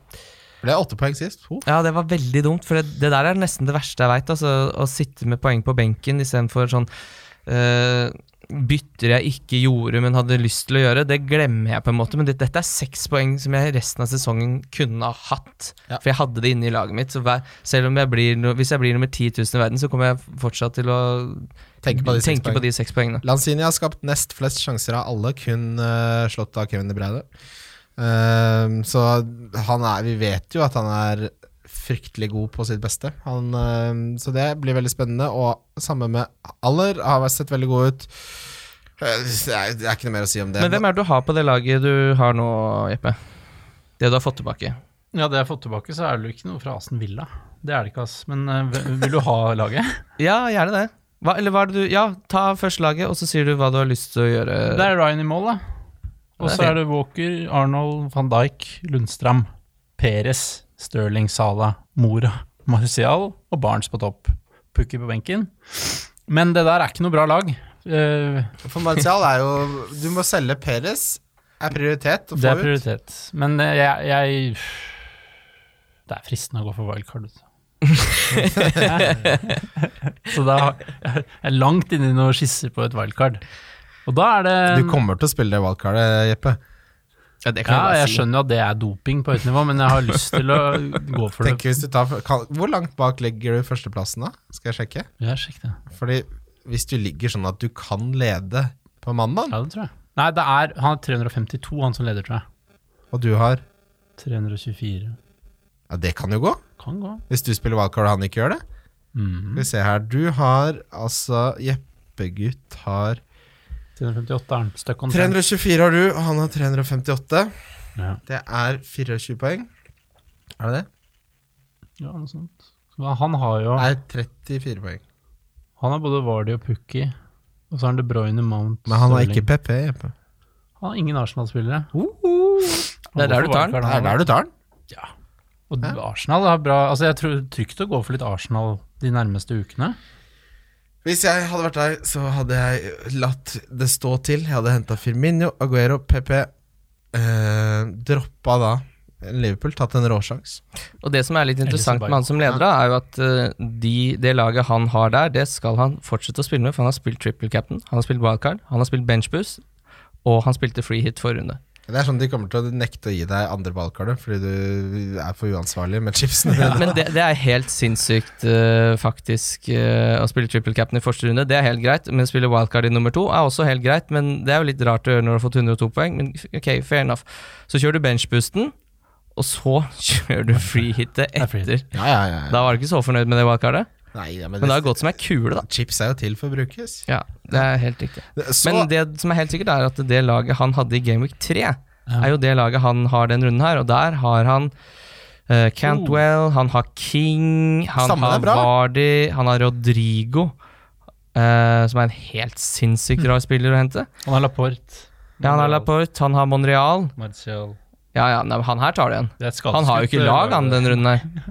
Speaker 3: Ble åtte poeng sist. Oh.
Speaker 4: Ja, det var veldig dumt, for det, det der er nesten det verste jeg veit. Altså, å sitte med poeng på benken istedenfor sånn eh, Bytter jeg ikke gjorde, men hadde lyst til å gjøre, det glemmer jeg på en måte. Men det, dette er seks poeng som jeg resten av sesongen kunne ha hatt.
Speaker 3: Ja.
Speaker 4: For jeg hadde det inne i laget mitt. Så hver, selv om jeg blir, no- hvis jeg blir nummer 10 000 i verden, så kommer jeg fortsatt til å
Speaker 3: Tenk på de seks
Speaker 4: tenke på
Speaker 3: poengene.
Speaker 4: de seks poengene.
Speaker 3: Lanzini har skapt nest flest sjanser av alle, kun øh, slått av Kevin De Bruyne. Ehm, så han er Vi vet jo at han er fryktelig god på sitt beste. Han, øhm, så det blir veldig spennende. Og samme med Aller, har sett veldig god ut. Eh, Det er, det er ikke noe mer å si om det.
Speaker 4: Men hvem er det du har på det laget du har nå, Jeppe? Det du har fått tilbake?
Speaker 2: Ja, det jeg har fått tilbake, så er det jo ikke noe fra Asen Villa. Det er det ikke, ass. Men eh, hvem- vil du ha laget?
Speaker 4: Ja, gjerne det. Hva, eller hva er det du Ja, ta først laget, og så sier du hva du har lyst til å gjøre.
Speaker 2: Det er Ryan i mål, da. Og
Speaker 4: Det er
Speaker 2: så er det Walker, Arnold, van Dijk, Lundstram, Perez, Sterling, Sala, Mora, Marcial og Barnes på topp. Pukki på benken. Men det der er ikke noe bra lag. Eh,
Speaker 3: For Martial er jo Du må selge Perez. Er prioritet å
Speaker 2: det
Speaker 3: få
Speaker 2: er
Speaker 3: ut.
Speaker 2: prioritet. Men eh, jeg, jeg Det er fristende å gå for wildcard. vet du. så da jeg er langt inne i noen skisser på et wildcard. Og da er det
Speaker 3: Du kommer til å spille det wildcardet, Jeppe.
Speaker 4: ja, det
Speaker 2: Ja, jeg
Speaker 4: si.
Speaker 2: skjønner jo at det er doping på høyt nivå, men jeg har lyst til å gå for
Speaker 3: Tenk
Speaker 2: det.
Speaker 3: hvis du tar, kan, hvor langt bak legger du førsteplassen, da? Skal jeg sjekke?
Speaker 2: Ja, sjekk det.
Speaker 3: Fordi hvis du ligger sånn at du kan lede på mandag,
Speaker 2: Ja, det tror jeg. Nei, det er, han er 352, han som leder, tror jeg.
Speaker 3: og du har
Speaker 2: 324.
Speaker 3: Ja, det kan jo gå.
Speaker 2: Kan gå.
Speaker 3: Hvis du spiller wildcard og han ikke gjør det.
Speaker 2: Mhm.
Speaker 3: Skal vi se her. Du har altså Jeppegutt har
Speaker 2: 358 er han. Stuck on
Speaker 3: 324 har du, og han har 358.
Speaker 2: Ja.
Speaker 3: Det er 24 poeng. Er det det?
Speaker 2: Ja, noe sånt. Men han har jo
Speaker 3: Nei, 34 poeng.
Speaker 2: Han har både Vardy og Pukki. Og så har han De Bruyne, Mount,
Speaker 3: Men han har
Speaker 2: Sterling.
Speaker 3: ikke PP. Jeppe.
Speaker 2: Han har ingen Arsenal-spillere. Han
Speaker 4: Det er
Speaker 2: går
Speaker 4: der
Speaker 2: for
Speaker 4: du tar den.
Speaker 2: wildcard,
Speaker 3: Det er
Speaker 2: han
Speaker 3: der du tar den.
Speaker 2: Og du- Arsenal har bra Altså, jeg tror trygt å gå for litt Arsenal de nærmeste ukene.
Speaker 3: Hvis jeg hadde vært deg, så hadde jeg latt det stå til. Jeg hadde henta Firmino, Aguero, PP. Eh, droppa da Liverpool, tatt en råsjans.
Speaker 4: Og det som er litt interessant med han som leder, da, er jo at eh, de, det laget han har der, det skal han fortsette å spille med, for han har spilt triple captain, han har spilt wildcard, han har spilt benchboost, og han spilte free hit forrige runde.
Speaker 3: Det er sånn De kommer til å nekte å gi deg andre ballkartet fordi du er for uansvarlig med chipsene.
Speaker 4: Men det, det er helt sinnssykt, eh, faktisk, eh, å spille triple captain i første runde. Det er helt greit, men å spille wildcard i nummer to er også helt greit, men det er jo litt rart å gjøre når du har fått 102 poeng, men f- ok, fair enough. Så kjører du benchboosten, og så kjører du free hitet
Speaker 2: er free
Speaker 4: etter.
Speaker 3: Ja, ja, ja.
Speaker 4: Da var du ikke så fornøyd med det wildcardet,
Speaker 3: Nei, ja, men
Speaker 4: men det har
Speaker 3: det,
Speaker 4: gått som ei kule, da.
Speaker 3: chips er jo til for å brukes.
Speaker 4: Ja, det er helt riktig.
Speaker 3: Så,
Speaker 4: Men det som er helt sikkert, er at det laget han hadde i Gameweek 3, er jo det laget han har den runden her, og der har han eh, Cantwell, han har King, han
Speaker 3: Stammen er
Speaker 4: har
Speaker 3: bra.
Speaker 4: Vardy, han har Rodrigo, eh, som er en helt sinnssykt rar spiller å hente.
Speaker 2: Han har Laporte.
Speaker 4: Ja, han har Laporte, han har Monreal.
Speaker 2: Martial.
Speaker 4: Ja, ja, nei, men han her tar det igjen.
Speaker 2: Det er et
Speaker 4: Han har jo ikke
Speaker 2: skadeskutt,
Speaker 4: lag, han, den runden her.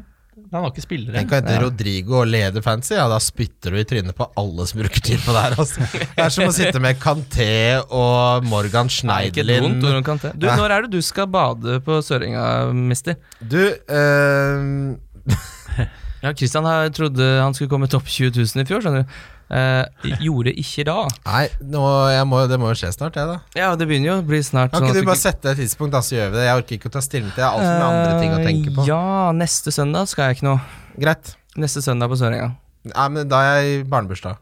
Speaker 2: Han har ikke spillere.
Speaker 3: Tenk å hete Rodrigo og lede fancy, ja, da spytter du i trynet på alle som bruker tid på det her. Altså. Det er som å sitte med Kanté og Morgan
Speaker 4: Nei, ikke et vondt
Speaker 3: Schneiderlin.
Speaker 4: ord om Kanté. Du, når er det du skal bade på Sørenga, mister?
Speaker 3: Du, eh,
Speaker 4: Ja, Christian har- trodde han skulle komme topp 20 000 i fjor, skjønner du. Eh, gjorde ikke da.
Speaker 3: Nei, nå, jeg må, det må jo skje snart, det, da.
Speaker 4: Ja, det begynner jo å bli snart
Speaker 3: Kan
Speaker 4: sånn at
Speaker 3: ikke
Speaker 4: vi
Speaker 3: du bare sette et tidspunkt, da, så gjør vi det? Jeg orker ikke å ta stilling til det. Jeg har altfor mye andre ting å tenke på.
Speaker 4: Eh, Ja, neste søndag skal jeg ikke noe.
Speaker 3: Greit.
Speaker 4: Neste søndag på Sørenga.
Speaker 3: Nei, men da er jeg i barnebursdag.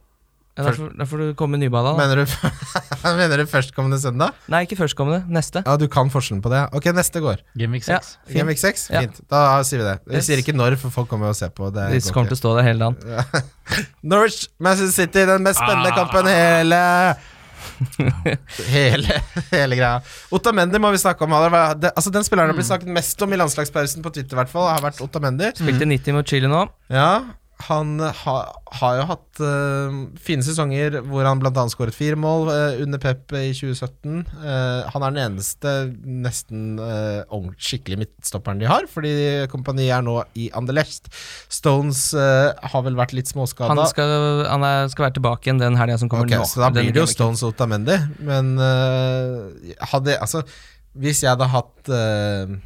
Speaker 4: Ja, da, får, da får du komme nybada. da.
Speaker 3: Mener du, mener du førstkommende søndag?
Speaker 4: Nei, ikke førstkommende. Neste.
Speaker 3: Ja, du kan forskjellen på det. Ok, neste går.
Speaker 2: Gameweek 6.
Speaker 3: Game Week 6?
Speaker 4: Ja.
Speaker 3: Fint. Da sier vi det. Vi
Speaker 4: Yes.
Speaker 3: sier ikke når, for folk kommer og ser på. Det
Speaker 4: De
Speaker 3: går
Speaker 4: kommer
Speaker 3: ikke. Mm.
Speaker 4: til å stå der hele dagen.
Speaker 3: Norwich, Manchester City, den mest spennende
Speaker 2: Ah.
Speaker 3: kampen i hele Hele, hele greia. Otamendi må vi snakke om. Han har- det- Altså, den spilleren det blir
Speaker 4: Mm.
Speaker 3: snakket mest om i landslagspausen på Twitter, i hvert fall, har vært Otamendi.
Speaker 4: Spilte 90 mot Chile nå.
Speaker 3: Ja, han ha, har jo hatt eh, fine sesonger hvor han bl.a. skåret fire mål eh, under Pep i 2017. Eh, han er den eneste nesten eh, ordent- skikkelig midtstopperen de har, fordi kompaniet er nå i Anderlecht. Stones eh, har vel vært litt småskada.
Speaker 4: Han, skal, han er, skal være tilbake igjen den helga som kommer
Speaker 3: Ok,
Speaker 4: nå.
Speaker 3: Så da
Speaker 4: Den
Speaker 3: blir det jo
Speaker 4: gameweeken.
Speaker 3: Stones og Otamendi, men øh, hadde, altså, hvis jeg hadde hatt øh,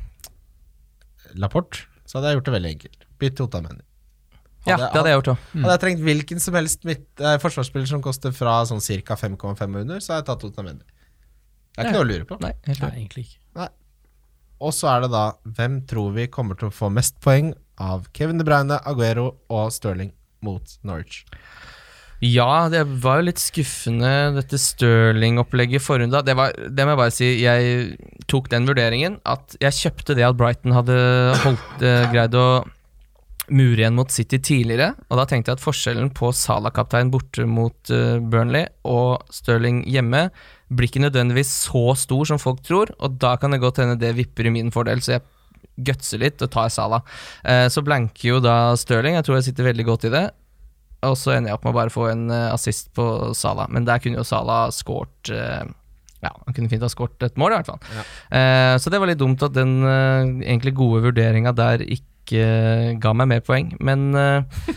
Speaker 3: Laporte, så hadde jeg gjort det veldig enkelt. Bytt til Otamendi.
Speaker 4: Ja, det hadde jeg gjort òg.
Speaker 3: Hadde jeg trengt hvilken som helst midt, eh, forsvarsspiller som koster fra sånn ca. 5,5 og under, så hadde jeg tatt Otamendi. Det er ikke noe å lure på.
Speaker 4: Nei, helt
Speaker 2: Nei,
Speaker 4: klart.
Speaker 2: egentlig ikke.
Speaker 3: Og så er det da hvem tror vi kommer til å få mest poeng av Kevin De Bruyne, Aguero og Stirling mot Norwich?
Speaker 4: Ja, det var jo litt skuffende, dette Stirling-opplegget forrige runde. Det, var- det må jeg bare si, jeg tok den vurderingen at jeg kjøpte det at Brighton hadde holdt, eh, greid å mure igjen mot City tidligere. Og da tenkte jeg at forskjellen på Salah-kaptein borte mot eh, Burnley og Stirling hjemme blir ikke nødvendigvis så stor som folk tror, og da kan det godt hende det vipper i min fordel. Så jeg gutser litt og tar Salah. Eh, Så blanker jo da Stirling, jeg tror jeg sitter veldig godt i det. Og så ender jeg opp med å bare få en eh, assist på Sala. Men der kunne jo Sala skåret eh, Ja, han kunne fint ha skåret et mål, i hvert fall. Eh, så det var litt dumt at den eh, egentlig gode vurderinga der ikke eh, ga meg mer poeng. Men eh,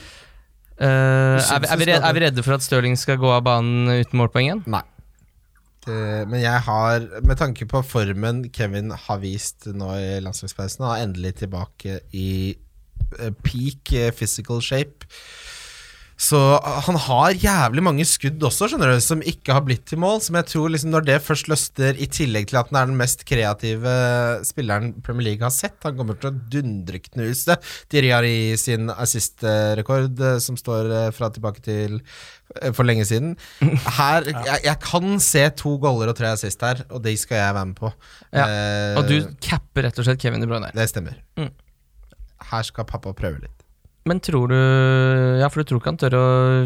Speaker 4: eh, er, vi, er, vi redde, er vi redde for at Stirling skal gå av banen uten målpoeng igjen?
Speaker 3: Nei. Det, Eh, men jeg har, med tanke på formen Kevin har vist nå i landslagspausen, han er endelig tilbake i eh, peak eh, physical shape. Så ah, han har jævlig mange skudd også, skjønner du, som ikke har blitt til mål. Som jeg tror liksom Når det først løsner, i tillegg til at han er den mest kreative spilleren Premier League har sett Han kommer til å dundreknuse Diriari sin assist-rekord, eh, som står eh, fra tilbake til eh, for lenge siden. Her, jeg, jeg kan se to goller og tre assist her, og de skal jeg være med på.
Speaker 4: Ja,
Speaker 3: Eh,
Speaker 4: Og du capper rett og slett Kevin De Bruyne.
Speaker 3: Det stemmer.
Speaker 4: Mm.
Speaker 3: Her skal pappa prøve litt.
Speaker 4: Men tror du Ja, for du tror ikke han tør å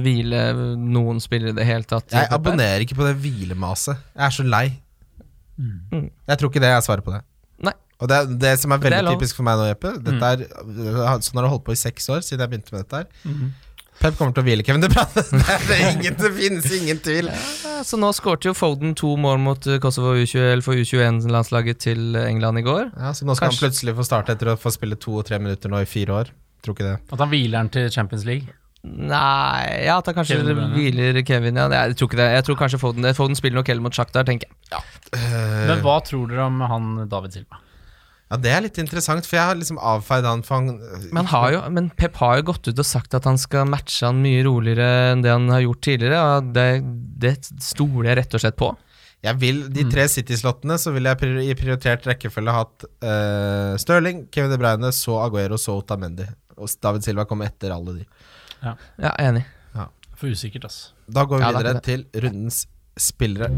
Speaker 4: hvile noen spillere i det hele tatt?
Speaker 3: Jeg abonnerer ikke på det hvilemaset. Jeg er så lei.
Speaker 4: Mm.
Speaker 3: Jeg tror ikke det er svaret på det.
Speaker 4: Nei.
Speaker 3: Og det, det som er
Speaker 4: Det er
Speaker 3: veldig
Speaker 4: lov. Mm.
Speaker 3: typisk for meg nå, Jeppe dette er, Sånn har jeg holdt på i seks år siden jeg begynte med dette her.
Speaker 4: Mm.
Speaker 3: Pep kommer til å hvile Kevin De Bruyne. Det, er ingen, det finnes ingen tvil.
Speaker 4: Ja, Så nå skårte jo Foden to mål mot eh, Kosovo U21 eller for U21-landslaget til eh, England i går.
Speaker 3: Ja, så nå skal
Speaker 4: Kanskje-
Speaker 3: han plutselig få starte etter å få spille to og tre minutter nå i fire år. Tror ikke det.
Speaker 2: At han hviler den til Champions League.
Speaker 4: Nei Ja, da kanskje
Speaker 2: Kevin De
Speaker 4: det
Speaker 2: Bruyne.
Speaker 4: hviler Kevin ja. Nei, Jeg tror ikke det. Jeg tror kanskje Foden, eh, Foden spiller nok heller mot Shakhtar, tenker jeg. Eh.
Speaker 2: Men hva tror dere om han David Silva?
Speaker 3: Ja, Det er litt interessant, for jeg har liksom avfeid han for han
Speaker 4: Men, han har jo, men Pep har jo gått ut og sagt at han skal matche han mye roligere enn det han har gjort tidligere, og det, det stoler jeg rett og slett på.
Speaker 3: Jeg vil, De
Speaker 4: Mm.
Speaker 3: tre City-slottene så vil jeg prior- i prioritert rekkefølge hatt eh, Stirling, Kevin De Bruyne, så Aguero, så Otamendi. Og David Silva kom etter alle de.
Speaker 4: Ja, enig.
Speaker 2: For usikkert, altså.
Speaker 3: Da går vi
Speaker 4: Ja, det er
Speaker 3: videre
Speaker 4: det.
Speaker 3: til rundens spillere.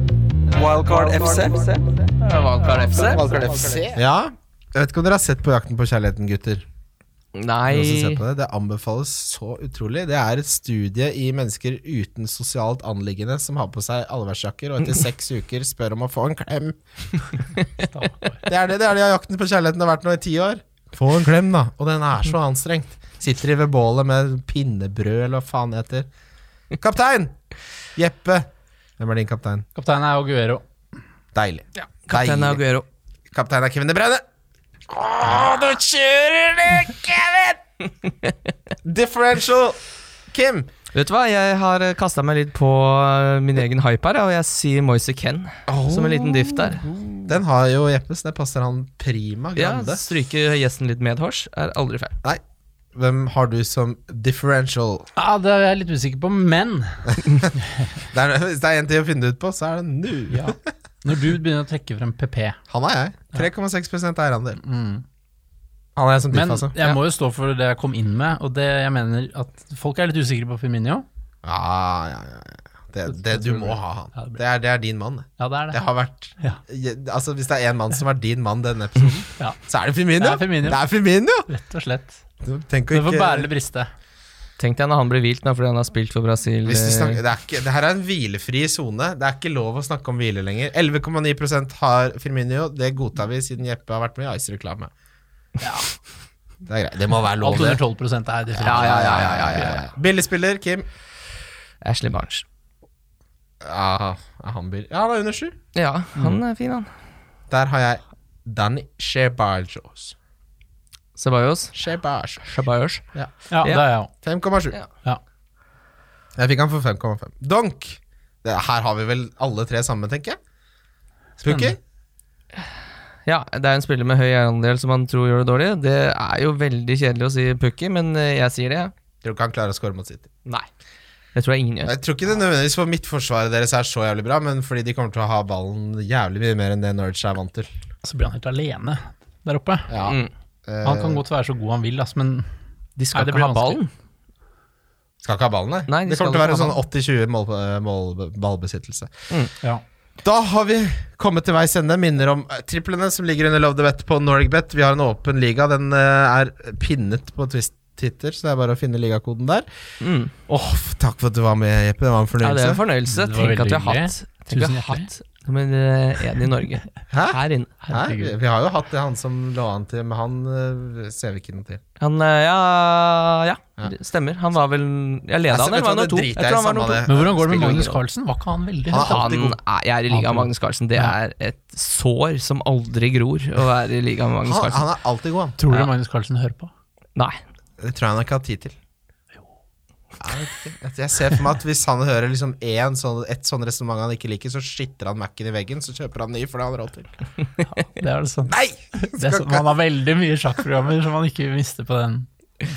Speaker 1: Wildcard FC.
Speaker 4: Valgkart FC?
Speaker 1: Wildcard FC.
Speaker 3: Ja, jeg vet ikke om dere har sett på Jakten på kjærligheten, gutter. Dere som ser
Speaker 4: Nei
Speaker 3: på Det. det anbefales så utrolig. Det er et studie i mennesker uten sosialt anliggende som har på seg allværsjakker og etter seks uker spør om å få en klem. Det er det, det er det jakten på kjærligheten har vært nå i ti år. Få en klem, da. Og den er så anstrengt. Sitter de ved bålet med pinnebrød, eller hva faen det heter. Kaptein! Jeppe. Hvem er din kaptein?
Speaker 2: Kapteinen er Aguero.
Speaker 3: Deilig.
Speaker 4: Kaptein
Speaker 3: Deilig.
Speaker 4: Aguero.
Speaker 3: Kaptein er Kevin De Bruyne. Åh, nå kjører du, Kevin! Differential. Kim.
Speaker 4: Vet du hva, jeg har kasta meg litt på eh, min egen hype her, og jeg sier Moise Ken som en liten diff der.
Speaker 3: Den har jo Jeppe, så det passer han prima
Speaker 4: Ja,
Speaker 3: grande.
Speaker 4: stryke gjesten litt medhårs er aldri feil.
Speaker 3: Nei, hvem har du som differential?
Speaker 2: Ja, Det er jeg litt usikker på, men
Speaker 3: Det er, hvis det er en til å finne det ut på, så er det nå.
Speaker 2: ja. når du begynner å trekke frem PP
Speaker 3: Han er jeg. 3,6 eierandel. Han er jeg som diff,
Speaker 2: Mm. Men
Speaker 3: altså.
Speaker 2: jeg må jo stå for det jeg kom inn med, og det jeg mener at folk er litt usikre på Firmino.
Speaker 3: Ja, ja, ja. ja. Det, det, du må ha han.
Speaker 2: Ja, det blir-
Speaker 3: Det er, det er din mann. det.
Speaker 2: Ja, det er
Speaker 3: Det
Speaker 2: det.
Speaker 3: har vært
Speaker 2: Ja.
Speaker 3: Je- Altså, hvis det er én mann som er din mann denne episoden,
Speaker 2: Ja.
Speaker 3: så er det Firmino.
Speaker 2: Det er Firmino.
Speaker 3: Det er Firmino.
Speaker 2: Rett og slett.
Speaker 3: Du, Tenk å
Speaker 2: Det får bære
Speaker 3: ikke
Speaker 2: eller briste.
Speaker 4: Tenk deg når han blir hvilt nå fordi han har spilt for Brasil.
Speaker 3: Hvis du
Speaker 4: eh,
Speaker 3: snakker, det, er ikke, det her er en hvilefri sone. Det er ikke lov å snakke om hvile lenger. 11,9 har Firmino. Det godtar vi, siden Jeppe har vært med i Ice-reklame. Det er greit. Det må være lov,
Speaker 2: Alt under
Speaker 3: det.
Speaker 2: 12 er definitivt.
Speaker 3: Ja, ja, ja, ja, ja, ja, ja. Billigspiller, Kim.
Speaker 4: eh, Ashley Barnes.
Speaker 3: Ja, er han bill- Ja, han er under sju.
Speaker 4: Ja,
Speaker 3: Mm.
Speaker 4: han er fin, han.
Speaker 3: Der har jeg Danny Shebajos.
Speaker 4: Ceballos.
Speaker 3: Shebajos.
Speaker 4: Ceballos.
Speaker 2: Ja, det er jeg òg.
Speaker 3: 5,7.
Speaker 4: Ja.
Speaker 2: Ja.
Speaker 3: Jeg fikk han for 5,5. Donk! Det, her har vi vel alle tre sammen, tenker jeg. Spooky?
Speaker 4: Ja, det er en spiller med høy eierandel som man tror gjør det dårlig. Det er jo veldig kjedelig å si Pukki, men eh, jeg sier det, jeg.
Speaker 3: Tror ikke han klarer å score mot City.
Speaker 4: Nei. Det tror jeg ingen gjør.
Speaker 3: Jeg tror ikke det nødvendigvis for midtforsvaret deres er så jævlig bra, men fordi de kommer til å ha ballen jævlig mye mer enn det Norwich er vant til.
Speaker 2: Så blir han helt alene der oppe.
Speaker 3: Ja.
Speaker 4: Mm.
Speaker 3: Eh,
Speaker 2: Han kan godt være så god han vil, ass, men
Speaker 4: De skal
Speaker 2: Nei, det
Speaker 4: ikke
Speaker 2: blir
Speaker 4: ha ballen.
Speaker 3: Skal ikke ha ballen, nei.
Speaker 4: Nei, de
Speaker 3: det kommer til å
Speaker 4: skal
Speaker 3: være
Speaker 4: ikke ha
Speaker 3: sånn 80-20 mål, mål, ballbesittelse.
Speaker 2: ja.
Speaker 3: Da har vi kommet til veis ende. Minner om eh, triplene som ligger under Love the Bet på NorgBet. Vi har en åpen liga. Den eh, er pinnet på Twist-titter, så det er bare å finne ligakoden der.
Speaker 4: Mm.
Speaker 3: Åh, f- Takk for at du var med, Jeppe. Det var en
Speaker 4: Ja, det er en fornøyelse.
Speaker 3: fornøyelse.
Speaker 2: Det var
Speaker 4: Tenk at vi
Speaker 2: veldig
Speaker 4: har hatt Tenk at vi har
Speaker 2: Tusen
Speaker 4: hatt nummer én i Norge.
Speaker 3: Hæ?
Speaker 4: Her inne. Her.
Speaker 3: Hæ? Vi, vi har jo hatt det, han som lå an til, men han eh, ser vi ikke noe til.
Speaker 4: Han, eh, ja, ja,
Speaker 3: Ja.
Speaker 4: det stemmer. Han var vel Jeg leda
Speaker 3: Altså,
Speaker 4: han,
Speaker 3: vet
Speaker 4: eller var han
Speaker 3: du hva,
Speaker 4: nummer to?
Speaker 3: driter
Speaker 4: Jeg
Speaker 3: jeg i,
Speaker 4: tror han var
Speaker 3: samme
Speaker 4: nummer to.
Speaker 3: det.
Speaker 2: Men hvordan går det
Speaker 3: Spiller
Speaker 2: med
Speaker 3: ingen
Speaker 2: Magnus
Speaker 3: rolle.
Speaker 2: Carlsen? Var ikke han veldig
Speaker 3: Han er
Speaker 2: høyt opp?
Speaker 3: alltid
Speaker 4: Han
Speaker 3: god.
Speaker 4: er, jeg er i liga med Magnus Carlsen. Det
Speaker 2: Ja.
Speaker 4: er et sår som aldri gror å være i liga med Magnus
Speaker 3: Han,
Speaker 4: Carlsen.
Speaker 3: han er alltid god, han.
Speaker 2: Tror
Speaker 4: Ja.
Speaker 2: du Magnus Carlsen hører på?
Speaker 4: Nei.
Speaker 3: Det tror jeg han ikke har tid til. Jeg vet ikke. Jeg ser for meg at hvis han hører liksom en sånn, et sånn resonnement han ikke liker, så skitter han Mac-en i veggen, så kjøper han ny, for det har han råd til.
Speaker 2: Det er det sånn.
Speaker 3: Nei!
Speaker 2: Det er sånn. Han har veldig mye sjakkprogrammer som han ikke visste på den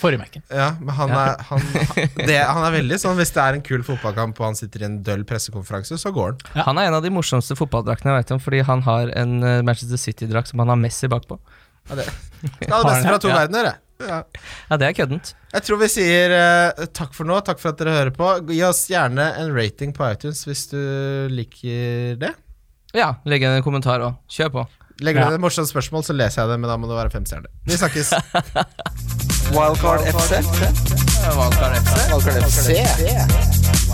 Speaker 2: forrige Mac-en.
Speaker 3: Ja, men han er, han, det, han er veldig sånn Hvis det er en kul fotballkamp og han sitter i en døll pressekonferanse, så går han.
Speaker 2: Ja.
Speaker 4: Han er en av de morsomste fotballdraktene jeg vet om, fordi han har en eh, Manchester City-drakt som han har Messi bakpå.
Speaker 3: Ja, det, det er det beste fra to
Speaker 4: Ja.
Speaker 3: verdener, det. Ja.
Speaker 4: Ja, det er køddent.
Speaker 3: Jeg tror vi sier eh, takk for nå, takk for at dere hører på. Gi oss gjerne en rating på iTunes hvis du liker det.
Speaker 4: Ja, legg igjen en kommentar òg. Kjør på.
Speaker 3: Legger du
Speaker 2: Ja.
Speaker 3: inn et morsomt spørsmål, så leser jeg det, men da må det være fem stjerner. Vi snakkes.
Speaker 1: Wildcard FC. Wildcard FC.